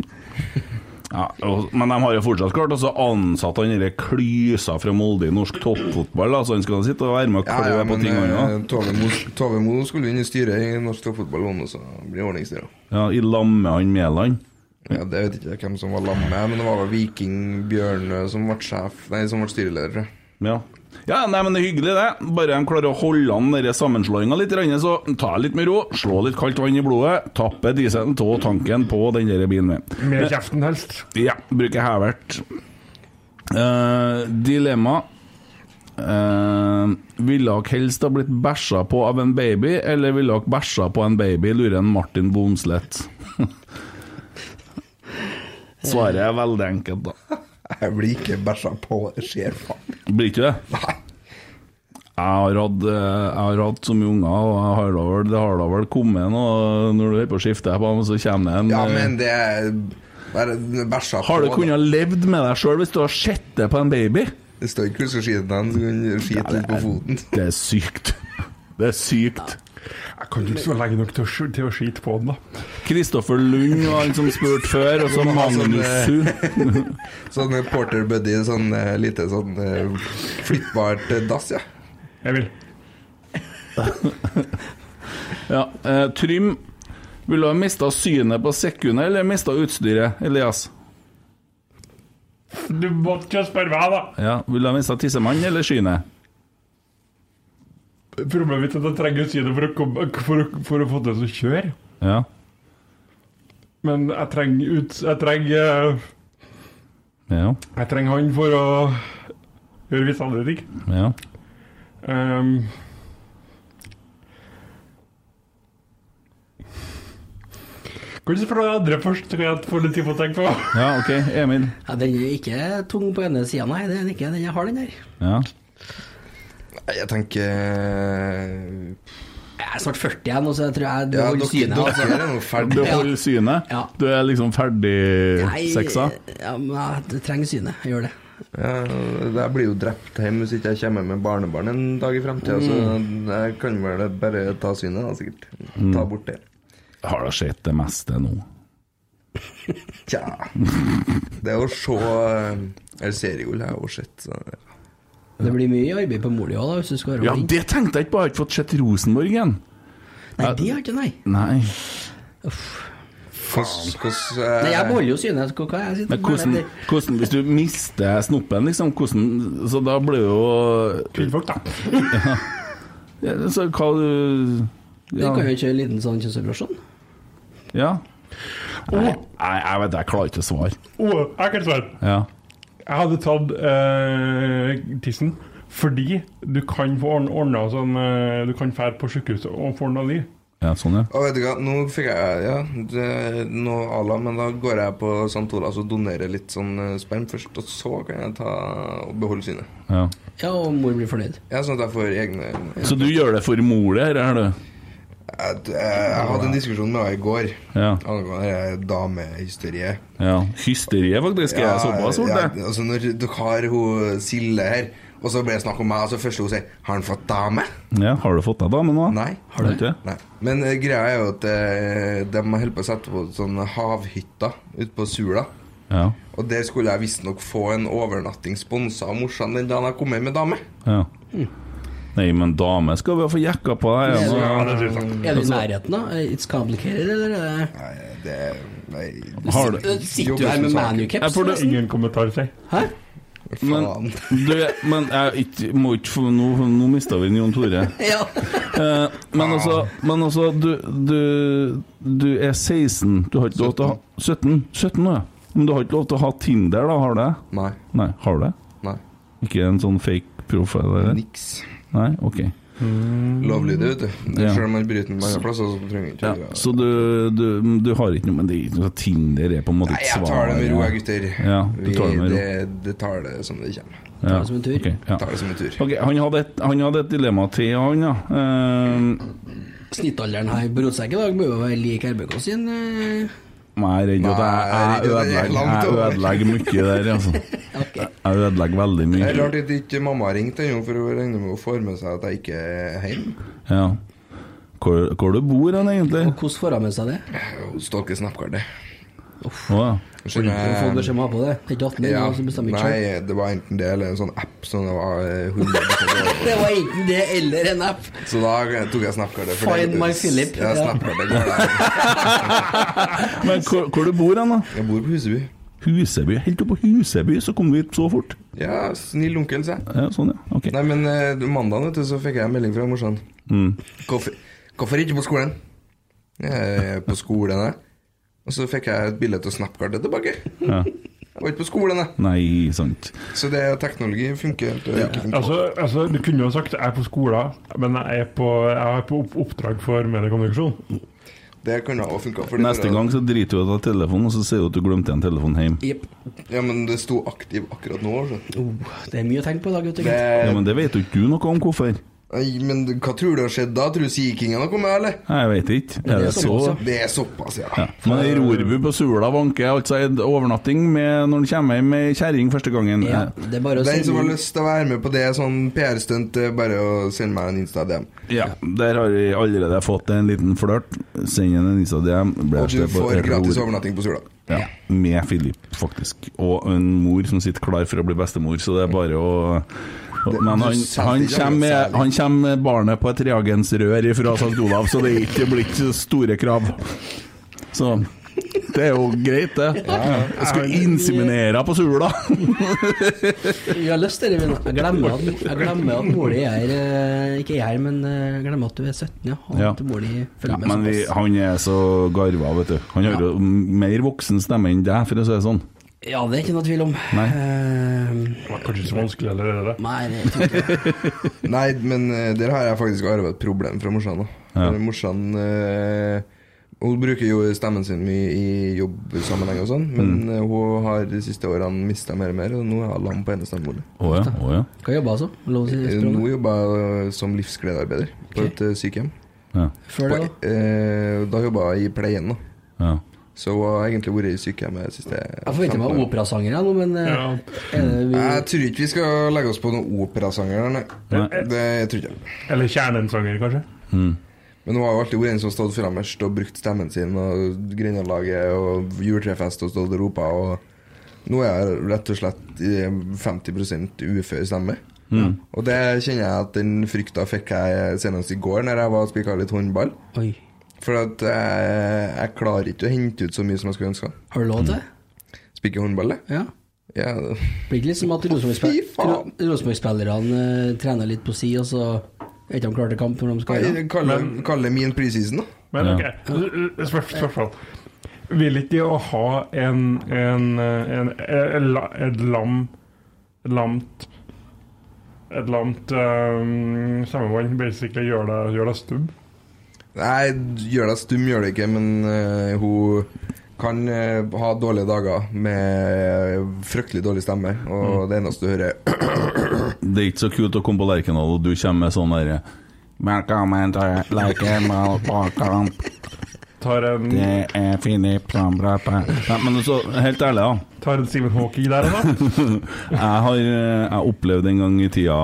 [SPEAKER 5] Ja, og, men de har jo fortsatt klart altså ansatt han derre klysa fra Molde i norsk toppfotball, da, så han skal sitte og være med og klø
[SPEAKER 9] Ja, ja,
[SPEAKER 5] på
[SPEAKER 9] men
[SPEAKER 5] ting, han
[SPEAKER 9] eh,
[SPEAKER 5] òg.
[SPEAKER 9] Tove Mo- Tove Mo skulle inn i styret i norsk toppfotball, hun også. Blir ordningsstyrer.
[SPEAKER 5] Ja, I lamme han Mæland.
[SPEAKER 9] Ja, det vet ikke jeg hvem som var lamme, men det var vel Viking Bjørnø som ble sjef Nei, som ble styreleder, tror jeg.
[SPEAKER 5] Ja. ja, nei, men det er hyggelig, det. Bare de klarer å holde an den sammenslåinga litt, grann, så ta litt med ro, slå litt kaldt vann i blodet, tappe dieselen av tanken på den der bilen min.
[SPEAKER 8] Med kjeften helst.
[SPEAKER 5] Ja, bruker hevert. Eh, dilemma. Eh, ville dere helst ha blitt bæsja på av en baby, eller ville dere bæsja på en baby, lurer en Martin Bomslett. Svaret er veldig enkelt, da.
[SPEAKER 9] Jeg blir ikke bæsja på, det skjer faen.
[SPEAKER 5] Blir ikke det? Nei. Jeg har hatt, eh, jeg har hatt så mye unger, og jeg har da vel, det har da vel kommet noe når du er på skiftet på dem, så kommer det en
[SPEAKER 9] Ja,
[SPEAKER 5] eh,
[SPEAKER 9] men det er bare bæsja på.
[SPEAKER 5] Har du
[SPEAKER 9] da.
[SPEAKER 5] kunnet levd med deg sjøl hvis du har sett det på en baby?
[SPEAKER 9] Det står ikke hvordan du skal skite den, så kan du skite litt på foten.
[SPEAKER 5] Det er sykt. Det er sykt.
[SPEAKER 8] Jeg kan jo ikke så lenge nok til å, sk- til å skite på den, da.
[SPEAKER 5] Kristoffer Lund var han som spurte før, og så
[SPEAKER 9] Du må ha sånn,
[SPEAKER 5] Magnussu.
[SPEAKER 9] Sånn eh, porter buddy, sånn eh, lite sånn eh, flyttbart eh, dass, ja.
[SPEAKER 8] Jeg vil.
[SPEAKER 5] Ja, eh, Trym, vil du ha mista synet på sekundet, eller mista utstyret, Elias?
[SPEAKER 8] Du måtte jo spørre meg, da.
[SPEAKER 5] Ja, Vil du ha mista tissemannen eller synet?
[SPEAKER 8] Problemet mitt er at jeg trenger å si det for å, komme, for, å, for å få det til å kjøre.
[SPEAKER 5] Ja.
[SPEAKER 8] Men jeg trenger ut Jeg trenger eh,
[SPEAKER 5] Ja.
[SPEAKER 8] Jeg trenger han for å gjøre visse andre ting.
[SPEAKER 5] ja.
[SPEAKER 8] Ehm. Kan du spørre andre først, så kan jeg få litt tid på å tenke på?
[SPEAKER 5] Ja, OK. Emil.
[SPEAKER 7] Ja, den er ikke tung på ene sida, nei. Det er den ikke. Den er hard, den der.
[SPEAKER 5] Ja.
[SPEAKER 9] Nei, Jeg tenker eh,
[SPEAKER 7] Jeg er snart 40 igjen, og så tror jeg du
[SPEAKER 9] Ja,
[SPEAKER 7] holder
[SPEAKER 9] dere-
[SPEAKER 7] synet.
[SPEAKER 9] dere
[SPEAKER 7] altså.
[SPEAKER 9] er nå ferdig.
[SPEAKER 5] Du holder synet? Du er liksom ferdig
[SPEAKER 7] Nei,
[SPEAKER 5] seksa?
[SPEAKER 7] Ja, men jeg trenger synet. Jeg gjør det.
[SPEAKER 9] ja, Jeg blir jo drept hjemme hvis ikke jeg kommer med barnebarn en dag i fremtiden
[SPEAKER 7] Mm.
[SPEAKER 9] Så jeg kan vel bare ta synet, da, sikkert. Ta bort det.
[SPEAKER 5] Har da sett det meste nå.
[SPEAKER 9] Tja Det å se eh, Eller seriegull har jeg jo sett. Så.
[SPEAKER 7] Det blir mye arbeid på mor di òg, hvis du skal være
[SPEAKER 5] Ja, det tenkte jeg ikke på! Jeg har ikke fått sett Rosenborg igjen.
[SPEAKER 7] Nei, det har ikke, nei.
[SPEAKER 5] Nei.
[SPEAKER 9] Hvordan- hvordan, eh,
[SPEAKER 7] Nei, jeg beholder jo synet. Hva- Hva jeg sitter
[SPEAKER 5] Men hvordan,
[SPEAKER 7] bare-
[SPEAKER 5] hvordan, hvis du mister snoppen, liksom, hvordan Så da blir jo
[SPEAKER 8] Kvinnfolk, da.
[SPEAKER 5] ja, Så hva du
[SPEAKER 7] Du kan
[SPEAKER 5] ja.
[SPEAKER 7] jo kjøre en liten sånn kjønnsoperasjon.
[SPEAKER 5] ja. Nei, nei, jeg vet jeg klarer ikke å svare.
[SPEAKER 8] Å, Oh, jeg kan svare.
[SPEAKER 5] Ja.
[SPEAKER 8] Jeg hadde tatt eh, tissen fordi du kan få ordn- ordna sånn eh, Du kan fære på sykehuset og få ordna liv.
[SPEAKER 5] ja, sånn, ja.
[SPEAKER 9] Å, vet du hva, nå fikk jeg ja, det, noe à la, men da går jeg på St. Olavs og donerer litt sånn eh, sperm først, og så kan jeg ta og beholde synet.
[SPEAKER 5] ja.
[SPEAKER 7] Ja, og mor blir fornøyd.
[SPEAKER 9] Ja, sånn at jeg får egne jeg,
[SPEAKER 5] Så du gjør det for mor di, her, er du?
[SPEAKER 9] jeg, jeg hadde en diskusjon med henne i går
[SPEAKER 5] Ja.
[SPEAKER 9] angående det damehysteriet.
[SPEAKER 5] ja. Hysteriet, faktisk. Er jeg såpass fort,
[SPEAKER 9] ja,
[SPEAKER 5] jeg?
[SPEAKER 9] altså Når dere har hun Silje her, og så blir det snakk om meg, og så første hun sier 'Har han fått dame?'
[SPEAKER 5] Ja, har du fått deg dame nå?
[SPEAKER 9] Nei.
[SPEAKER 5] Har du ikke?
[SPEAKER 9] Nei. Men eh, greia er jo at eh, de holder på å sette på sånne havhytter ute på Sula.
[SPEAKER 5] Ja.
[SPEAKER 9] Og der skulle jeg visstnok få en overnatting sponsa av morsan den dagen jeg kom hjem med dame.
[SPEAKER 5] ja. Nei, men dame skal vi jo få jekka på altså. deg. Ja, nå-
[SPEAKER 8] Ja, det synes jeg.
[SPEAKER 7] Er du i nærheten, da? It's complicated, eller? er det-
[SPEAKER 9] Nei, det Nei.
[SPEAKER 5] Har du-
[SPEAKER 7] Øh, Sitter du her med
[SPEAKER 5] Jeg
[SPEAKER 7] manucaps?
[SPEAKER 5] får det-
[SPEAKER 8] Ingen kommentar, sier jeg.
[SPEAKER 7] Hæ?
[SPEAKER 5] Men, du, men jeg, ikke- må ikke få- Nå, nå mista vi Jon Tore.
[SPEAKER 7] Ja.
[SPEAKER 5] Eh, men altså, men altså du, du, du er 16, du har ikke lov til å ha 17? 17 nå, ja. Men du har ikke lov til å ha Tinder, da? Har du det?
[SPEAKER 9] Nei.
[SPEAKER 5] Nei, har du det?
[SPEAKER 9] Nei.
[SPEAKER 5] Ikke en sånn fake profil? Eller?
[SPEAKER 9] Niks.
[SPEAKER 5] Nei, ok.
[SPEAKER 9] Lovlydig, vet du. Det er
[SPEAKER 5] Ja.
[SPEAKER 9] Selv om man bryter den på andre plasser, så trenger man ikke
[SPEAKER 5] Ja,
[SPEAKER 9] å gjøre det.
[SPEAKER 5] så du, du, du har ikke noe Men det er ikke noe sånn Tinder er på en måte
[SPEAKER 9] Nei,
[SPEAKER 5] ikke
[SPEAKER 9] jeg tar det med ro, jeg, gutter.
[SPEAKER 5] Ja, du tar det med ro.
[SPEAKER 9] Vi, det, det tar det som det kommer.
[SPEAKER 5] Ja,
[SPEAKER 7] det som en tur.
[SPEAKER 5] ok, ja.
[SPEAKER 9] Tar det som en tur.
[SPEAKER 5] Ok, han, hadde et, han hadde et dilemma til, han, ja. Eh,
[SPEAKER 7] Snittalderen her på Rotsekk i dag bør jo være lik RBK sin. eh,
[SPEAKER 5] Nei, jeg er redd for at jeg, jeg,
[SPEAKER 9] Nei, det er
[SPEAKER 5] ødelegger,
[SPEAKER 9] langt
[SPEAKER 5] jeg
[SPEAKER 9] over.
[SPEAKER 5] ødelegger mye der, altså.
[SPEAKER 7] Ok.
[SPEAKER 5] Jeg ødelegger veldig
[SPEAKER 9] Det
[SPEAKER 5] mye.
[SPEAKER 9] er rart at ikke mamma har ringt ennå, for hun regner med å få med seg at jeg ikke er hjemme.
[SPEAKER 5] Ja. Hvor, hvor du bor hen, egentlig?
[SPEAKER 7] Og hvordan får han med seg det?
[SPEAKER 9] Hun stalker Snapkartet.
[SPEAKER 5] Å ja.
[SPEAKER 7] Får
[SPEAKER 9] Skjønner jeg-
[SPEAKER 7] du beskjed om å ha på det? Det er ikke 18
[SPEAKER 9] Ja,
[SPEAKER 7] år, så bestemmer ikke selv.
[SPEAKER 9] nei, det var enten det eller en sånn app som det var eh, 100
[SPEAKER 7] Det var enten det eller en app.
[SPEAKER 9] Så da tok jeg Snapkartet. for
[SPEAKER 7] Find
[SPEAKER 9] det-
[SPEAKER 7] my Philip.
[SPEAKER 9] Ja, Snapkartet går der.
[SPEAKER 5] Men hvor, hvor du bor hen, da?
[SPEAKER 9] Jeg bor på Huseby.
[SPEAKER 5] Huseby. Helt oppe på Huseby, så kom vi hit så fort.
[SPEAKER 9] Ja, snill onkel, sa jeg.
[SPEAKER 5] Ja, sånn, ja. Ok.
[SPEAKER 9] Nei, men eh, mandagen vet du, så fikk jeg en melding fra morsan.
[SPEAKER 5] Mm.
[SPEAKER 9] Hvorfor, hvorfor ikke på skolen? Jeg er på skolen, jeg. Og så fikk jeg et bilde av Snapkartet tilbake. Jeg var ikke på skolen, jeg.
[SPEAKER 5] Nei, sant.
[SPEAKER 9] Så det er teknologi funker helt og ikke funker.
[SPEAKER 8] Altså, altså, du kunne jo sagt 'jeg er på skolen', men jeg er på, jeg er på opp- oppdrag for mediekommunikasjon.
[SPEAKER 9] Det kan ha funka.
[SPEAKER 5] Neste gang så driter du i å ta telefonen, og så sier du at du glemte en telefon hjem.
[SPEAKER 7] Jepp.
[SPEAKER 9] Ja, men det sto aktiv akkurat nå. Så.
[SPEAKER 7] Oh, det er mye å tenke på i dag, gutter.
[SPEAKER 9] Det,
[SPEAKER 5] Ja, Men det vet jo ikke du noe om hvorfor.
[SPEAKER 9] Nei, men hva tror du har skjedd da? Tror du Sea Kingen har kommet, eller?
[SPEAKER 5] Nei, Jeg vet ikke.
[SPEAKER 7] det
[SPEAKER 5] Er
[SPEAKER 7] er
[SPEAKER 5] det så
[SPEAKER 7] såpass,
[SPEAKER 9] Det er sånn såpass, ja.
[SPEAKER 5] ja. Men i Rorbu på Sula vanker altså en overnatting med, når han kommer hjem med kjerring første gangen.
[SPEAKER 7] Ja, det er bare å
[SPEAKER 9] Den som har
[SPEAKER 7] sende
[SPEAKER 9] lyst til å være med på det sånn PR-stunt, eh, bare å sende meg en Insta-DM.
[SPEAKER 5] Ja, Der har vi allerede fått en liten flørt. Send en Insta-DM.
[SPEAKER 9] Og du får gratis
[SPEAKER 5] overnatting.
[SPEAKER 9] overnatting på Sula.
[SPEAKER 5] Ja, med Philip, faktisk. Og en mor som sitter klar for å bli bestemor, så det er bare å å- Men han, han, kommer, med- han kommer med barnet på et reagensrør fra St. Olav, så det er ikke blitt store krav. Så det er jo greit, det. Jeg skal inseminere på Sula!
[SPEAKER 7] Jeg har lyst til det, men jeg glemmer at, jeg glemmer at mor di er eh, Ikke jeg, men eh, jeg glemmer at du er 17, ja. Og
[SPEAKER 5] Ja.
[SPEAKER 7] at mor di
[SPEAKER 5] Ja,
[SPEAKER 7] følger med
[SPEAKER 5] men vi,
[SPEAKER 7] såpass.
[SPEAKER 5] han er så garva, vet du. Han har jo mer voksen stemme enn deg, for å si det sånn.
[SPEAKER 7] Ja, det er ikke noe tvil om.
[SPEAKER 5] Nei.
[SPEAKER 7] Eh,
[SPEAKER 8] Det var kanskje ikke så vanskelig heller, er det det?
[SPEAKER 7] nei, det tror jeg ikke.
[SPEAKER 9] Nei, men eh, der har jeg faktisk arva et problem fra morsan. da. For Morsan eh, Hun bruker jo stemmen sin mye i jobbsammenheng og sånn, men eh, hun har de siste årene mista mer og mer, og nå har hun lam på ene stemmebordet.
[SPEAKER 5] Å ja, å ja.
[SPEAKER 7] Hva jobba altså? Lov å si
[SPEAKER 9] Eh,
[SPEAKER 7] språk.
[SPEAKER 9] Nå jobber jeg eh, som livsgledearbeider på et eh, sykehjem.
[SPEAKER 5] Ja.
[SPEAKER 7] Før det,
[SPEAKER 9] da? Eh, da jobba jeg i pleien, da.
[SPEAKER 5] Ja.
[SPEAKER 9] Så hun har egentlig vært i sykehjemmet de siste
[SPEAKER 7] Jeg forventer meg operasanger jeg nå, men eh, er det vi,
[SPEAKER 9] Jeg tror ikke vi skal legge oss på noen operasanger. Nei.
[SPEAKER 8] Nei.
[SPEAKER 9] Det jeg tror jeg ikke.
[SPEAKER 8] Eller kjernesanger, kanskje.
[SPEAKER 9] Men hun har jo alltid vært en som har stått fremmest og brukt stemmen sin og Grindalaget og juletrefest og stått og ropa. Og nå er jeg rett og slett i 50 ufør stemme.
[SPEAKER 3] Mm.
[SPEAKER 9] Og det kjenner jeg at den frykta fikk jeg senest i går når jeg var og spikka litt håndball. For at jeg, jeg klarer ikke å hente ut så mye som jeg skulle ønske.
[SPEAKER 7] Har du lov til det?
[SPEAKER 9] Spikke håndball, det?
[SPEAKER 7] Ja.
[SPEAKER 9] Ja, det-
[SPEAKER 7] Blir ikke litt som at Rosenborg-spil- Ro- Rosenborg-spillerne eh, trener litt på si, og så er ikke de klare til kamp når de skal
[SPEAKER 9] Nei, kall det- kall det min preseason, da.
[SPEAKER 8] Men ok, Spør- spørsmål. Vil ikke det å ha en, en, en, en, la- et lam Et lamt Et lamt um, sammenheng basically gjør deg, gjør deg stum?
[SPEAKER 9] Nei, gjør deg stum, gjør det ikke, men eh, hun kan eh, ha dårlige dager med fryktelig dårlig stemme,
[SPEAKER 5] Mm.
[SPEAKER 9] og det eneste du hører er
[SPEAKER 5] Det er ikke så kult å komme på Lerkendal, og du kommer med sånn derre Velkommen til Lerkendal bakkamp.
[SPEAKER 8] Tar en
[SPEAKER 5] Det er Filip som prater. Nei, men så, helt ærlig, da.
[SPEAKER 8] Tar en Simen Hawking der, da?
[SPEAKER 5] jeg har eh, jeg opplevde en gang i tida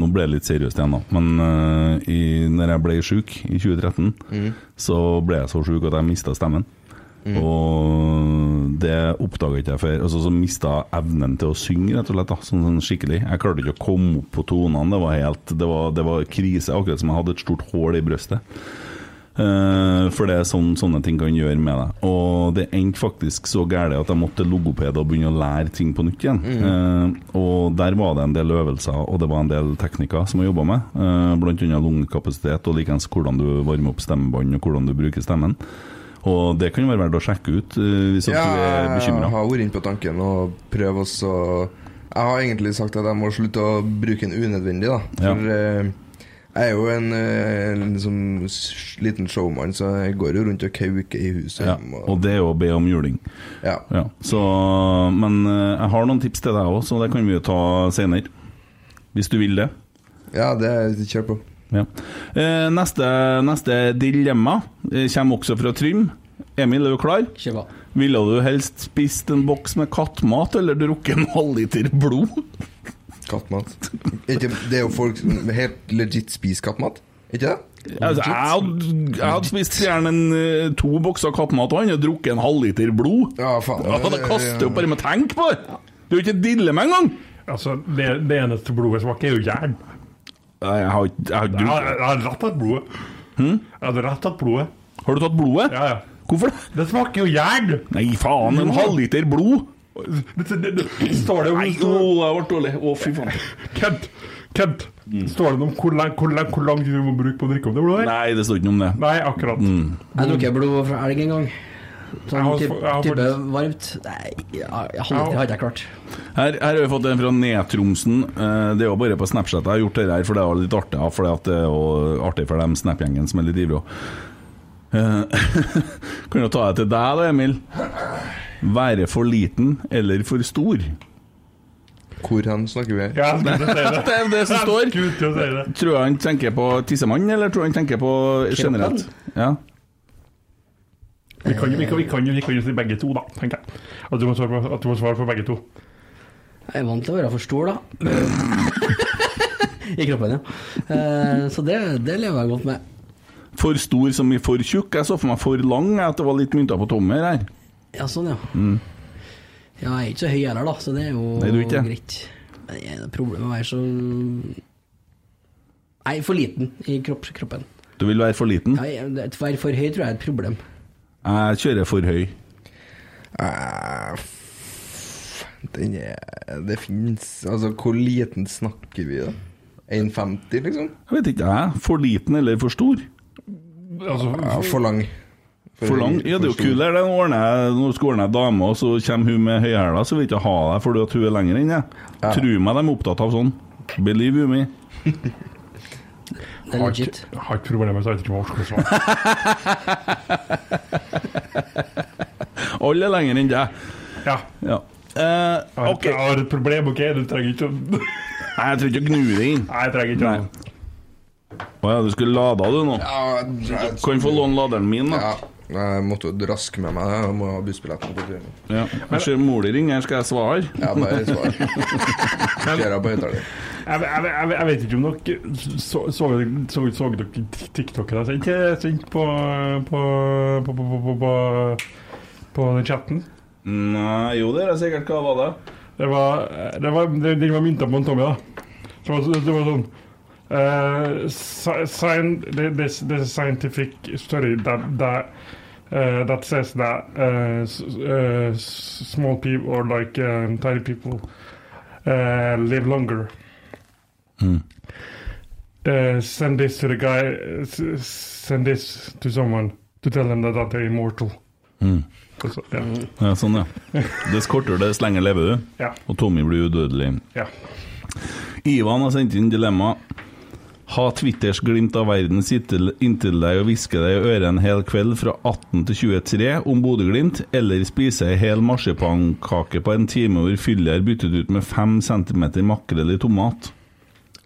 [SPEAKER 5] Nå ble jeg litt seriøst igjen, da. Men eh, i, når jeg ble sjuk i 2013,
[SPEAKER 3] Mm.
[SPEAKER 5] så ble jeg så sjuk at jeg mista stemmen.
[SPEAKER 3] Mm.
[SPEAKER 5] Og det oppdaga ikke jeg før. Altså, så mista jeg evnen til å synge, rett og slett. Da. Sånn, sånn skikkelig. Jeg klarte ikke å komme opp på tonene. Det var, helt, det, var, det var krise. Akkurat som jeg hadde et stort hull i brøstet. Eh, for det er sånn, sånne ting kan gjøre med deg. Og det endte faktisk så gærent at jeg måtte til logoped og begynne å lære ting på nytt igjen. Eh, og der var det en del øvelser, og det var en del teknikker som jeg jobba med. Uh, blant annet lungekapasitet, og likeens hvordan du varmer opp stemmebånd, og hvordan du bruker stemmen. Og det kan jo være verdt å sjekke ut eh, hvis at du er bekymra.
[SPEAKER 9] jeg har vært inne på tanken og prøve også Jeg har egentlig sagt at jeg må slutte å bruke den unødvendig, da.
[SPEAKER 5] Ja.
[SPEAKER 9] For eh, jeg er jo en, eh, en liksom, s- liten showman, så jeg går jo rundt og kauker i huset.
[SPEAKER 5] Ja,
[SPEAKER 9] hjemme, og-
[SPEAKER 5] og det er jo å be om juling.
[SPEAKER 9] Ja.
[SPEAKER 5] så, men eh, jeg har noen tips til deg òg, så det kan vi jo ta senere. Hvis du vil det.
[SPEAKER 9] Ja, det kjør på.
[SPEAKER 5] Ja. Eh, neste, neste dilemma eh, kommer også fra Trym. Emil, er du klar? Ville du helst spist en boks med kattmat eller drukket en halvliter blod?
[SPEAKER 9] Kattmat. Ikke- Det er jo folk som helt legit spiser kattmat, ikke det?
[SPEAKER 5] Altså, jeg, hadde, jeg hadde spist gjerne en, eh, to bokser kattmat og han hadde drukket en halvliter blod.
[SPEAKER 9] Ja, faen.
[SPEAKER 5] Ja, det kaster jo bare med tenk på det! Det er jo ikke et dilemma engang!
[SPEAKER 8] Altså, det, det eneste blodet smaker, er jo jern.
[SPEAKER 5] Jeg har ikke Jeg har
[SPEAKER 8] Jeg har jeg har rett tatt blodet. Jeg hadde rett tatt blodet.
[SPEAKER 5] Har du tatt blodet?
[SPEAKER 8] Ja, ja.
[SPEAKER 5] Hvorfor det?
[SPEAKER 8] Det smaker jo jern!
[SPEAKER 5] Nei, faen, en
[SPEAKER 8] Jo.
[SPEAKER 5] halvliter blod!
[SPEAKER 8] Det, det, det, står det jo
[SPEAKER 5] Nei, å, jeg ble dårlig. Å, fy faen.
[SPEAKER 8] Kent, Kent, står det noe om hvor lang, hvor, lang, hvor lang tid du må bruke på å drikke om det blodet?
[SPEAKER 5] Nei, Mm. det står ikke noe om det.
[SPEAKER 8] Nei, akkurat.
[SPEAKER 7] Jeg drukket blod fra elg en gang.
[SPEAKER 8] Mm. Jeg har
[SPEAKER 7] Sånn typ-
[SPEAKER 8] fått- jeg har fått-
[SPEAKER 7] type varmt. Nei, jeg halvliter har ikke jeg klart.
[SPEAKER 5] Her, her har vi fått en fra Nedtromsen. Eh, Det er jo bare på Snapchat jeg har gjort det her, for det er jo litt artig. ja, Fordi at det er jo artig for dem Snap-gjengen som er litt ivrige. Eh, kan jo ta det til deg da, Emil. Være for liten eller for stor?
[SPEAKER 9] Hvor hen snakker vi?
[SPEAKER 8] Ja, jeg skulle til å si det.
[SPEAKER 5] Det er jo det som står.
[SPEAKER 8] Jeg skulle til å si det.
[SPEAKER 5] Tror du han tenker på tissemann, eller tror du han tenker på generelt? Ja.
[SPEAKER 8] Vi kan jo vi kan, vi kan, jo- vi kan jo si begge to, da, tenker jeg. At du må svare på, at du må svare på begge to.
[SPEAKER 7] Jeg er vant til å være for stor, da. I kroppen, ja. Eh, Så det, det lever jeg godt med.
[SPEAKER 5] For stor som i for tjukk? Jeg så for meg for lang, jeg, at det var litt mynter på tommer her.
[SPEAKER 7] Ja, sånn, ja.
[SPEAKER 5] Mm.
[SPEAKER 7] Ja, Jeg er ikke så høy heller, da, så det er jo
[SPEAKER 5] Nei, du er ikke det.
[SPEAKER 7] greit. Men det er noe problem med å være så Nei, for liten i kropp, kroppen.
[SPEAKER 5] Du vil være for liten?
[SPEAKER 7] Ja, jeg- det- å Være for høy tror jeg er et problem.
[SPEAKER 5] Jeg kjører for høy.
[SPEAKER 9] Eh, Den er, det fins Altså, hvor liten snakker vi, da? 1,50, liksom?
[SPEAKER 5] Jeg vet ikke, jeg. For liten eller for stor?
[SPEAKER 8] Altså,
[SPEAKER 9] Ja, for lang.
[SPEAKER 5] For lang? Ja, det er jo kulere. det. Nå ordner jeg- Nå skal jeg ordne ei dame, og så kommer hun med høyhæla, så vil jeg ikke ha deg fordi at hun er lenger enn deg. Tro meg, de er opptatt av sånn. Believe you me.
[SPEAKER 7] det er
[SPEAKER 8] Har
[SPEAKER 7] legit.
[SPEAKER 8] ikke- Har ikke problemer med sartremål.
[SPEAKER 5] Alle er lenger enn deg.
[SPEAKER 8] Ja.
[SPEAKER 5] Eh,
[SPEAKER 8] ok. Jeg har et problem, OK? Du trenger ikke å Nei,
[SPEAKER 5] jeg trenger ikke å gnu det inn.
[SPEAKER 8] Nei, jeg trenger ikke å
[SPEAKER 5] Å ja, du skulle lada du nå? Kan få låne laderen min, da.
[SPEAKER 9] Jeg måtte jo raske med meg. Jeg må ha bussbilletten på turen.
[SPEAKER 5] Ja. Jeg ser mor di ringer, skal jeg svare?
[SPEAKER 9] Ja, bare svar. Kjører på høyttaler.
[SPEAKER 8] Jeg, jeg, jeg, jeg vet ikke om dere så, så, så, så dere TikTok-en jeg sendte sendt på, på, på, på, på, på, på, på den chatten?
[SPEAKER 5] Nei, jo, det er sikkert hva var det?
[SPEAKER 8] Det var, det var, det, den var mynta på en Tommy, da. Så det var, det var sånn eh, sci- scien- the, the, the scientific study that, that, eh, that says that eh, s- eh, s- small people or like eh, tiny people eh, live longer.
[SPEAKER 5] Mm,
[SPEAKER 8] uh, send this to the guy, uh, s- s- send this to someone to tell them that, that they're immortal.
[SPEAKER 5] Mm.
[SPEAKER 8] Og så- ja.
[SPEAKER 5] Ja, sånn, ja. Dess kortere, dess lenger lever du.
[SPEAKER 8] Ja.
[SPEAKER 5] Og Tommy blir udødelig.
[SPEAKER 8] Ja.
[SPEAKER 5] Ivan har sendt inn dilemma. Ha Twitters glimt av verden sitte- inntil deg og hviske deg i øret en hel kveld fra 18 til 23 om Bodø-Glimt, eller spise ei hel marsipankake på en time hvor fyllet er byttet ut med 5 cm makrell i tomat.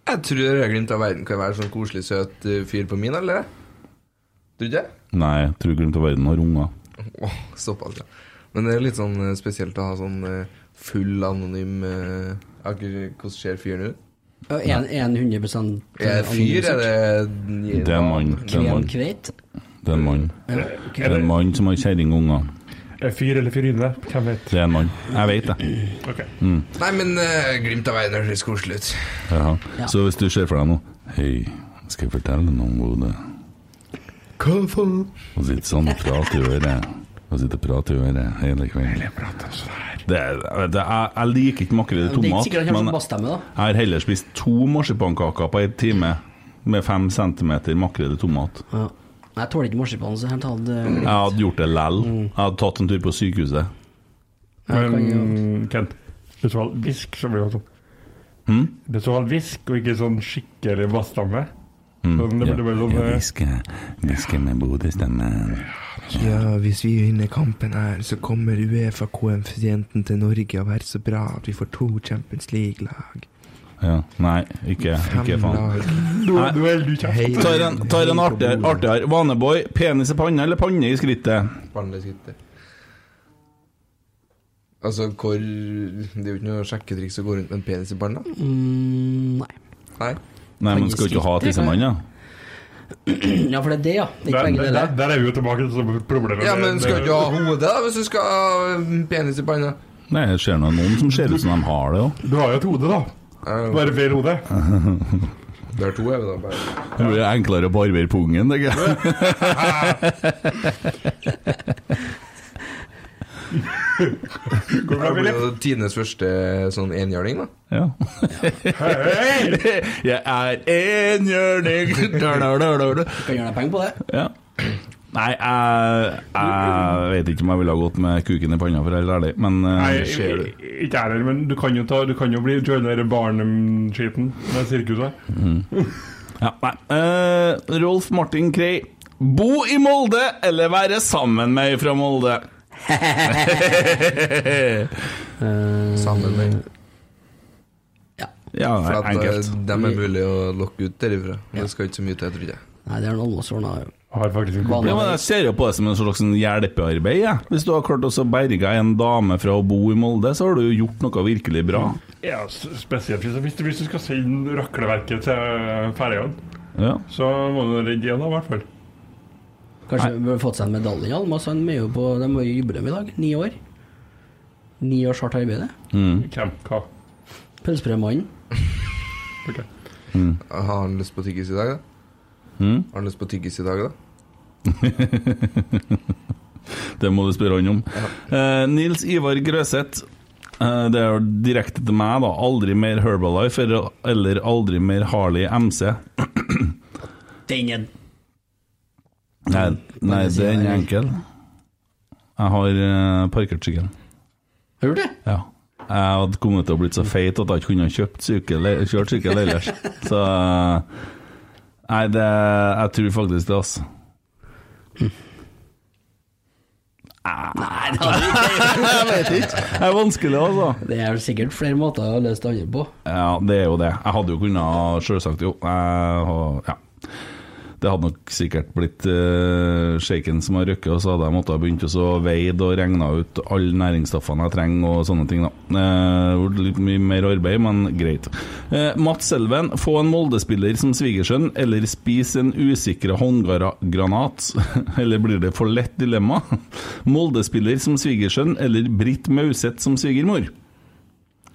[SPEAKER 9] Jeg tror Rødglimt av verden kan være sånn koselig, søt eh, fyr på min, eller? Tror du ikke?
[SPEAKER 5] Nei, jeg tror Glimt av verden har unger.
[SPEAKER 9] Åh, Såpass, ja. Men det er litt sånn eh, spesielt å ha sånn eh, full anonym eh, jeg vet ikke Hvordan ser fyren ut?
[SPEAKER 7] Ja, En, en eh, 100
[SPEAKER 9] Er det fyr, er det
[SPEAKER 5] Det er en mann. Det er en mann.
[SPEAKER 7] Kveit?
[SPEAKER 5] Det er en mann.
[SPEAKER 7] Ja, ok.
[SPEAKER 5] Det er en mann som har kjerring og unger.
[SPEAKER 8] Er Fyr eller fyrinne? Hvem vet?
[SPEAKER 5] Det er en mann. Jeg vet det.
[SPEAKER 8] Ok.
[SPEAKER 5] Mm.
[SPEAKER 9] Nei, men eh, Glimt av verden høres koselig ut.
[SPEAKER 5] Jaha.
[SPEAKER 9] Ja.
[SPEAKER 5] Så hvis du ser for deg nå Hei, skal jeg fortelle deg noe om Bodø?
[SPEAKER 9] Hva faen?
[SPEAKER 5] Og sitte sånn og prate i øret. Og sitte og prate i øret hele kvelden. Det, er- vet du, jeg, jeg liker ikke makrell i
[SPEAKER 7] Det er ikke
[SPEAKER 5] tomat,
[SPEAKER 7] sikkert han kommer
[SPEAKER 5] men
[SPEAKER 7] til å bestemme, da.
[SPEAKER 5] jeg har heller spist to marsipankaker på en time med fem centimeter makrell i tomat.
[SPEAKER 7] Ja. Jeg tåler ikke marsipan, så jeg tar det
[SPEAKER 5] Jeg hadde gjort det lell.
[SPEAKER 7] Mm.
[SPEAKER 5] Jeg hadde tatt en tur på sykehuset.
[SPEAKER 8] Men Kent, du så all visk, så blir det sånn. Du så all visk, og ikke sånn skikkelig bassstamme. Sånn, det blir bare sånn, eh,
[SPEAKER 5] Mm. Hviske med Bodø-stemmen.
[SPEAKER 6] Ja, hvis vi vinner kampen her, så kommer Uefa-koeffisienten til Norge å være så bra at vi får to Champions League-lag.
[SPEAKER 5] Ja. Nei, ikke, ikke
[SPEAKER 6] Fem lag.
[SPEAKER 5] faen.
[SPEAKER 8] Du, du er du
[SPEAKER 6] Hei.
[SPEAKER 5] Tar en, tar en artigere. artigere. Vaneboy, penis i panna eller panne i skrittet?
[SPEAKER 9] Vanlig skritter. Altså, hvor Det er jo ikke noe sjekketriks å gå rundt med en penis i panna.
[SPEAKER 7] Mm, nei.
[SPEAKER 9] Nei.
[SPEAKER 5] Nei, men skal du ikke ha tissemann, da?
[SPEAKER 7] Ja, for det er det, ja. Det er ikke
[SPEAKER 8] Der,
[SPEAKER 7] begge
[SPEAKER 8] der,
[SPEAKER 7] deler.
[SPEAKER 8] der, der er vi jo tilbake til problemet.
[SPEAKER 9] Ja,
[SPEAKER 8] med-
[SPEAKER 9] men skal du
[SPEAKER 8] med-
[SPEAKER 9] ikke ha hodet da, hvis du skal ha en penis i panna?
[SPEAKER 5] Nei, jeg ser noen, noen som ser ut som de har det òg.
[SPEAKER 8] Du har jo et hode, da. Bare feil hode.
[SPEAKER 9] Det er to, jeg vet da. bare.
[SPEAKER 5] Det blir enklere å barbere pungen, tenker jeg.
[SPEAKER 9] Det blir jo tidenes første sånn enhjørning, da.
[SPEAKER 5] Ja. Jeg er enhjørning Da, da, da, da, da.
[SPEAKER 7] Du kan gjøre deg penger på det.
[SPEAKER 5] Ja. Nei, jeg, jeg vet ikke om jeg ville ha gått med kuken i panna, for å være ærlig, men eh,
[SPEAKER 8] Nei,
[SPEAKER 5] det ser du.
[SPEAKER 8] ikke jeg heller, men du kan jo, ta, du kan jo bli joiner barneskiten med sirkuset.
[SPEAKER 5] Mm. Ja, nei. Eh, Rolf Martin Krei. Bo i Molde eller være sammen med ei fra Molde?
[SPEAKER 9] Sammen med
[SPEAKER 5] Ja,
[SPEAKER 9] For at
[SPEAKER 5] enkelt.
[SPEAKER 9] eh, dem er mulig å lokke ut derifra. Det skal ikke så mye til, tror jeg.
[SPEAKER 7] Nei, det er noen også ordna.
[SPEAKER 8] Har faktisk
[SPEAKER 5] Ja, men jeg ser jo på det som en slags sånn hjelpearbeid. jeg. Hvis du har klart også å berge en dame fra å bo i Molde, så har du jo gjort noe virkelig bra.
[SPEAKER 8] Ja, s- spesielt hvis, hvis, du, hvis du skal sende rakleverket til ferjene,
[SPEAKER 5] Ja.
[SPEAKER 8] så må du redde igjen, da, i hvert fall.
[SPEAKER 7] Kanskje vi burde fått seg en medalje, Almas. Han er jo på De har jo jubileum i dag. Ni år. Ni års hardt arbeid. det.
[SPEAKER 8] Hvem? Hva?
[SPEAKER 7] Pølsebrødmannen.
[SPEAKER 9] Har han lyst på tyggis i dag, da?
[SPEAKER 5] Mm.
[SPEAKER 9] Har han lyst på tyggis i dag, da?
[SPEAKER 5] Det må du spørre han om. Eh, Nils Ivar Grøseth. eh, det er jo direkte til meg, da. Aldri mer Herbalife eller- eller aldri mer Harley MC.
[SPEAKER 7] Den er
[SPEAKER 5] Nei, nei den er enkel. Jeg har eh, parkert sykkelen.
[SPEAKER 7] Har du det?
[SPEAKER 5] Ja. Jeg hadde kommet til å blitt så feit at jeg ikke kunne ha kjøpt sykkel, kjørt sykkel ellers. Så eh, Nei, det, jeg tror faktisk det, altså. Ah,
[SPEAKER 7] Nei, det hadde jeg ikke. Jeg vet ikke.
[SPEAKER 5] Det er vanskelig, altså.
[SPEAKER 7] Det er vel sikkert flere måter å løse det andre på.
[SPEAKER 5] Ja, det er jo det. Jeg hadde jo kunnet Selvsagt, jo. Jeg, har- ja. Det hadde nok sikkert blitt eh, shaken som har røkket, og så hadde jeg måttet ha begynt å så veid og regna ut alle næringsstoffene jeg trenger og sånne ting, da. Eh, det ble litt mye mer arbeid, men greit. Eh, Mats Selven, få en Molde-spiller som svigersønn, eller spis en usikre håndgranat. eller blir det for lett dilemma? Molde-spiller som svigersønn, eller Britt Mauseth som svigermor?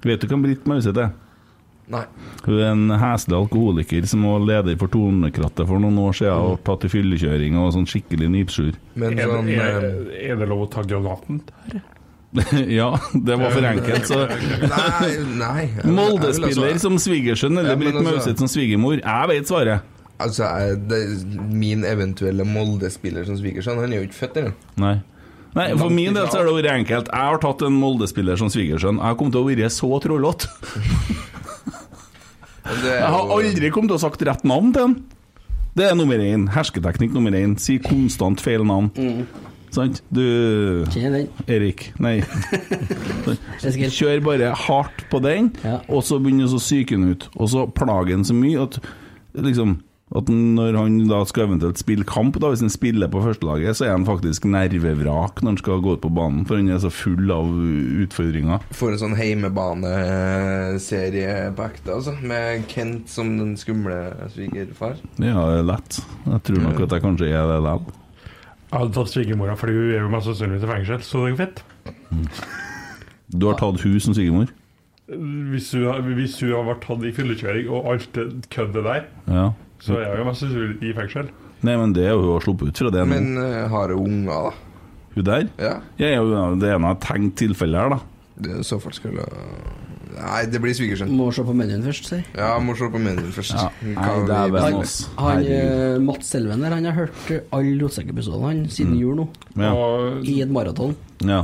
[SPEAKER 5] Vet du hvem Britt Mauseth er?
[SPEAKER 9] Nei.
[SPEAKER 5] Hun er en heslig alkoholiker som var leder for Tornekrattet for noen år siden og tatt i fyllekjøring og sånn skikkelig nipsjur.
[SPEAKER 9] Men
[SPEAKER 8] er,
[SPEAKER 9] sånn
[SPEAKER 8] er,
[SPEAKER 9] eh,
[SPEAKER 8] er det lov å ta granaten?
[SPEAKER 5] ja, det var for enkelt, så
[SPEAKER 9] Nei, nei. jeg- jeg vil
[SPEAKER 5] Molde-spiller
[SPEAKER 9] altså-
[SPEAKER 5] som svigersønn eller
[SPEAKER 9] Ja, men
[SPEAKER 5] Britt
[SPEAKER 9] altså-
[SPEAKER 5] Mauseth som svigermor? Jeg vet svaret.
[SPEAKER 9] Altså, jeg- det, Min eventuelle Molde-spiller som svigersønn, han er jo ikke født ennå.
[SPEAKER 5] Nei. Nei, For min del så er det vært enkelt. Jeg har tatt en Molde-spiller som svigersønn. Jeg kom til å være så trollete. Jeg har aldri kommet til å sagt rett navn til han. Det er nummer én. Hersketeknikk nummer én. Si konstant feil navn.
[SPEAKER 9] Mm.
[SPEAKER 5] Sant? Du
[SPEAKER 7] Kjenner den.
[SPEAKER 5] Erik, nei.
[SPEAKER 7] Det er sikkert
[SPEAKER 5] Kjør bare hardt på den,
[SPEAKER 7] Ja.
[SPEAKER 5] og så begynner så å psyke han ut. Og så plager han så mye at liksom at når han da skal eventuelt spille kamp, da, hvis han spiller på førstelaget, så er han faktisk nervevrak når han skal gå ut på banen, for han er så full av utfordringer.
[SPEAKER 9] Får en sånn heimebaneserie på ekte, altså. Med Kent som den skumle svigerfar.
[SPEAKER 5] Ja, det er lett. Jeg tror nok at jeg kanskje er det likevel.
[SPEAKER 8] Jeg hadde tatt svigermora, fordi hun er jo mest sannsynlig i fengsel, så det er jo fett.
[SPEAKER 5] Du har tatt hun som svigermor?
[SPEAKER 8] Hvis hun, har- hvis hun har vært tatt i fyllekjøring og alt det køddet der,
[SPEAKER 5] Ja.
[SPEAKER 8] så er hun jo mest sannsynlig i fengsel.
[SPEAKER 5] Nei, men det er jo hun har sluppet ut fra det nå.
[SPEAKER 9] Men eh, har hun unger, da?
[SPEAKER 5] Hun der?
[SPEAKER 9] Ja.
[SPEAKER 5] Ja, ja, det er noe tenkt tilfelle her, da.
[SPEAKER 9] Det er I så fall skulle Nei, det blir svigersønn.
[SPEAKER 7] Må se på menyen først, sier jeg.
[SPEAKER 9] Ja, må se på menyen først.
[SPEAKER 5] Ja. Nei,
[SPEAKER 9] Hva vi-
[SPEAKER 5] dæven.
[SPEAKER 7] Han,
[SPEAKER 5] Oss.
[SPEAKER 7] han
[SPEAKER 5] Herregud.
[SPEAKER 7] eh, Mats Selven der, han har hørt alle Rotsekk-episodene han
[SPEAKER 5] Mm.
[SPEAKER 7] siden jul nå,
[SPEAKER 5] Ja.
[SPEAKER 8] Og
[SPEAKER 7] i et maraton.
[SPEAKER 5] Ja.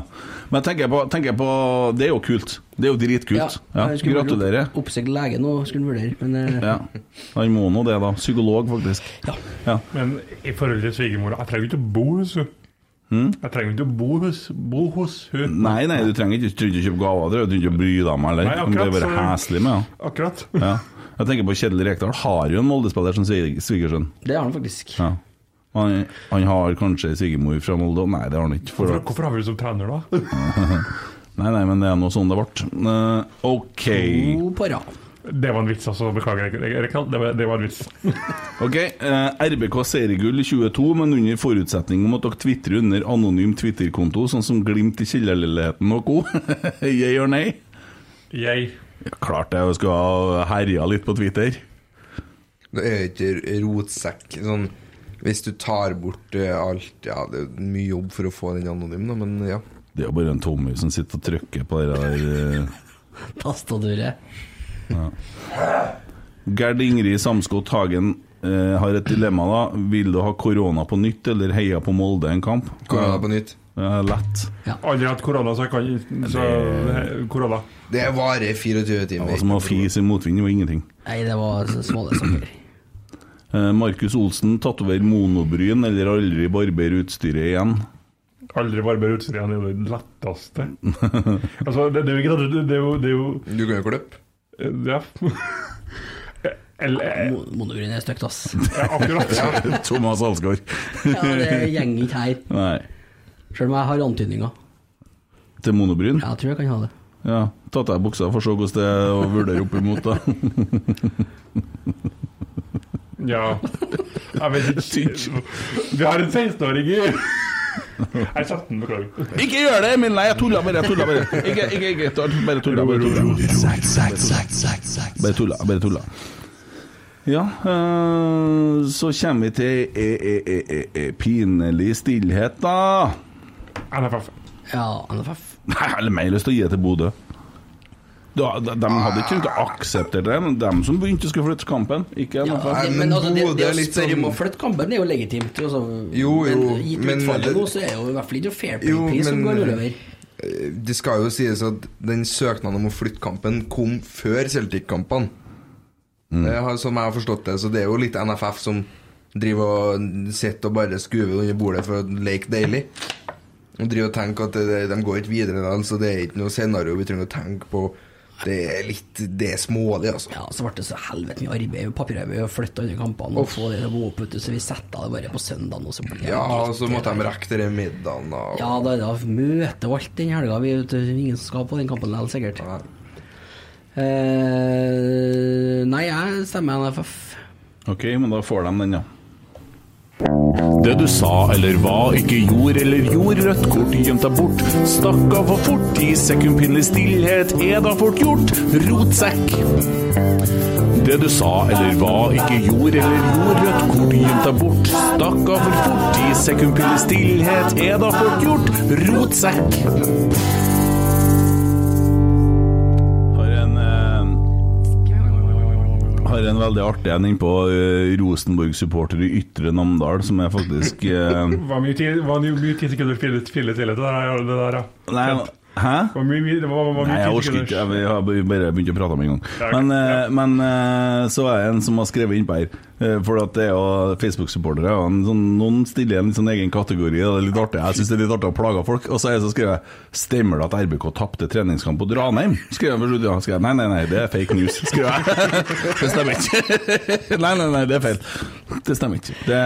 [SPEAKER 5] Men tenker jeg, på, tenker jeg på Det er jo kult. Det er jo dritkult. Ja.
[SPEAKER 7] han skulle
[SPEAKER 5] Gratulerer.
[SPEAKER 7] vurdere- Oppsøkt lege nå, skulle han vurdere, men eh,
[SPEAKER 5] Ja. Han må nå det, da. Psykolog, faktisk.
[SPEAKER 7] Ja.
[SPEAKER 8] Men i forhold til svigermora Jeg trenger ikke å bo hos henne.
[SPEAKER 9] Hm?
[SPEAKER 8] Jeg trenger ikke å bo hos, bo hos hun
[SPEAKER 5] Nei, nei, du trenger ikke, du trenger ikke kjøpe gaver. Du trenger ikke å bry deg om eller.
[SPEAKER 8] Nei, akkurat,
[SPEAKER 5] Men det er bare
[SPEAKER 8] så-
[SPEAKER 5] heslig med,
[SPEAKER 8] Akkurat.
[SPEAKER 5] ja. ja. Jeg tenker på Kjedel Rekdal. Har jo en Molde-spiller som svig- svigersønn.
[SPEAKER 7] det har han faktisk.
[SPEAKER 5] Ja. Han, han har kanskje svigermor fra Molde? Nei, det har han ikke. For
[SPEAKER 8] Hvorfor, hvorfor har vi henne som trener, da?
[SPEAKER 5] Nei, nei, men det er nå sånn det ble. Eh, OK.
[SPEAKER 7] God på rad.
[SPEAKER 8] Det var en vits, altså. Beklager, Erik- Erik. Det var, det var en vits.
[SPEAKER 5] Ok, eh, RBK seriegull i 22, men under forutsetning om at dere tvitrer under anonym Twitter-konto, sånn som Glimt i kjellerleiligheten og co. Yay or nay?
[SPEAKER 8] Jeg
[SPEAKER 5] Ja, klart jeg skulle ha herja litt på Twitter.
[SPEAKER 9] Det er ikke rotsekk sånn Hvis du tar bort eh, alt Ja, det er jo mye jobb for å få den anonym, da, men ja.
[SPEAKER 5] Det er jo bare en Tommy som sitter og trykker på det der eh.
[SPEAKER 7] Tastaturet.
[SPEAKER 5] Gerd Ingrid Samskott Hagen eh, har et dilemma, da. Vil du ha korona på nytt, eller heia på Molde en kamp?
[SPEAKER 9] Korona på nytt.
[SPEAKER 5] Ja, lett.
[SPEAKER 8] aldri hatt korona, så jeg kan så, Korona.
[SPEAKER 9] Det varer i 24
[SPEAKER 5] Det
[SPEAKER 9] timer.
[SPEAKER 5] var som å fise i motvind, det var ingenting.
[SPEAKER 7] Nei, det var så smale saker.
[SPEAKER 5] Eh, Markus Olsen, tatover monobryn eller aldri barbere utstyret igjen?
[SPEAKER 8] Aldri barber utstyret igjen. Det er det letteste. Altså, det, det er jo ikke det, det er jo, det er jo
[SPEAKER 9] Du kan jo klippe.
[SPEAKER 8] eh, Ja. Eller eh,
[SPEAKER 7] Mo- Monobryn er stygt, ass.
[SPEAKER 8] ja, Akkurat.
[SPEAKER 5] Thomas Alsgaard.
[SPEAKER 7] Ja, det gjenger ikke her.
[SPEAKER 5] Nei.
[SPEAKER 7] Selv om jeg har antydninger.
[SPEAKER 5] Til monobryn?
[SPEAKER 7] Jeg tror jeg kan ha det.
[SPEAKER 5] Ja. Tatt av buksa for å se hvordan det er å vurdere opp imot, da.
[SPEAKER 8] Ja. Jeg vet ikke. Vi har en 16-åring i Jeg er 17, beklager.
[SPEAKER 5] Ikke gjør det, Emil! Nei, jeg tulla bare. jeg tulla Bare Ikke, ikke, ikke. ta- Bare tulla. Bare tulla. Bare tulla. Bare tulla. Ja, eh, så kommer vi til e, e, e, e, e, pinlig stillhet, da.
[SPEAKER 8] NFF.
[SPEAKER 7] Ja, NFF.
[SPEAKER 5] Nei, jeg har mer lyst til å gi det til Bodø. Da, de, de hadde ikke kunnet akseptere det, men de som begynte å skulle flytte kampen. Ikke
[SPEAKER 7] Ja,
[SPEAKER 5] NFF.
[SPEAKER 7] det,
[SPEAKER 9] men
[SPEAKER 7] men altså, det,
[SPEAKER 9] Bodø
[SPEAKER 7] det
[SPEAKER 9] er
[SPEAKER 7] å
[SPEAKER 9] litt
[SPEAKER 7] spørre om å
[SPEAKER 9] sånn-
[SPEAKER 7] flytte kampen er jo legitimt. Altså,
[SPEAKER 9] Jo, jo,
[SPEAKER 7] men gitt
[SPEAKER 9] men-
[SPEAKER 7] utfallet nå, så er jo i hvert fall ikke noe fair
[SPEAKER 9] Jo,
[SPEAKER 7] play-pris som
[SPEAKER 9] men-
[SPEAKER 7] går utover.
[SPEAKER 9] Eh, Det skal jo sies at den søknaden om å flytte kampen kom før Celtic-kampene. Det Eh, har- som jeg har forstått det. Så det er jo litt NFF som driver og sitter og bare skuver under bordet for å leke deilig. De driver og tenker at det, de går ikke videre, da, så det er ikke noe scenario vi trenger å tenke på. Det er litt Det er smålig, altså.
[SPEAKER 7] Ja, så ble det så helvete mye arbeid med papirarbeid og flytta under kampene og få det til å gå opp, vet du, så vi setta det bare på søndagen. Og så ble det
[SPEAKER 9] Ja, og så måtte de rekke den middagen og
[SPEAKER 7] Ja, da, da møter vi alt den helga. Vi vet, ingen som skal på den kampen likevel, sikkert. Eh, nei, jeg stemmer NFF.
[SPEAKER 5] Ok, men da får de den, ja.
[SPEAKER 11] Det du sa eller hva, ikke gjorde eller gjorde, rødt kort gjemt deg bort. Stakk av for fort, i sekundpinnelig stillhet er da fort gjort. Rotsekk. Det du sa eller hva, ikke gjorde eller gjorde, rødt kort gjemt deg bort. Stakk av for fort, i sekundpinnelig stillhet er da fort gjort. Rotsekk.
[SPEAKER 5] Har en eh, Har en veldig artig en innpå eh, Rosenborg-supporter i Ytre Namdal, som er faktisk eh,
[SPEAKER 8] Hva mye tid, hva mye tid sekunder spillet, spillet til det der, det der ja.
[SPEAKER 5] Nei, hæ?
[SPEAKER 8] Hva mye, mye- det var, var, var mye
[SPEAKER 5] Nei, jeg
[SPEAKER 8] tid
[SPEAKER 5] orker
[SPEAKER 8] sekunder.
[SPEAKER 5] ikke. Jeg har bare begynt å prate om en gang.
[SPEAKER 8] Ja, ok.
[SPEAKER 5] Men, eh, men eh, så er det en som har skrevet innpå her. eh, For at det er jo Facebook-supportere. og en Sånn, noen stiller en litt sånn egen kategori. og Det er litt artig. Jeg syns det er litt artig å plage folk. Og så er det så skrevet Stemmer det at RBK tapte treningskamp på Ranheim? Skrev jeg for slutt, ja. Skrev jeg, nei, nei, nei, det er fake news. Skrev jeg. Det stemmer ikke. Nei, nei, nei, det er feil. Det stemmer ikke. Det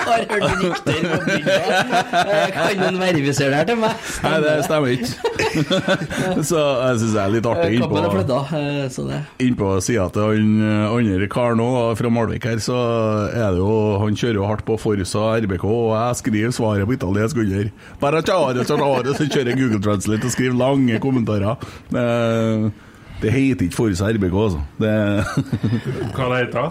[SPEAKER 7] Har hørt rykter på bygda. Eh, Kan noen verifisere det her til meg?
[SPEAKER 5] Nei, det stemmer ikke. Så jeg syns jeg er litt artig
[SPEAKER 7] Eh, Kampen er
[SPEAKER 5] innpå
[SPEAKER 7] flytta, eh, så det
[SPEAKER 5] Innpå sida til han eh, andre karen òg, fra Malvik her, så er det jo Han kjører jo hardt på Forsa RBK, og jeg skriver svaret på italiensk under. Bare tjare, tjare, tjare, Så kjører jeg Google Translate og skriver lange kommentarer. Eh, Det heter ikke Forsa RBK, altså. Det
[SPEAKER 8] Hva det heter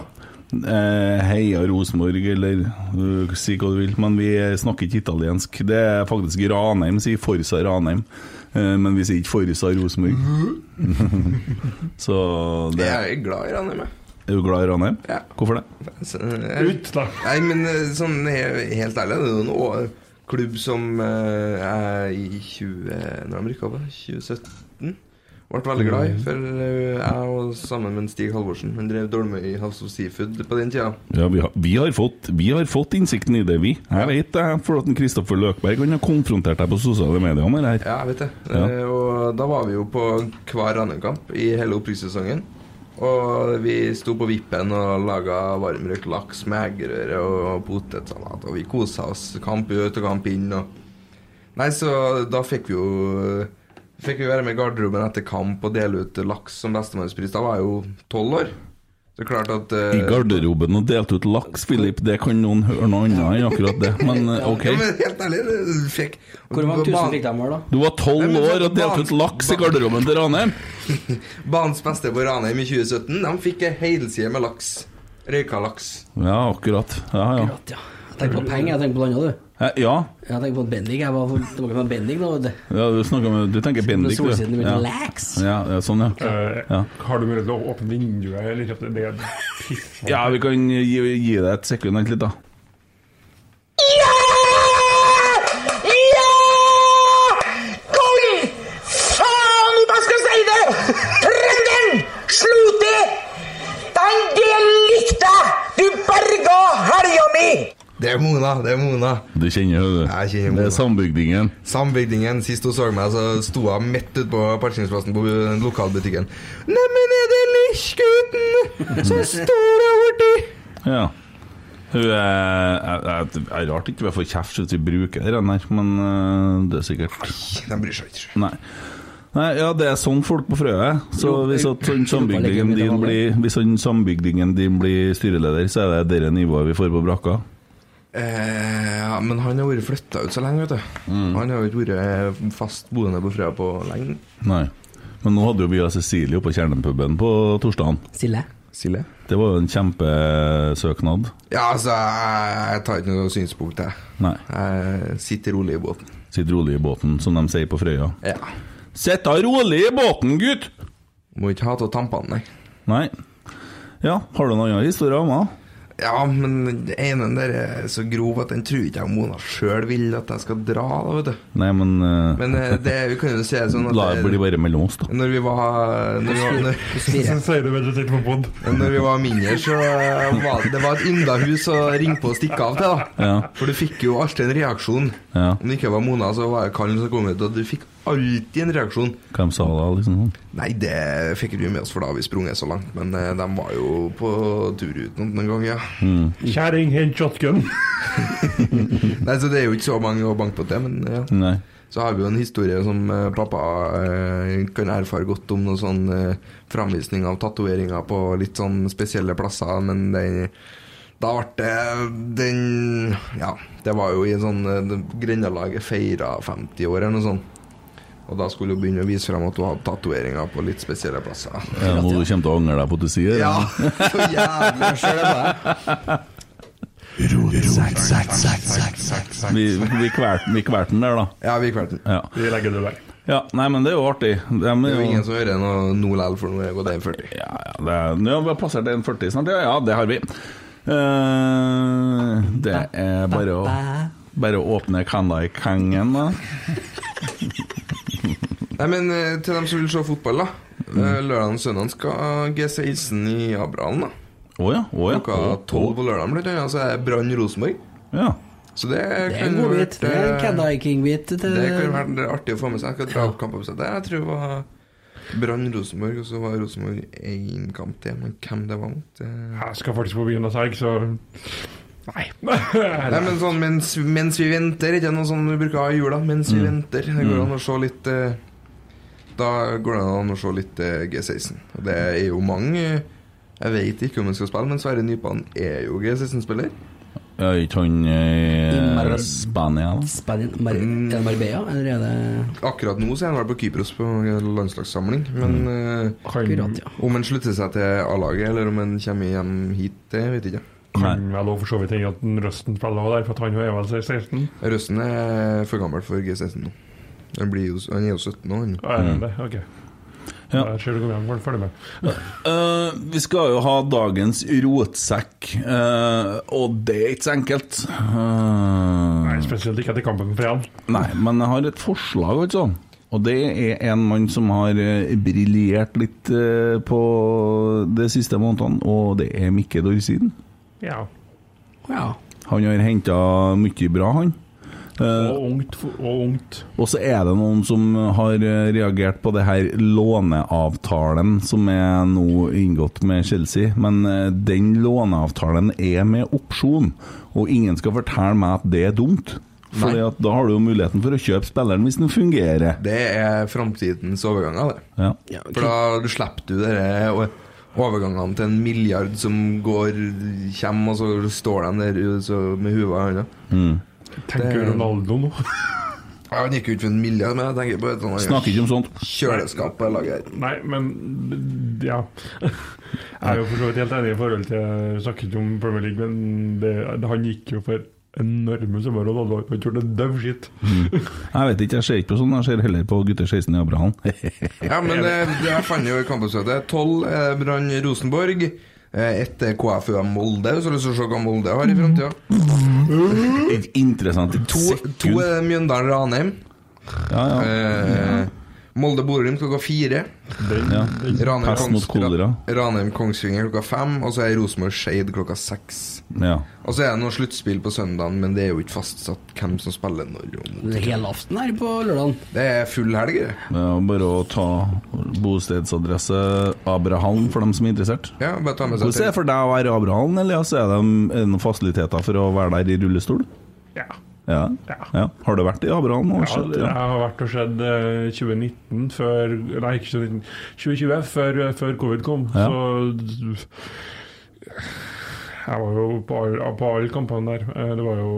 [SPEAKER 5] Eh, Heia Rosenborg, eller eh, si hva du vil, men vi snakker ikke italiensk. Det er faktisk Ranheim sier Forsa Ranheim, eh, men vi sier ikke Forsa Rosenborg. Så det
[SPEAKER 9] Jeg er glad i Ranheim, jeg.
[SPEAKER 5] Er du glad i Ranheim? Hvorfor det?
[SPEAKER 9] Ut, da. Nei, men eh, sånn he- helt ærlig, det er jo en å- klubb som eh, jeg i 20 Når de rykka opp, da, 2017 ble veldig glad i. For eh, jeg og sammen med Stig Halvorsen Han drev Dolmøy House of Seafood på den tida.
[SPEAKER 5] Ja, vi har, vi, har fått, vi har fått innsikten i det, vi. Jeg vet det, for at en Kristoffer Løkberg han har konfrontert deg på sosiale medier om det her.
[SPEAKER 9] Ja, jeg vet det.
[SPEAKER 5] Ja.
[SPEAKER 9] Eh, Og da var vi jo på hver Ranheim-kamp i hele opprykkssesongen. Og vi sto på vippen og laga varmrøkt laks med eggerøre og potetsalat. Og vi kosa oss kamp ut og kamp inn. Og... Nei, så da fikk vi jo Fikk vi være med i garderoben etter kamp og dele ut laks som bestemannspris. Da var jeg jo tolv år. Så klart at eh,
[SPEAKER 5] I garderoben og delte ut laks, Philip. Det kan noen høre noe annet enn akkurat det, men eh, OK.
[SPEAKER 9] Ja, men helt ærlig, det fikk
[SPEAKER 7] Hvor mange tusen
[SPEAKER 9] Ban-
[SPEAKER 7] fikk de her, da?
[SPEAKER 5] Du var tolv
[SPEAKER 9] Nei, men
[SPEAKER 5] år og
[SPEAKER 9] ban-
[SPEAKER 5] delte ut laks i garderoben til Ranheim.
[SPEAKER 9] Banens beste på Ranheim i 2017. De fikk ei helside med laks. Røyka laks.
[SPEAKER 5] Ja, akkurat. Ja, ja.
[SPEAKER 7] Jeg tenker på penger, jeg tenker på noe annet, du.
[SPEAKER 5] Eh, Ja,
[SPEAKER 7] Jeg tenker på Bendik. Jeg var for- tilbake med Bendik nå, vet du.
[SPEAKER 5] ja du, snakker med, du tenker Bendik, du.
[SPEAKER 7] solsiden, du
[SPEAKER 5] ja.
[SPEAKER 7] mener laks.
[SPEAKER 5] Ja, ja, sånn, ja.
[SPEAKER 8] Eh,
[SPEAKER 5] ja.
[SPEAKER 8] Har du mulighet til å åpne vinduet? Eller, ikke åpne- det er piss.
[SPEAKER 5] Ja, vi kan gi, gi deg et sekund, vent litt, da.
[SPEAKER 3] Kom igjen! Faen, hva skal jeg si det? Trønderen slo til! Den del likte jeg! Du berga helga mi!
[SPEAKER 9] Det er Mona, det er Mona.
[SPEAKER 5] Du kjenner jo det.
[SPEAKER 9] Jeg kjenner Mona.
[SPEAKER 5] Det er sambygdingen.
[SPEAKER 9] Sambygdingen. Sist hun så meg, så sto hun midt ute på parkeringsplassen på eh, lokalbutikken. Neimen, er det Lichgutten som står der borti?
[SPEAKER 5] Ja. Hun er, er, er, er rart ikke vi får kjeft hvis vi bruker den her, men eh, det er sikkert
[SPEAKER 9] De bryr seg ikke.
[SPEAKER 5] Nei. Nei, ja, det er sånn folk på Frøya er. Så hvis at sånn sambygdingen din blir Hvis sånn sambygdingen din blir styreleder, så er det det nivået vi får på brakka.
[SPEAKER 9] Eh, ja, men han har vært flytta ut så lenge, vet du. Han har jo ikke vært eh, fast boende på Frøya på lenge.
[SPEAKER 5] Nei. Men nå hadde jo vi og Cecilie oppe på Kjernepuben på torsdagen.
[SPEAKER 7] Sille.
[SPEAKER 9] Silje?
[SPEAKER 5] Det var jo en kjempesøknad.
[SPEAKER 9] Ja, altså, jeg jeg tar ikke noe synspunkt, jeg.
[SPEAKER 5] Nei.
[SPEAKER 9] Jeg sitter rolig i båten.
[SPEAKER 5] Sitt rolig i båten, som de sier på Frøya.
[SPEAKER 9] Ja.
[SPEAKER 5] Sitt da rolig i båten, gutt!
[SPEAKER 9] Må ikke ha av tampene, nei.
[SPEAKER 5] Nei. Ja, har du noen annen historie om det?
[SPEAKER 9] Ja, men den ene der er så grov at den tror ikke jeg Mona sjøl vil at jeg skal dra, da, vet du.
[SPEAKER 5] Nei, men, eh,
[SPEAKER 9] Men eh, det, vi kan jo si det sånn at
[SPEAKER 5] La det bli bare mellom oss, da.
[SPEAKER 9] Når vi var Når vi var, når,
[SPEAKER 8] Så sier du veldig til på pod.
[SPEAKER 9] når vi var mindre, så var det, det var et yndahus å ringe på og stikke av til, da.
[SPEAKER 5] Ja.
[SPEAKER 9] For du fikk jo alltid en reaksjon. Om det ikke var Mona, så var det Kallen som kom ut, og du fikk alltid en reaksjon.
[SPEAKER 5] Hva de sa da, liksom? sånn.
[SPEAKER 9] Nei, det fikk vi med oss, for da har vi sprunget så langt. Men eh, de var jo på tur ut noen noen gang, ja.
[SPEAKER 5] Mm.
[SPEAKER 8] Kjerring, hent shotgun.
[SPEAKER 9] Nei, så det er jo ikke så mange å banke på det, men ja.
[SPEAKER 5] Nei.
[SPEAKER 9] Så har vi jo en historie som eh, pappa eh, kan erfare godt om noen sånn eh, framvisning av tatoveringer på litt sånn spesielle plasser, men det, da ble det den Ja, det var jo i en sånn eh, Grendalaget feira 50 år eller noe sånt. Og da skulle hun begynne å vise frem at hun hadde tatoveringer på litt spesielle plasser.
[SPEAKER 5] Ja, nå du kommer til å angre deg på at du sier det.
[SPEAKER 9] Ja, så jævlig skjer det
[SPEAKER 5] Vi, vi kvelte vi kvelte den der, da.
[SPEAKER 9] Ja, vi kvelte den.
[SPEAKER 5] Ja.
[SPEAKER 8] Vi legger det vekk.
[SPEAKER 5] Ja, nei, men det er jo artig. Det er
[SPEAKER 9] Det er jo ingen som hører noe nå likevel, for nå er det gått 1,40.
[SPEAKER 5] Ja, ja, det er, ja, vi har plassert 1,40 snart. Ja, ja, det har vi. Eh, det er bare å Bare å åpne Candai-kangen, da.
[SPEAKER 9] Nei, men eh, til dem som vil se fotball, da.
[SPEAKER 7] Mm.
[SPEAKER 9] Eh, Lørdag og søndag skal G16 i Abrahallen, da.
[SPEAKER 5] Å ja, å ja.
[SPEAKER 9] Klokka
[SPEAKER 5] Å,
[SPEAKER 9] tolv på lørdag, blant annet. Så er det Brann Rosenborg.
[SPEAKER 5] Ja.
[SPEAKER 9] Så det
[SPEAKER 7] Det er
[SPEAKER 9] kan
[SPEAKER 7] en god
[SPEAKER 9] vært,
[SPEAKER 7] bit. Det er en
[SPEAKER 9] eh,
[SPEAKER 7] Caddyking-bit. til-
[SPEAKER 9] Det kan være artig å få med seg. Jeg skal dra opp kampen på seg der. Jeg tror det var Brann Rosenborg, og så var Rosenborg én kamp til. Men hvem det var mot det-
[SPEAKER 8] Jeg skal faktisk på byen og selge, så Nei.
[SPEAKER 9] Nei, men sånn mens, mens vi venter, ikke noe sånn vi bruker å ha i jula. Mens vi
[SPEAKER 8] Mm.
[SPEAKER 9] venter. Det går
[SPEAKER 8] Mm.
[SPEAKER 9] an å se litt eh, Da går det an å se litt eh, G16. Og det er jo mange eh, Jeg vet ikke om han skal spille, men Sverre Nypan er jo G16-spiller.
[SPEAKER 5] Ja, er ikke han eh,
[SPEAKER 9] I Mar-
[SPEAKER 5] Spania, da?
[SPEAKER 7] Spania, Mar
[SPEAKER 9] Mm.
[SPEAKER 7] er det Marbella, eller er det
[SPEAKER 9] Akkurat nå så er han vel på Kypros på landslagssamling, men
[SPEAKER 8] Mm.
[SPEAKER 9] eh,
[SPEAKER 8] Akkurat,
[SPEAKER 9] om han slutter seg til A-laget, eller om han kommer hjem hit, det vet jeg ikke.
[SPEAKER 8] Kan vel også for så vidt hende at den Røsten spiller også der, for at han er vel 16?
[SPEAKER 9] Røsten er for gammel for G16 nå. Han, blir jo, han er jo 17 nå, han.
[SPEAKER 8] Ja, er
[SPEAKER 5] Mm.
[SPEAKER 8] han det? Ok. Ja. Jeg ser du kommer hjem, får følge med.
[SPEAKER 5] Eh, vi skal jo ha dagens rotsekk, eh, og det er ikke så enkelt. Nei,
[SPEAKER 8] spesielt ikke etter kampen på fredag.
[SPEAKER 5] Nei, men jeg har et forslag, altså. Og det er en mann som har eh, briljert litt eh, på de siste månedene, og det er Mikke Dorsiden.
[SPEAKER 8] Ja.
[SPEAKER 5] Han har henta mye bra, han. Eh,
[SPEAKER 8] Og ungt. fo- Og ungt.
[SPEAKER 5] og så er det noen som har eh, reagert på det her låneavtalen som er nå inngått med Chelsea, men eh, den låneavtalen er med opsjon, og ingen skal fortelle meg at det er dumt. For
[SPEAKER 9] Nei.
[SPEAKER 5] da har du jo muligheten for å kjøpe spilleren hvis den fungerer.
[SPEAKER 9] Det er framtidens overganger, det.
[SPEAKER 5] Ja.
[SPEAKER 9] For da slipper du dere o- overgangene til en milliard som går kommer, og så står de der u- så med huet i hånda.
[SPEAKER 5] Mm.
[SPEAKER 8] Tenker
[SPEAKER 9] Det-
[SPEAKER 8] Ronaldo nå?
[SPEAKER 9] Ja, Han gikk jo ikke for en milliard, men jeg tenker på et sånt
[SPEAKER 8] Snakker ikke om sånt.
[SPEAKER 9] kjøleskap på laget her.
[SPEAKER 8] Nei, men d- ja. Jeg er jo for så vidt helt enig i forhold til Jeg snakker ikke om Premier League, men det, han gikk jo for enorme summer, og Ronaldo har ikke gjort en dau skitt.
[SPEAKER 5] Jeg vet ikke, jeg ser ikke på sånn, jeg ser heller på gutter 16 i Abrahallen.
[SPEAKER 9] Ja, men det, det jeg fant jo i kampbesøket. Tolv eh, Brann Rosenborg. eh, Ett er KFUM Molde, så har du lyst til å se hva Molde har i framtida.
[SPEAKER 5] Ikke interessant. i et
[SPEAKER 9] To, to
[SPEAKER 5] sekund.
[SPEAKER 9] er Mjøndalen Ranheim.
[SPEAKER 5] Ja, ja.
[SPEAKER 9] Eh, Molde Borum klokka fire.
[SPEAKER 5] Ja.
[SPEAKER 9] Ranheim,
[SPEAKER 5] Pest mot
[SPEAKER 9] Kongs-
[SPEAKER 5] kolera.
[SPEAKER 9] Ranheim Kongsvinger klokka fem, og så er Rosenborg Skeid klokka seks.
[SPEAKER 5] Ja.
[SPEAKER 9] Og så er det noe sluttspill på søndagen, men det er jo ikke fastsatt hvem som spiller når. og mot.
[SPEAKER 7] Det er helaften her på lørdagen.
[SPEAKER 9] Det er full helg, det.
[SPEAKER 5] Det er bare å ta bostedsadresse Abrahallen for dem som er interessert.
[SPEAKER 9] Ja, bare ta med seg
[SPEAKER 5] Hvordan er det for deg å være i Abrahallen, Elias? Er det er det noen fasiliteter for å være der i rullestol?
[SPEAKER 8] Ja.
[SPEAKER 5] Ja. ja. Har du vært i Abrahallen?
[SPEAKER 8] Ja,
[SPEAKER 5] og sett-
[SPEAKER 8] jeg har vært og sett eh, 2019 før Nei, ikke 2019. 2020, før, eh, før covid kom.
[SPEAKER 5] Ja.
[SPEAKER 8] Så Jeg var jo på alle på alle kampene der. Eh, Det var jo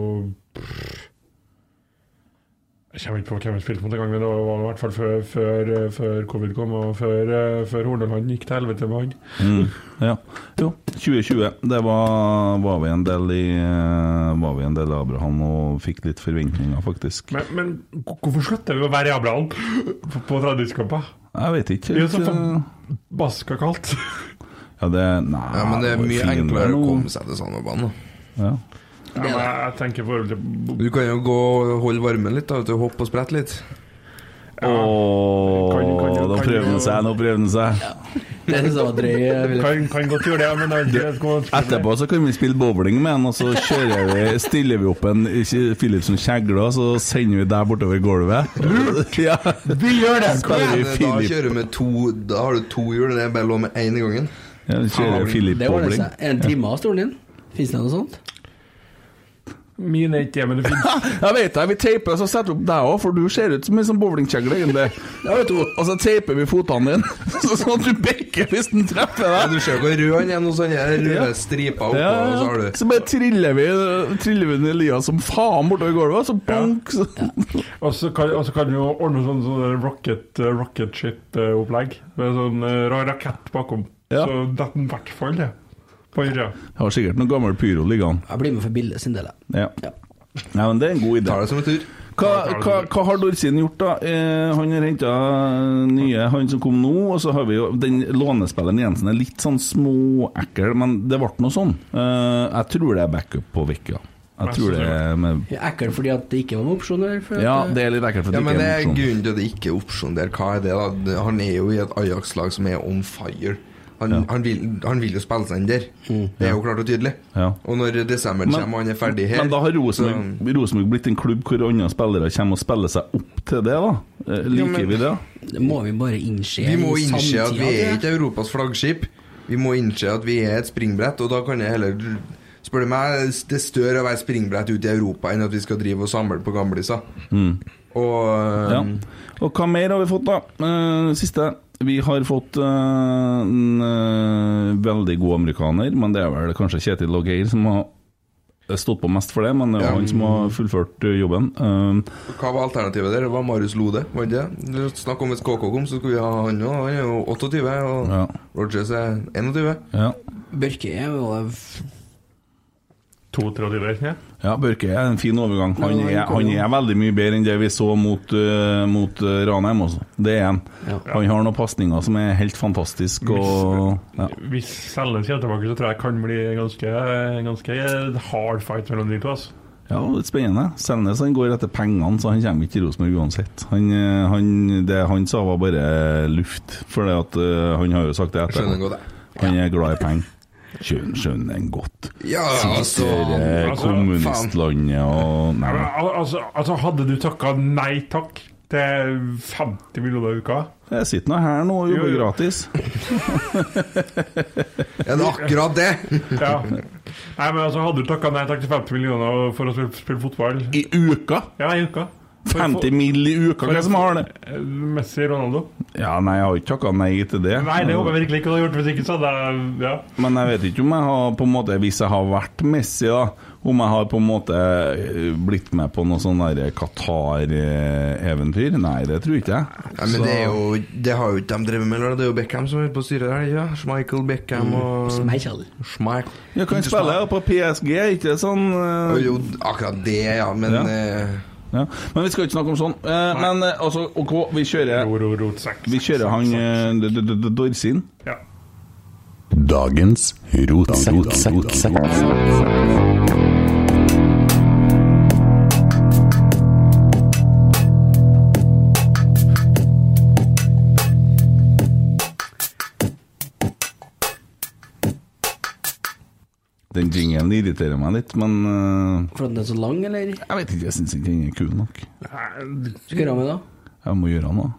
[SPEAKER 8] Jeg kommer ikke på hvem jeg spilte mot en gang, men det var var i hvert fall før, før, eh, før covid kom, og før, eh, før Hordaland gikk til helvete med han.
[SPEAKER 5] Mm, ja. Jo, 2020. Det var, var vi en del i eh, Var vi en del i Abrahallen og fikk litt forventninger, faktisk.
[SPEAKER 8] Men, men hvorfor slutter vi å være i Abrahallen på- på 30-kamper?
[SPEAKER 5] Jeg vet ikke.
[SPEAKER 8] Det er jo så
[SPEAKER 5] helt, eh,
[SPEAKER 8] forbaska kaldt.
[SPEAKER 5] Ja, det, nei,
[SPEAKER 9] Ja, men det er
[SPEAKER 5] var
[SPEAKER 9] mye
[SPEAKER 5] fin,
[SPEAKER 9] enklere å
[SPEAKER 5] nå.
[SPEAKER 9] komme seg til Sandobanen.
[SPEAKER 5] Ja.
[SPEAKER 8] Ja, men jeg tenker forhold til
[SPEAKER 9] Du kan jo gå og holde varmen litt, da, vet du, hoppe og sprette litt.
[SPEAKER 5] Ååå, nå prøvde han seg, nå prøvde han seg.
[SPEAKER 7] Det synes jeg var drøy. eh, Willy.
[SPEAKER 8] Kan, kan godt gjøre det, men det er
[SPEAKER 5] Etterpå så kan vi spille bowling med han, og så kjører vi, stiller vi opp en Ki- Philipsen kjegle, og så sender vi deg bortover gulvet. Ja.
[SPEAKER 8] Vi gjør det!
[SPEAKER 9] eh, Da
[SPEAKER 5] Spiller vi Philip
[SPEAKER 9] kjører du med to Da har du to hjul, det er bare lov med én i gangen.
[SPEAKER 5] ja, vi kjører Philip
[SPEAKER 7] Det ordner
[SPEAKER 5] bowling.
[SPEAKER 7] seg. Er det en time av stolen din? Fins det noe sånt?
[SPEAKER 8] Min er ikke det, men det finnes.
[SPEAKER 5] Jeg vet det, vi teiper og så setter vi opp deg òg, for du ser ut som en sånn bowlingkjegle, egentlig. Ja, vet du, og så teiper vi fotene dine, så- sånn at du bekker hvis den treffer
[SPEAKER 9] Ja,
[SPEAKER 5] deg.
[SPEAKER 9] du ser hvor rød han er nå, sånn her røde striper oppå,
[SPEAKER 5] Ja,
[SPEAKER 9] og så har
[SPEAKER 5] ja.
[SPEAKER 9] du
[SPEAKER 5] Så bare triller vi Triller vi ned lia som faen bortover gulvet, og så bank, så
[SPEAKER 8] Og så kan, og så kan du jo ordne sånn, sånn rocket, eh, rocket shit-opplegg. Med sånn eh, rar rakett bakom.
[SPEAKER 5] Ja.
[SPEAKER 8] Så detter den i hvert fall det. På andre.
[SPEAKER 5] Jeg har sikkert noe gammel pyro liggende.
[SPEAKER 7] Jeg blir med for bildet sin del. jeg.
[SPEAKER 5] Ja. Nei, men det er en god idé.
[SPEAKER 9] tar det som en tur.
[SPEAKER 5] Hva, hva, hva har Dorsin gjort, da? Eh, han har henta nye, han som kom nå. Og så har vi jo den lånespilleren Jensen er litt sånn småekkel, men det ble noe sånn. Eh, jeg tror det er backup på Vikka. Jeg tror det er med
[SPEAKER 7] Jeg er Ekkel fordi at det ikke var noen opsjoner? For at,
[SPEAKER 5] Ja,
[SPEAKER 7] eh,
[SPEAKER 5] det er litt ekkelt for
[SPEAKER 9] Ja,
[SPEAKER 5] at
[SPEAKER 9] men det
[SPEAKER 5] det ikke
[SPEAKER 9] er
[SPEAKER 5] er en opsjon.
[SPEAKER 9] grunnen til at det ikke er opsjon der. Hva er det, da? Han er jo i et Ajax-lag som er on fire. Han, han, vil, han vil jo spille seg inn der. Det er jo klart og tydelig.
[SPEAKER 5] Ja.
[SPEAKER 9] Og når desember
[SPEAKER 5] Men-
[SPEAKER 9] kommer og han er ferdig her
[SPEAKER 5] Men da har Rosenborg Rosenborg blitt en klubb hvor andre spillere kommer og spiller seg opp til det, da. Eh, liker
[SPEAKER 9] men-
[SPEAKER 5] vi det?
[SPEAKER 7] Det må vi bare innse.
[SPEAKER 9] Vi må
[SPEAKER 7] i
[SPEAKER 9] innse at vi er
[SPEAKER 7] samtida,
[SPEAKER 9] ikke Europas flaggskip. Vi må innse at vi er et springbrett, og da kan jeg heller Spør du meg, det er større å være springbrett ute i Europa enn at vi skal drive og samle på gamliser. Og
[SPEAKER 5] Mm.
[SPEAKER 9] um,
[SPEAKER 5] Ja. Og hva mer har vi fått, da? Eh, siste. Vi har fått eh, en eh, veldig god amerikaner, men det er vel kanskje Kjetil Logeir som har stått på mest for det, men det er jo
[SPEAKER 9] Ja.
[SPEAKER 5] han som har fullført eh, jobben. Eh,
[SPEAKER 9] Hva var alternativet der? Det var Marius Lode, var det ikke det? Snakk om hvis KK kom, så skulle vi ha han òg. Han er jo 28, og
[SPEAKER 5] Ja.
[SPEAKER 9] Rogers er 21.
[SPEAKER 5] ja.
[SPEAKER 7] ja. Børke er jo eh, f-
[SPEAKER 8] 32 ja.
[SPEAKER 5] ja, Børke er en fin overgang. Han
[SPEAKER 7] Ja, han
[SPEAKER 5] er,
[SPEAKER 7] kom
[SPEAKER 5] han
[SPEAKER 7] jo.
[SPEAKER 5] er veldig mye bedre enn det vi så mot, eh, mot eh, Ranheim, altså. Det er han.
[SPEAKER 7] Ja.
[SPEAKER 5] Han har noen pasninger som er helt fantastiske, og ja.
[SPEAKER 8] Hvis Selnes kommer tilbake, så tror jeg det kan bli en ganske, en ganske hard fight mellom de to. Altså.
[SPEAKER 5] Ja, litt spennende. Selnes han går etter pengene, så han kommer ikke til Rosenborg uansett. Han, eh, han, det han sa, var bare luft, for det at, eh, han har jo sagt det etter.
[SPEAKER 9] Skjønner godt det.
[SPEAKER 5] Han er glad i penger. Skjønner, skjønner han godt.
[SPEAKER 9] Ja, altså
[SPEAKER 5] Det er
[SPEAKER 8] Altså,
[SPEAKER 5] kommunistlandet og Nei.
[SPEAKER 8] Ja, men, al- altså, altså, hadde du takka nei takk til 50 millioner i uka
[SPEAKER 5] Jeg sitter nå her nå og jobber
[SPEAKER 8] Jo, jo.
[SPEAKER 5] gratis.
[SPEAKER 9] Er det akkurat det?
[SPEAKER 8] ja. Nei, men altså, Hadde du takka nei takk til 50 millioner for å spille, spille fotball
[SPEAKER 5] I uka!
[SPEAKER 8] Ja, i uka? For å få-
[SPEAKER 5] 50 mill. i uka, hvem er det som har det?
[SPEAKER 8] Eh, Messi Ronaldo?
[SPEAKER 5] Ja, nei, jeg har ikke takka nei til det.
[SPEAKER 8] Nei, det håper jeg virkelig ikke du hadde gjort. Hvis ikke så hadde jeg ja.
[SPEAKER 5] Men jeg vet ikke om jeg har på en måte Hvis jeg har vært Messi da Om jeg har på en måte eh, blitt med på noe sånn der Qatar-eventyr Nei, det tror ikke jeg
[SPEAKER 9] Ja, men det, er jo, det har jo ikke de drevet med, eller? det er jo Beckham som er på styret her. Ja, Michael Beckham og
[SPEAKER 7] Michael.
[SPEAKER 9] Schmeichel.
[SPEAKER 5] Jeg Mm. kan spille jo på PSG, ikke sånn eh,
[SPEAKER 9] Jo, akkurat det, ja, men
[SPEAKER 5] Ja.
[SPEAKER 9] eh,
[SPEAKER 5] ja. Men vi skal ikke snakke om sånn Eh, Men eh, altså, ok, vi kjører
[SPEAKER 8] Ro, ro, ro, sekk,
[SPEAKER 5] Vi
[SPEAKER 8] sekk,
[SPEAKER 5] kjører han
[SPEAKER 8] sekk,
[SPEAKER 5] eh, D- D- D- Dorsin
[SPEAKER 8] sekk. Ja.
[SPEAKER 12] Dagens rotsekk.
[SPEAKER 5] Den jinglen irriterer meg litt, men eh,
[SPEAKER 7] For at den er så lang, eller?
[SPEAKER 5] Jeg vet ikke, jeg synes ikke den er kul nok
[SPEAKER 8] Nei,
[SPEAKER 7] Skal vi gjøre med da?
[SPEAKER 5] Jeg må gjøre noe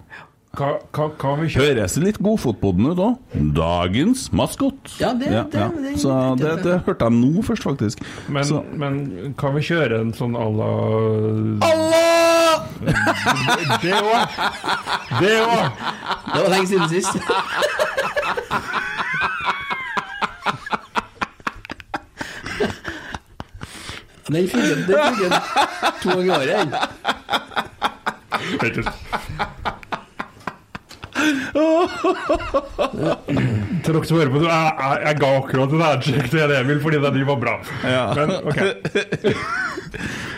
[SPEAKER 8] Hva, hva, hva vi kjører
[SPEAKER 5] Høres litt godfotpodden ut òg. Dagens maskot.
[SPEAKER 7] Ja, det- det- det-
[SPEAKER 5] Så det,
[SPEAKER 7] det-
[SPEAKER 5] det hørte jeg nå først, faktisk.
[SPEAKER 8] men,
[SPEAKER 5] Så,
[SPEAKER 8] men kan vi kjøre en sånn à la
[SPEAKER 5] Allah!
[SPEAKER 8] Det òg! Det òg!
[SPEAKER 7] Det var lenge siden sist. Den funker, den funker to ganger i året. den.
[SPEAKER 8] Vet du. Til dere som hører på, så jeg, jeg, jeg ga akkurat et adject til Emil fordi den var bra. Men ok.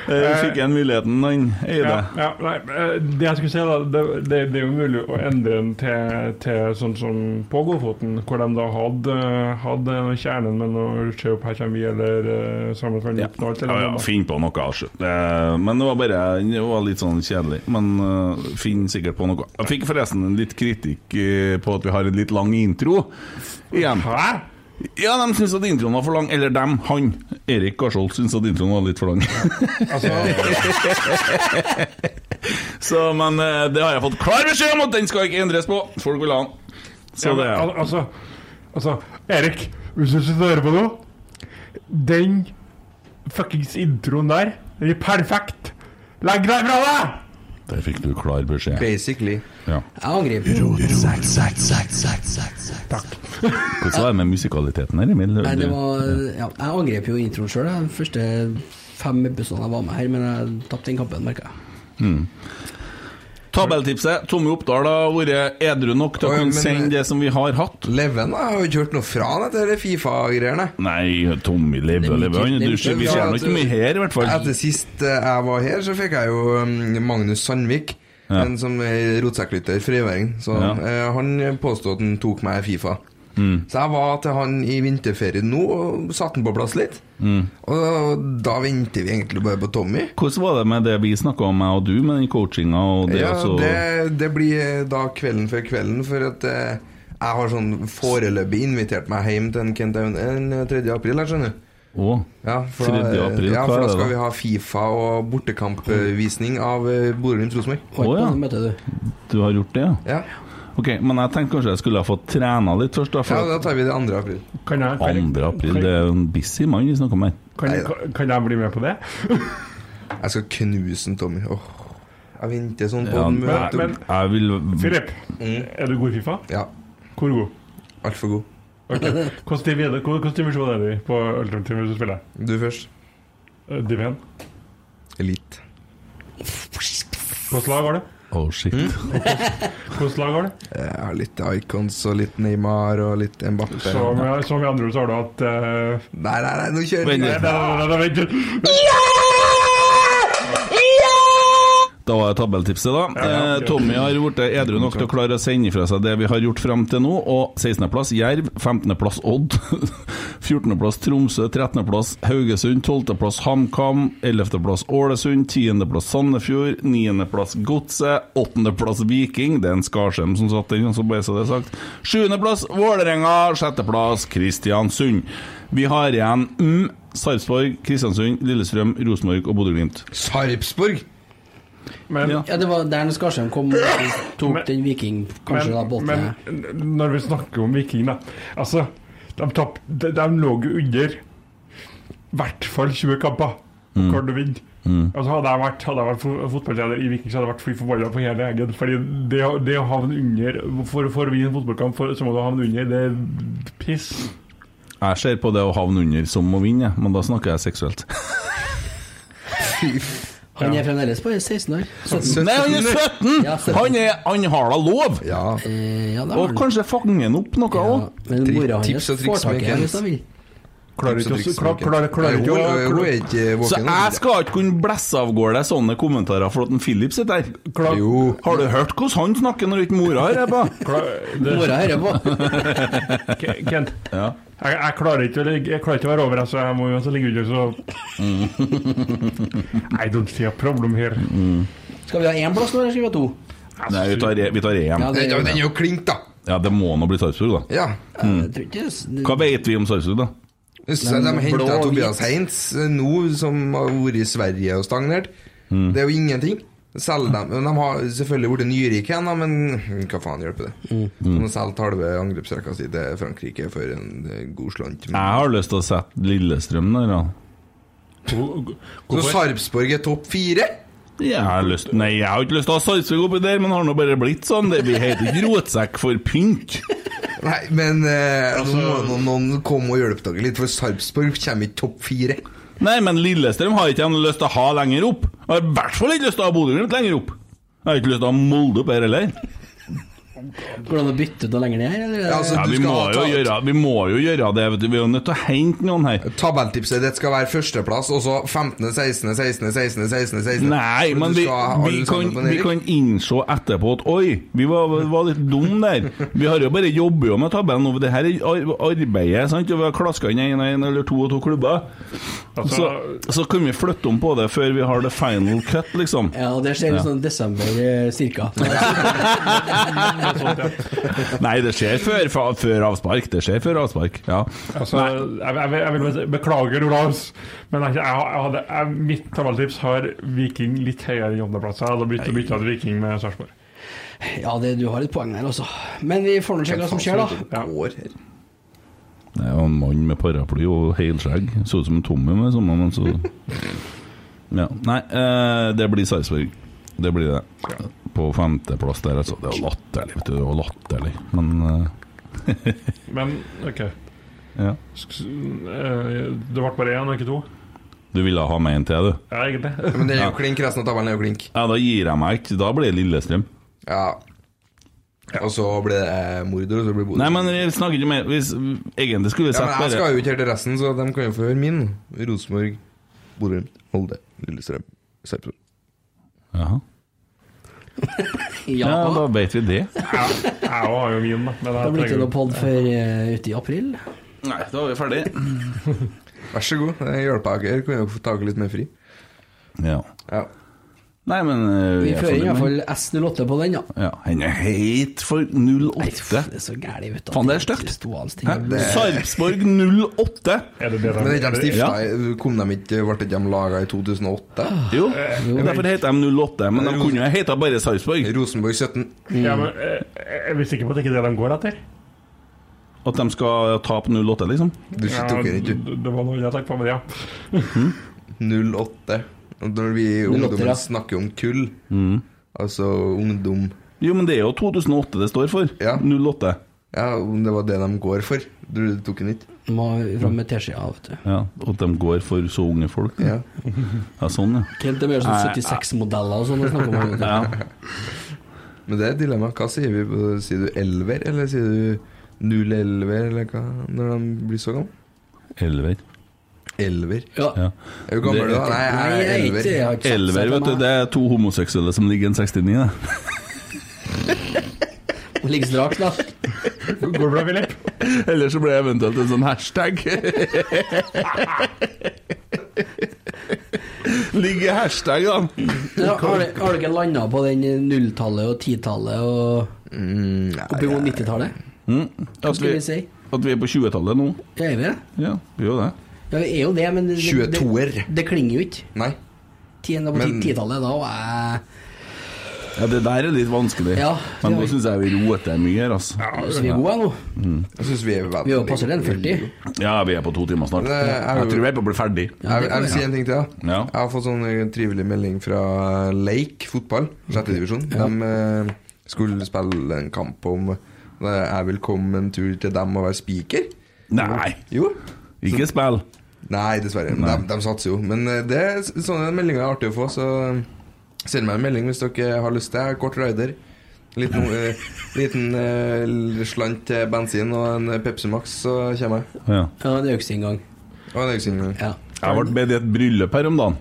[SPEAKER 5] Eh, Fikk en muligheten, han Eide.
[SPEAKER 8] Ja, ja, nei, eh, det jeg skulle si da, det, det, det er jo mulig å endre den til, til sånn som på Godfoten, hvor de da hadde, hadde kjernen med noe Se opp, her kommer vi, eller eh, Sammen kan vi oppnå alt. eller
[SPEAKER 5] Ja, ja,
[SPEAKER 8] noe.
[SPEAKER 5] finn på noe, altså. Eh, Men det var bare det var litt sånn kjedelig. Men eh, finn sikkert på noe. Jeg fikk forresten litt kritikk eh, på at vi har en litt lang intro. Igjen. Hæ? Ja, de syns at introen var for lang. Eller dem, han. Erik Garsholt syns at introen var litt for lang.
[SPEAKER 8] Altså-
[SPEAKER 5] Så, men eh, det har jeg fått klar beskjed om at den skal ikke endres på. Folk vil ha den. Så
[SPEAKER 8] Ja, men
[SPEAKER 5] det er
[SPEAKER 8] al- altså, altså, Erik, hvis du sitter og hører på nå Den fuckings introen der, den er perfekt! Legg deg fra deg!
[SPEAKER 5] Der fikk du klar beskjed.
[SPEAKER 9] Basically.
[SPEAKER 5] Ja.
[SPEAKER 7] Jeg angriper. Takk.
[SPEAKER 5] Hvordan var det med musikaliteten her? Emil?
[SPEAKER 7] Nei, det var, ja, jeg angrep jo introen sjøl, de første fem episodene jeg var med her, men jeg tapte den kampen, merka jeg.
[SPEAKER 5] Mm. Tabeltipset. Tommy Oppdal har vært edru nok til å
[SPEAKER 9] Oi, men-
[SPEAKER 5] kunne sende det som vi har hatt.
[SPEAKER 9] Leven har jo ikke hørt noe fra han etter de Fifa-greiene.
[SPEAKER 5] Nei, Tommy lever og lever. Han- du ser- Vi ser nå ikke mye her, i hvert fall.
[SPEAKER 9] Etter sist eh, jeg var her, så fikk jeg jo mm, Magnus Sandvik.
[SPEAKER 5] Ja.
[SPEAKER 9] En som er rotsekklytter, friværing. Så
[SPEAKER 5] Ja.
[SPEAKER 9] eh, han påstod at han tok meg i Fifa. Mm. Så jeg var til han i vinterferien nå og satte han på plass litt.
[SPEAKER 5] Mm.
[SPEAKER 9] Og da venter vi egentlig bare på Tommy.
[SPEAKER 5] Hvordan var det med det vi snakka om, jeg og du, med den coachinga og det
[SPEAKER 9] ja,
[SPEAKER 5] altså
[SPEAKER 9] det, det blir eh, da kvelden før kvelden, for at eh, jeg har sånn foreløpig invitert meg hjem til en Kent Aune den 3. april, jeg skjønner.
[SPEAKER 5] Å,
[SPEAKER 9] Ja, for,
[SPEAKER 5] 3. april,
[SPEAKER 9] ja,
[SPEAKER 5] hva
[SPEAKER 9] for
[SPEAKER 5] er
[SPEAKER 9] da
[SPEAKER 5] det
[SPEAKER 9] skal
[SPEAKER 5] da?
[SPEAKER 9] vi ha Fifa og bortekampvisning av eh, Borum Rosenborg.
[SPEAKER 5] Å, ja. Du har gjort det,
[SPEAKER 9] ja?
[SPEAKER 5] Ok, men jeg tenkte kanskje jeg skulle ha fått trena litt først, da.
[SPEAKER 9] Ja,
[SPEAKER 5] For
[SPEAKER 9] da tar vi det 2. april.
[SPEAKER 8] Kan jeg, kan,
[SPEAKER 5] 2. april, det er jo en busy mann vi snakker om her.
[SPEAKER 8] kan, kan, kan jeg bli med på det?
[SPEAKER 9] jeg skal knuse en Tommy. Åh, jeg venter sånn på
[SPEAKER 5] Ja,
[SPEAKER 9] en
[SPEAKER 5] men-
[SPEAKER 9] møte.
[SPEAKER 8] men-
[SPEAKER 5] Jeg vil
[SPEAKER 8] Filip, er du god i Fifa?
[SPEAKER 9] Ja.
[SPEAKER 8] Hvor god?
[SPEAKER 9] Altfor god.
[SPEAKER 8] Ok, Hvilken div er det- hvor- hvilken divisjon er du i på Ultimate hvis du spiller? Eh,
[SPEAKER 9] Du først.
[SPEAKER 8] Div 1.
[SPEAKER 9] Elite.
[SPEAKER 8] Hvilket lag har du?
[SPEAKER 5] Oh, shit.
[SPEAKER 8] Hvilket lag har du?
[SPEAKER 9] Jeg har Eh, litt Icons og litt Neymar og litt Mbappé.
[SPEAKER 8] Som, som i andre ord så har du hatt eh,
[SPEAKER 9] Nei, nei, nei, nå kjører
[SPEAKER 8] vi!
[SPEAKER 9] vi.
[SPEAKER 8] Nei, nei, nei, nei, vent litt.
[SPEAKER 5] Da var det tabelltipset, da. Eh, Tommy har blitt edru nok til å klare å sende fra seg det vi har gjort fram til nå. Og 16.-plass Jerv, 15.-plass Odd, 14.-plass Tromsø, 13.-plass Haugesund, 12.-plass HamKam, 11.-plass Ålesund, 10.-plass Sandefjord, 9.-plass Godset, 8.-plass Viking Det er en Skarsheim som satt den, så bare så det er sagt. 7.-plass Vålerenga, 6.-plass Kristiansund. Vi har igjen mm, Sarpsborg, Kristiansund, Lillestrøm, Rosenborg og Bodø-Glimt.
[SPEAKER 9] Sarpsborg?
[SPEAKER 8] Men,
[SPEAKER 7] ja. det var der Skarsheim kom og tok den Viking, kanskje da, på åttende.
[SPEAKER 8] Men når vi snakker om Viking, da Altså, de, tapp, de, de lå jo under i hvert fall 20 kamper.
[SPEAKER 5] Mm.
[SPEAKER 8] Klarte å vinne.
[SPEAKER 5] Mm.
[SPEAKER 8] Altså, hadde jeg vært, hadde jeg vært fo- fotballtrener i Viking, så hadde jeg vært fly forbanna på hele egen. Fordi det, å- det å havne under For, for å vinne en fotballkamp for, så må du havne under. Det er piss.
[SPEAKER 5] Jeg ser på det å havne under som å vinne, jeg, men da snakker jeg seksuelt.
[SPEAKER 7] Han er fremdeles bare 16 år. 17.
[SPEAKER 5] Nei, han er 17!
[SPEAKER 7] Ja,
[SPEAKER 5] Han, er, han har da lov!
[SPEAKER 7] Eh, ja, det har
[SPEAKER 5] Og
[SPEAKER 7] han.
[SPEAKER 5] kanskje fanger han opp noe òg.
[SPEAKER 7] Men mora hans får tak i ham hvis hun vil.
[SPEAKER 9] Klarer ikke å- klar- klarer- klarer ikke å- våken
[SPEAKER 5] Så
[SPEAKER 9] om
[SPEAKER 5] jeg skal ikke kunne blæsse av gårde sånne kommentarer for at en Philip sitter her. Har du hørt hvordan han snakker når ikke mora hører på?
[SPEAKER 7] Mora hører på.
[SPEAKER 8] K- Kent,
[SPEAKER 5] Ja.
[SPEAKER 8] jeg, jeg, klarer ikke, å ligge- jeg klarer ikke å være over deg, så jeg må jo også ligge under, så
[SPEAKER 5] Mm.
[SPEAKER 8] I don't see a problem here.
[SPEAKER 7] Skal vi ha én plass nå, eller skal vi ha to?
[SPEAKER 5] Nei, vi tar, vi tar EM.
[SPEAKER 7] Ja, det- Ja, den er
[SPEAKER 9] jo klink, da.
[SPEAKER 5] Ja, det må nå bli Sarpsborg, da.
[SPEAKER 9] Ja.
[SPEAKER 5] Mm.
[SPEAKER 7] Jeg tror ikke det-
[SPEAKER 5] Hva vet vi om Sarpsborg, da?
[SPEAKER 9] Så de
[SPEAKER 5] Nei, men blå
[SPEAKER 9] henta
[SPEAKER 5] og
[SPEAKER 9] Tobias
[SPEAKER 5] hvit.
[SPEAKER 9] Heinz eh, nå, som har vært i Sverige og stagnert.
[SPEAKER 5] Mm.
[SPEAKER 9] Det er jo ingenting. Selger dem. Men De har selvfølgelig blitt nyrike igjen, da, men hva faen hjelper det?
[SPEAKER 5] Mm.
[SPEAKER 9] De har solgt halve angrepsrekka si til Frankrike for en eh, god slant.
[SPEAKER 5] Jeg har lyst til å sette Lillestrøm der, da.
[SPEAKER 9] Så Sarpsborg er topp fire?
[SPEAKER 5] Jeg har lyst Nei, jeg har ikke lyst til å ha Sarpsborg oppi der, men har nå bare blitt sånn. Det blir helt rotsekk for pynt.
[SPEAKER 9] Nei, men eh,
[SPEAKER 5] Altså-
[SPEAKER 9] nå må noen komme og hjelpe dere litt, for Sarpsborg kommer ikke topp fire.
[SPEAKER 5] Nei, men Lillestrøm har ikke jeg noe lyst til å ha lenger opp. Jeg har i hvert fall ikke lyst til å ha Bodø-Glimt lenger opp. Jeg har ikke lyst til å ha Molde opp her heller.
[SPEAKER 7] Går det an å bytte ut og lenger ned? Eller?
[SPEAKER 9] Altså,
[SPEAKER 5] ja, altså- vi, må jo gjøre, vi må jo gjøre det, vet du. Vi er jo nødt til å hente noen her.
[SPEAKER 9] Tabelltipset ditt skal være førsteplass, og så 15., 16., 16., 16., 16., 16.
[SPEAKER 5] Nei,
[SPEAKER 9] For
[SPEAKER 5] men
[SPEAKER 9] du
[SPEAKER 5] vi,
[SPEAKER 9] skal ha alle
[SPEAKER 5] vi,
[SPEAKER 9] sammen
[SPEAKER 5] kan,
[SPEAKER 9] på nedrykk.
[SPEAKER 5] vi kan innse etterpå at oi, vi var, var litt dum der. Vi har jo bare jobber jo med tabellen, og det her er ar- arbeidet. sant? Og vi har klaska inn en, en eller to og to klubber.
[SPEAKER 8] Altså,
[SPEAKER 5] Så, så kan vi flytte om på det før vi har the final cut, liksom.
[SPEAKER 7] Ja, det skjer i sånn desember eh, cirka.
[SPEAKER 5] Nei, det skjer før, fa- før avspark. Det skjer før avspark, ja.
[SPEAKER 8] Altså, jeg, jeg, jeg vil bare- Beklager, du, Lars, men jeg, jeg, jeg hadde, jeg, mitt tabelltips har Viking litt høyere enn åttendeplass. Jeg hadde byttet byttet ut Viking med Sarpsborg.
[SPEAKER 7] Ja, det, du har et poeng der, altså. Men vi får nå se hva som skjer, da.
[SPEAKER 5] Det er jo en mann med paraply og helskjegg. Så ut som en Tommy med sommer, men så ja. Nei, eh, det blir Sarpsborg. Det blir det. På femteplass der, altså. Det er jo latterlig, vet du. Det er jo latterlig. Men eh,
[SPEAKER 8] Men OK.
[SPEAKER 5] ja.
[SPEAKER 8] Sk- eh, Det ble bare én og ikke to?
[SPEAKER 5] Du ville ha meg en til, du?
[SPEAKER 8] Ja, egentlig.
[SPEAKER 9] Men den er jo klink, resten av tabellen er jo klink.
[SPEAKER 5] Ja, da gir jeg meg ikke. Da blir det Lillestrøm.
[SPEAKER 9] Ja. Og så blir det eh, Mordor, og så blir det Bodø.
[SPEAKER 5] Nei, men vi snakker ikke mer Hvis Egentlig skulle vi
[SPEAKER 9] Ja,
[SPEAKER 5] sagt
[SPEAKER 9] men jeg skal jo ikke helt til resten, så de kan jo få høre min. Rosenborg, Bodø, Molde, Lillestrøm, Sarpsborg.
[SPEAKER 5] Jaha. Ja, da vet vi det.
[SPEAKER 8] Jeg også har jo min, da. Men
[SPEAKER 7] Da blir det ikke noe pod før eh, ute i april.
[SPEAKER 5] Nei, da er vi ferdige.
[SPEAKER 9] Vær så god, jeg hjelper dere. Kan jo få ta dere litt mer fri.
[SPEAKER 5] Ja.
[SPEAKER 9] Ja.
[SPEAKER 5] Nei, men eh,
[SPEAKER 7] Vi
[SPEAKER 5] er
[SPEAKER 7] fører i
[SPEAKER 5] fornøyd
[SPEAKER 7] hvert
[SPEAKER 5] med-
[SPEAKER 7] fall S08 på den, ja.
[SPEAKER 5] Ja, han er helt for 08.
[SPEAKER 7] Det er så gærlig, vet du.
[SPEAKER 5] Faen, det er stygt.
[SPEAKER 7] stygt.
[SPEAKER 5] Sarpsborg 08.
[SPEAKER 8] Er det det
[SPEAKER 9] Men det er ikke de stifta,
[SPEAKER 5] Ja.
[SPEAKER 9] kom de ikke, ble ikke de laga i 2008?
[SPEAKER 5] Jo, Eh, derfor heter de 08, men de kunne jo heta bare Sarpsborg.
[SPEAKER 9] Rosenborg 17.
[SPEAKER 8] Ja, men eh, Jeg er sikker på at det ikke er det de går etter.
[SPEAKER 5] At de skal tape 08, liksom.
[SPEAKER 9] Du tok den ikke,
[SPEAKER 8] det, det var noe jeg tenkte på, men ja.
[SPEAKER 9] du. 08. Og Når vi ungdommer snakker om kull,
[SPEAKER 5] Mm.
[SPEAKER 9] altså ungdom
[SPEAKER 5] Jo, men det er jo 2008 det står for.
[SPEAKER 9] Ja.
[SPEAKER 5] 08.
[SPEAKER 9] Ja, om det var det de går for. Du tok den ikke.
[SPEAKER 7] Må fram med teskjea, vet du.
[SPEAKER 5] Ja, At de går for så unge folk.
[SPEAKER 9] Ja.
[SPEAKER 5] Ja, sånn, ja.
[SPEAKER 7] Kent det er mer sånn
[SPEAKER 5] Nei,
[SPEAKER 7] 76-modeller og sånn å snakke om. her, vet du.
[SPEAKER 5] ja.
[SPEAKER 9] Men det er et dilemma. Hva sier vi? på- Sier du elver, eller sier du 011, eller hva? Når de blir så gamle?
[SPEAKER 5] Elver.
[SPEAKER 9] Elver.
[SPEAKER 7] Ja.
[SPEAKER 5] Ja.
[SPEAKER 9] Er du gammel
[SPEAKER 5] Det-
[SPEAKER 9] da? Nei,
[SPEAKER 7] Nei,
[SPEAKER 9] jeg er
[SPEAKER 7] jeg er ikke- jeg
[SPEAKER 9] elver.
[SPEAKER 7] har ikke satt
[SPEAKER 5] Elver,
[SPEAKER 7] seg
[SPEAKER 5] vet du.
[SPEAKER 7] på
[SPEAKER 5] Det er to homoseksuelle som ligger i en 69, det.
[SPEAKER 7] meg. Ligger straks, da.
[SPEAKER 8] Går det bra, Filip?
[SPEAKER 5] Eller så blir det eventuelt en sånn hashtag. Ligger i hashtag, da.
[SPEAKER 7] Ja, Har du- har du ikke landa på den nulltallet og titallet og oppimot 90-tallet?
[SPEAKER 5] At
[SPEAKER 7] Skal
[SPEAKER 5] vi,
[SPEAKER 7] vi si?
[SPEAKER 5] at vi er på 20-tallet nå.
[SPEAKER 7] Ja, er vi det?
[SPEAKER 5] Ja, vi gjør det.
[SPEAKER 7] Ja, vi er jo det, men det, det,
[SPEAKER 9] 22-er.
[SPEAKER 7] det klinger jo ikke.
[SPEAKER 9] Nei.
[SPEAKER 7] Tiende på
[SPEAKER 9] Men-
[SPEAKER 7] ti- titallet, da var jeg
[SPEAKER 5] Ja, det der er litt vanskelig.
[SPEAKER 7] Ja,
[SPEAKER 5] Men
[SPEAKER 7] det
[SPEAKER 5] nå
[SPEAKER 7] er-
[SPEAKER 5] syns jeg vi roter mye her, altså.
[SPEAKER 7] Så vi er gode nå.
[SPEAKER 9] Jeg syns vi er
[SPEAKER 7] Vi er jo
[SPEAKER 9] veldig
[SPEAKER 7] passer den 40.
[SPEAKER 5] Ja, vi er på to timer snart.
[SPEAKER 9] Det er
[SPEAKER 5] Jeg
[SPEAKER 9] jo-
[SPEAKER 5] tror vi er på å bli ferdig.
[SPEAKER 7] Ja, det
[SPEAKER 9] jeg, jeg vil
[SPEAKER 7] kan
[SPEAKER 9] si en ting til. Ja.
[SPEAKER 5] Ja.
[SPEAKER 9] Jeg har fått sånn eh, trivelig melding fra Lake fotball, sjette divisjon. De eh, skulle spille en kamp om eh, jeg vil komme en tur til dem og være speaker.
[SPEAKER 5] Nei,
[SPEAKER 9] Jo.
[SPEAKER 5] ikke spill.
[SPEAKER 9] Nei, dessverre. De, de satser jo. Men eh, det er s- sånne meldinger er artig å få, så eh, send meg en melding hvis dere har lyst til. Jeg er Kort rider. Liten, eh, liten eh, slant til bensin og en eh, Pepsi Max, så kommer jeg.
[SPEAKER 5] Ja.
[SPEAKER 7] Ja, det er jo ikke sin gang.
[SPEAKER 9] Og en øyesignal.
[SPEAKER 7] Ja.
[SPEAKER 5] Jeg ble bedt i et bryllup her om dagen.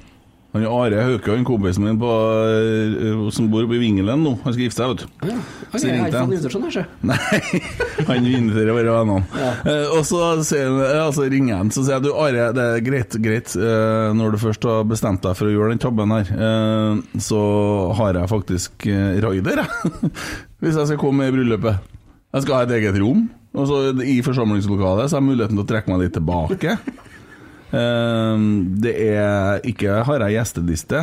[SPEAKER 5] Han Are Hauke, han kompisen min på, eh, som bor oppe i Vingelen nå, han skal gifte seg, vet du.
[SPEAKER 7] Ja. Ok,
[SPEAKER 5] Så
[SPEAKER 7] jeg har
[SPEAKER 5] ringte
[SPEAKER 7] ikke fått
[SPEAKER 5] han.
[SPEAKER 7] invitasjon, her, så.
[SPEAKER 5] Nei, han inviterer bare vennene. Eh, og så, sier han, ja, så ringer han så sier jeg, du Are, det er greit, greit. eh, når du først har bestemt deg for å gjøre den tabben her, eh, så har jeg faktisk eh, raider, jeg. Hvis jeg skal komme i bryllupet. Jeg skal ha et eget rom. Og så i forsamlingslokalet så har jeg muligheten til å trekke meg litt tilbake. Eh, det er ikke har jeg gjesteliste,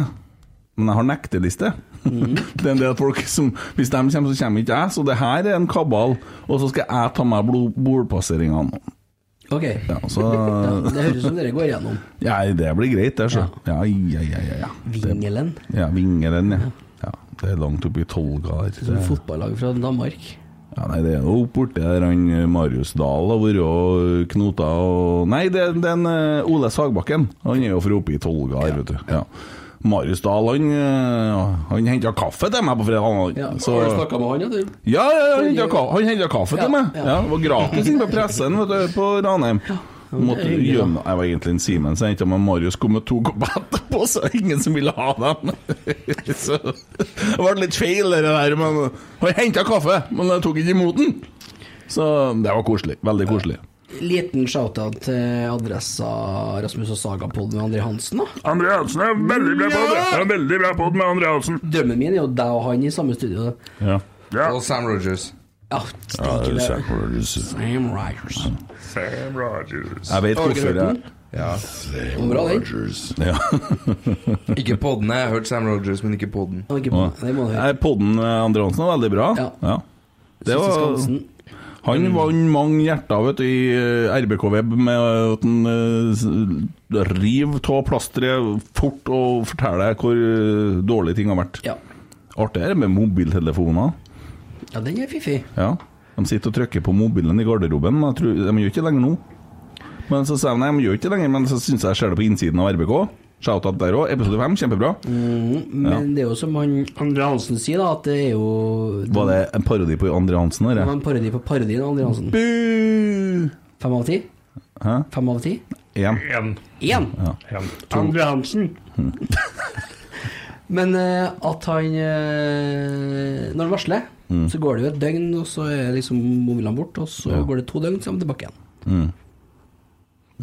[SPEAKER 5] men jeg har nekteliste. det er en del folk som Hvis de kommer, så kommer ikke jeg. Så det her er en kabal, og så skal jeg ta meg blod- bordpasseringene.
[SPEAKER 7] Ok.
[SPEAKER 5] Ja, så
[SPEAKER 7] altså. Det høres ut som dere går gjennom.
[SPEAKER 5] ja, det blir greit, det, sjø. Ja, ja, ja, ja. ja. Det-
[SPEAKER 7] Vingelen.
[SPEAKER 5] Ja, Vingelen, ja. ja. Det er langt oppi Tolga der.
[SPEAKER 7] Som
[SPEAKER 5] Det-
[SPEAKER 7] fotballag fra Danmark.
[SPEAKER 5] Ja, nei, det er jo opp borti der han eh, Marius Dahl har vært og knota eh, og Nei, det er den eh, Ole Sagbakken. Han er jo fra oppe i Tolga her, vet du. Ja. Marius Dahl, han, eh, han henta kaffe til meg på fredag. Han,
[SPEAKER 7] Ja.
[SPEAKER 5] så-
[SPEAKER 7] Har du snakka med han, ja, du?
[SPEAKER 5] ja, ja, ja, han hentet ka- han henta kaffe
[SPEAKER 7] Ja,
[SPEAKER 5] til meg.
[SPEAKER 7] ja.
[SPEAKER 5] Ja, det var gratis inne på pressen vet du, på Ranheim. Måtte
[SPEAKER 7] hyggelig, da.
[SPEAKER 5] gjemme meg. Jeg var egentlig en Simen, så henta meg Marius kom med to kopper etterpå, så ingen som ville ha dem. så det ble litt feil, det der. Men han henta kaffe, men jeg tok ikke imot den. Så det var koselig. Veldig koselig.
[SPEAKER 7] Liten shout-out til adressa Rasmus og Sagapod med André Hansen, da.
[SPEAKER 11] André Hansen er veldig bra på det. Er veldig bra på det med André Hansen.
[SPEAKER 7] Drømmen min er jo deg og han i samme studio.
[SPEAKER 5] Ja.
[SPEAKER 9] Og Sam Rogers.
[SPEAKER 7] Ja, stikker det. Sam Rogers.
[SPEAKER 11] Sam Rogers.
[SPEAKER 5] Jeg vet
[SPEAKER 9] Har du
[SPEAKER 5] hvorfor
[SPEAKER 9] ikke hørt
[SPEAKER 5] jeg
[SPEAKER 9] den? Ja.
[SPEAKER 7] var bra, den.
[SPEAKER 5] ja.
[SPEAKER 9] Ikke podden. Jeg har hørt Sam Rogers, men ikke podden.
[SPEAKER 7] Han er ikke på. Det må du høre.
[SPEAKER 5] Nei, Podden med Andre Hansen var veldig bra.
[SPEAKER 7] Ja.
[SPEAKER 5] Det
[SPEAKER 7] Siste
[SPEAKER 5] var,
[SPEAKER 7] Skansen.
[SPEAKER 5] han vant mange hjerter vet du, i eh, RBK Web med at han eh, s- river av plasteret fort og forteller hvor eh, dårlige ting har vært.
[SPEAKER 7] Ja.
[SPEAKER 5] Artig er det med mobiltelefoner.
[SPEAKER 7] ja, den er fiffig.
[SPEAKER 5] Ja. De sitter og trykker på mobilen i garderoben, men jeg tror, de gjør ikke det lenger nå. Men så sier de nei, de gjør ikke det lenger, men så syns jeg jeg ser det på innsiden av RBK. Shout-out der òg. Episode fem, kjempebra.
[SPEAKER 7] Men det er jo som han Andre Hansen sier, da, at det er jo
[SPEAKER 5] Var det en parodi på Andre Hansen?
[SPEAKER 7] Det
[SPEAKER 5] Eller?
[SPEAKER 7] var en parodi på parodien av Andre Hansen.
[SPEAKER 5] Bu!
[SPEAKER 7] Fem av ti?
[SPEAKER 5] Hæ?
[SPEAKER 7] Fem av ti?
[SPEAKER 5] Én.
[SPEAKER 8] Én.
[SPEAKER 7] Én!
[SPEAKER 8] Andre Hansen.
[SPEAKER 7] Men eh, at han eh, Når han varsler,
[SPEAKER 9] Mm.
[SPEAKER 7] så går det jo et døgn, og så er liksom mobilene bort, og så går det to døgn, så er han tilbake igjen.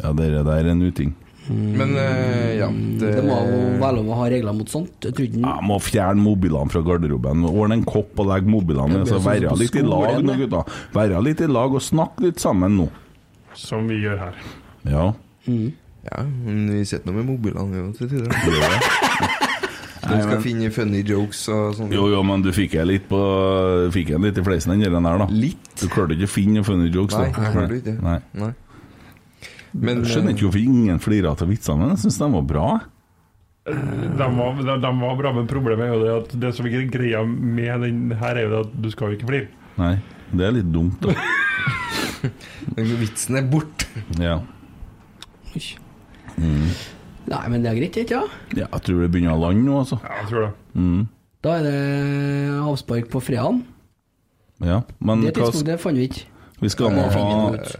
[SPEAKER 5] Ja, det der er en uting. Mm.
[SPEAKER 9] Men eh, ja det,
[SPEAKER 7] Det må jo
[SPEAKER 9] Eh.
[SPEAKER 7] være lov å ha regler mot sånt. Jeg tror ikke
[SPEAKER 5] Jeg må fjerne mobilene fra garderoben. Ordne en kopp og legge
[SPEAKER 7] Ja,
[SPEAKER 5] mobilene
[SPEAKER 7] det
[SPEAKER 5] ned. Så
[SPEAKER 7] er sånn
[SPEAKER 5] være
[SPEAKER 7] på
[SPEAKER 5] litt i lag
[SPEAKER 7] skolen,
[SPEAKER 5] nå,
[SPEAKER 7] det.
[SPEAKER 5] gutta. Være litt i lag og snakke litt sammen nå.
[SPEAKER 8] Som vi gjør her.
[SPEAKER 5] Ja.
[SPEAKER 9] Ja, men vi sitter nå med mobilene jo til tider. Du skal finne funny jokes og sånn.
[SPEAKER 5] Jo, jo, men du fikk jeg litt på Fikk jeg litt i fleisen den der, da.
[SPEAKER 9] Litt.
[SPEAKER 5] Du klarte ikke å finne funny jokes, da.
[SPEAKER 9] Nei, jeg klarte ikke det.
[SPEAKER 5] Nei.
[SPEAKER 9] Nei. Men,
[SPEAKER 5] Jeg skjønner ikke hvorfor ingen flirer av vitsene, men jeg syns de var bra.
[SPEAKER 8] De var, de, de var bra, men problemet er jo det at det som ikke er greia med den her, er jo det at du skal jo ikke flire.
[SPEAKER 5] Nei, det er litt dumt, da.
[SPEAKER 9] eh, vitsen er bort.
[SPEAKER 5] Ja.
[SPEAKER 7] Oi.
[SPEAKER 9] Mm.
[SPEAKER 7] Nei, men det er greit, ikke sant? Ja.
[SPEAKER 5] ja jeg tror det begynner å lande nå, altså.
[SPEAKER 8] Ja, jeg tror det.
[SPEAKER 7] Da er det avspark på fredagen.
[SPEAKER 5] Ja.
[SPEAKER 9] Mm,
[SPEAKER 5] Men
[SPEAKER 7] Det
[SPEAKER 5] hva
[SPEAKER 7] tidspunktet fant vi ikke.
[SPEAKER 5] Vi skal, nå ha,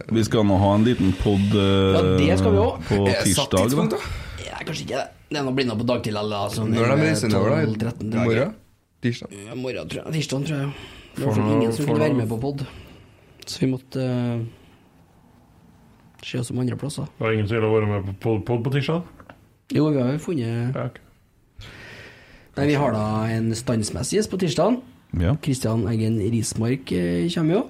[SPEAKER 5] vi skal nå ha en liten pod eh,
[SPEAKER 7] Ja, det skal vi også.
[SPEAKER 5] på
[SPEAKER 9] Jeg satt
[SPEAKER 5] tirsdag.
[SPEAKER 9] tidspunkt,
[SPEAKER 5] Da.
[SPEAKER 9] da.
[SPEAKER 7] Ja, kanskje ikke det. Det er noe blinda på dagtid eller altså,
[SPEAKER 9] Når de reiser nedover,
[SPEAKER 7] 12-13
[SPEAKER 9] da? I
[SPEAKER 7] dager.
[SPEAKER 9] morgen? Tirsdag?
[SPEAKER 7] Ja, morgen, tror jeg. Tirsdag, tror jeg. Det var folk ingen som ville være med på pod. Så vi måtte eh, se oss om andre plasser.
[SPEAKER 8] Det var ingen som ville være med på pod på, på tirsdag?
[SPEAKER 7] Jo, vi har jo funnet
[SPEAKER 8] Ja, ok.
[SPEAKER 7] Nei, vi har da en standsmessig gjest på tirsdag.
[SPEAKER 5] Ja.
[SPEAKER 7] Kristian Eggen Rismark eh, kommer jo.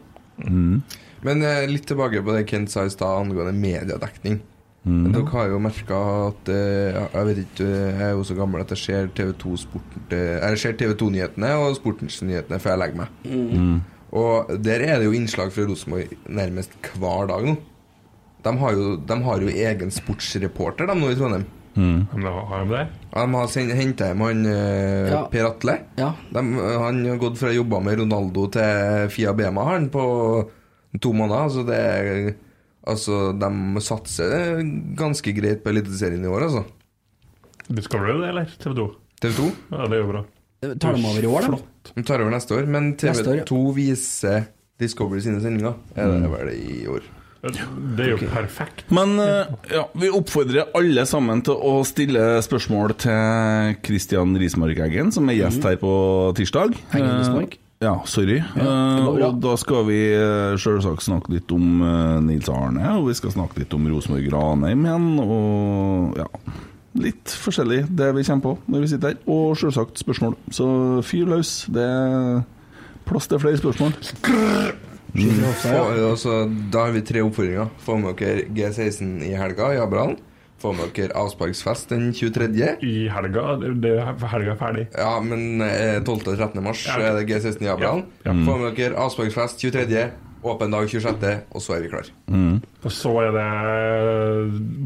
[SPEAKER 5] Mm.
[SPEAKER 9] Men eh, litt tilbake på det Kent sa i stad angående mediedekning.
[SPEAKER 5] Mhm.
[SPEAKER 9] Dere har jo merka at eh, ja, Jeg vet ikke, eh, jeg er jo så gammel at jeg ser TV2 sporten, eh, Jeg ser TV2-nyhetene og Sportens-nyhetene før jeg legger meg.
[SPEAKER 5] Mhm.
[SPEAKER 9] Og der er det jo innslag fra Rosenborg nærmest hver dag nå. De har jo, de har jo egen sportsreporter, de nå i Trondheim.
[SPEAKER 8] Men da har de det?
[SPEAKER 9] Ja, De har henta hjem han eh,
[SPEAKER 7] Ja.
[SPEAKER 9] Per Atle.
[SPEAKER 7] Ja.
[SPEAKER 9] De, han har gått fra å jobbe med Ronaldo til Fia Bema han på to måneder. Altså, det er, altså de satser ganske greit på Eliteserien i år, altså.
[SPEAKER 8] Discovery, det, eller? TV 2?
[SPEAKER 9] TV 2
[SPEAKER 8] Ja, det er jo bra.
[SPEAKER 7] Eh, Tar dem over i år, da?
[SPEAKER 9] de tar over neste år, men TV
[SPEAKER 7] Neste år, ja.
[SPEAKER 9] 2 viser Discovery sine sendinger. Er det vel i år?
[SPEAKER 8] Det er jo perfekt.
[SPEAKER 5] Men eh, ja, vi oppfordrer alle sammen til å stille spørsmål til Kristian Rismark Eggen, som er gjest her på tirsdag.
[SPEAKER 7] Eggen Mm. Rismark.
[SPEAKER 5] Eh, Ja, sorry.
[SPEAKER 7] det går
[SPEAKER 5] Eh,
[SPEAKER 7] bra.
[SPEAKER 5] og da skal vi eh, selvsagt snakke litt om eh, Nils Arne, og vi skal snakke litt om Rosenborg Ranheim igjen, og ja Litt forskjellig det vi kommer på når vi sitter her, og selvsagt spørsmål. Så fyr løs. Det er plass til flere spørsmål.
[SPEAKER 9] Få, altså, da har vi tre oppfordringer. Få med dere G16 i helga i Abrahamn. Få med dere avsparksfest den 23.
[SPEAKER 8] I helga det, det er helga ferdig.
[SPEAKER 9] Ja, men eh, 12. og 13. mars
[SPEAKER 8] Ja, ok.
[SPEAKER 9] er det G16 i Abrahamn. Få med dere avsparksfest 23., åpen dag 26., og så er vi klar.
[SPEAKER 8] Og så er det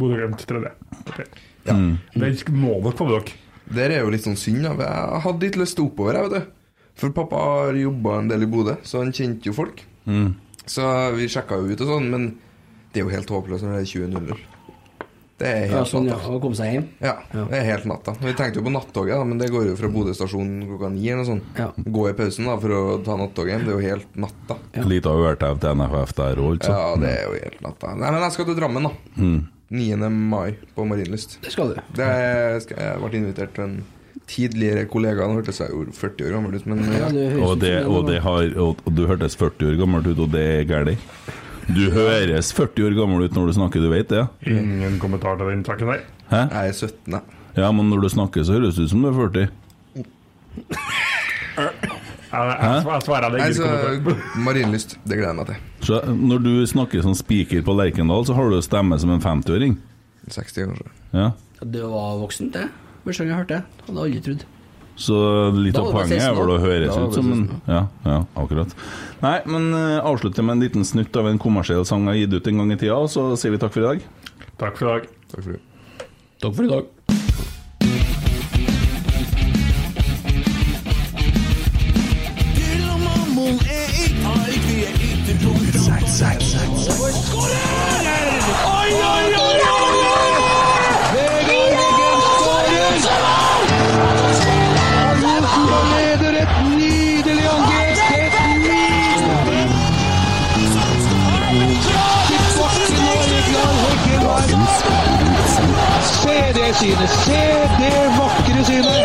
[SPEAKER 8] Bodø-Glimt tredje. Okay.
[SPEAKER 9] Ja.
[SPEAKER 8] Det må dere få med dere.
[SPEAKER 9] Det er jo litt sånn synd. da. Jeg hadde ikke lyst til å oppover, jeg, vet du. For pappa har jobba en del i Bodø, så han kjente jo folk.
[SPEAKER 8] Mm.
[SPEAKER 9] Så vi sjekka jo ut og sånn, men det er jo helt håpløst når det er 20.00. Det Det er helt
[SPEAKER 7] Ja, sånn, ja,
[SPEAKER 9] natta.
[SPEAKER 7] og komme seg hjem.
[SPEAKER 9] Ja, det er helt natta. Vi tenkte jo på nattoget, da, men det går jo fra Bodø stasjon klokka ni eller noe sånt. Gå i pausen da for å ta nattoget hjem. Det er jo helt natta.
[SPEAKER 5] Lita overtime til NFF der òg, altså.
[SPEAKER 9] Ja, det er jo helt natta. Nei, men jeg skal til Drammen, da.
[SPEAKER 5] Mm.
[SPEAKER 9] 9. mai på Marienlyst.
[SPEAKER 7] Det skal du.
[SPEAKER 9] Det skal, jeg ble invitert til en tidligere kollega. Han hørtes jo 40 år gammel ut, men
[SPEAKER 5] Og, det, og, det har, og og du hørtes 40 år gammel ut, og det er galt. Du høres 40 år gammel ut når du snakker, du vet det?
[SPEAKER 8] Ingen kommentar til den saken der.
[SPEAKER 5] Hæ?
[SPEAKER 9] Jeg er 17, jeg.
[SPEAKER 5] Ja, men når du snakker, så høres det ut som du er 40. Hæ?
[SPEAKER 8] Jeg svarer deg,
[SPEAKER 9] Nei,
[SPEAKER 8] ingen kommentar.
[SPEAKER 9] så Marienlyst. Det gleder jeg meg til.
[SPEAKER 5] Så når du snakker som spiker på Lerkendal, så har du stemme som en 50-åring.
[SPEAKER 9] 60, kanskje.
[SPEAKER 5] Ja.
[SPEAKER 7] Det var voksent, det. Første gang jeg hørte det. Hadde aldri trodd.
[SPEAKER 5] Så litt
[SPEAKER 7] Da
[SPEAKER 5] av
[SPEAKER 7] var det
[SPEAKER 5] poenget er vel
[SPEAKER 7] 16
[SPEAKER 5] å
[SPEAKER 7] år.
[SPEAKER 5] høres
[SPEAKER 7] Da var
[SPEAKER 5] ut
[SPEAKER 7] det
[SPEAKER 5] som en Ja, ja, akkurat. Nei, men eh, avslutter med en liten snutt av en kommersiell sang jeg har gitt ut en gang i tida, og så sier vi takk for i dag.
[SPEAKER 8] Takk for i dag.
[SPEAKER 9] Takk for det.
[SPEAKER 7] Takk for i dag.
[SPEAKER 3] Fyll og mammon er ikke alt vi er ute på. Skårer! Oi, oi, oi, oi, oi! Vegard Eggen skårer! Og Rosenborg leder et nydelig angrep. Et nydelig Se det synet, se det vakre synet!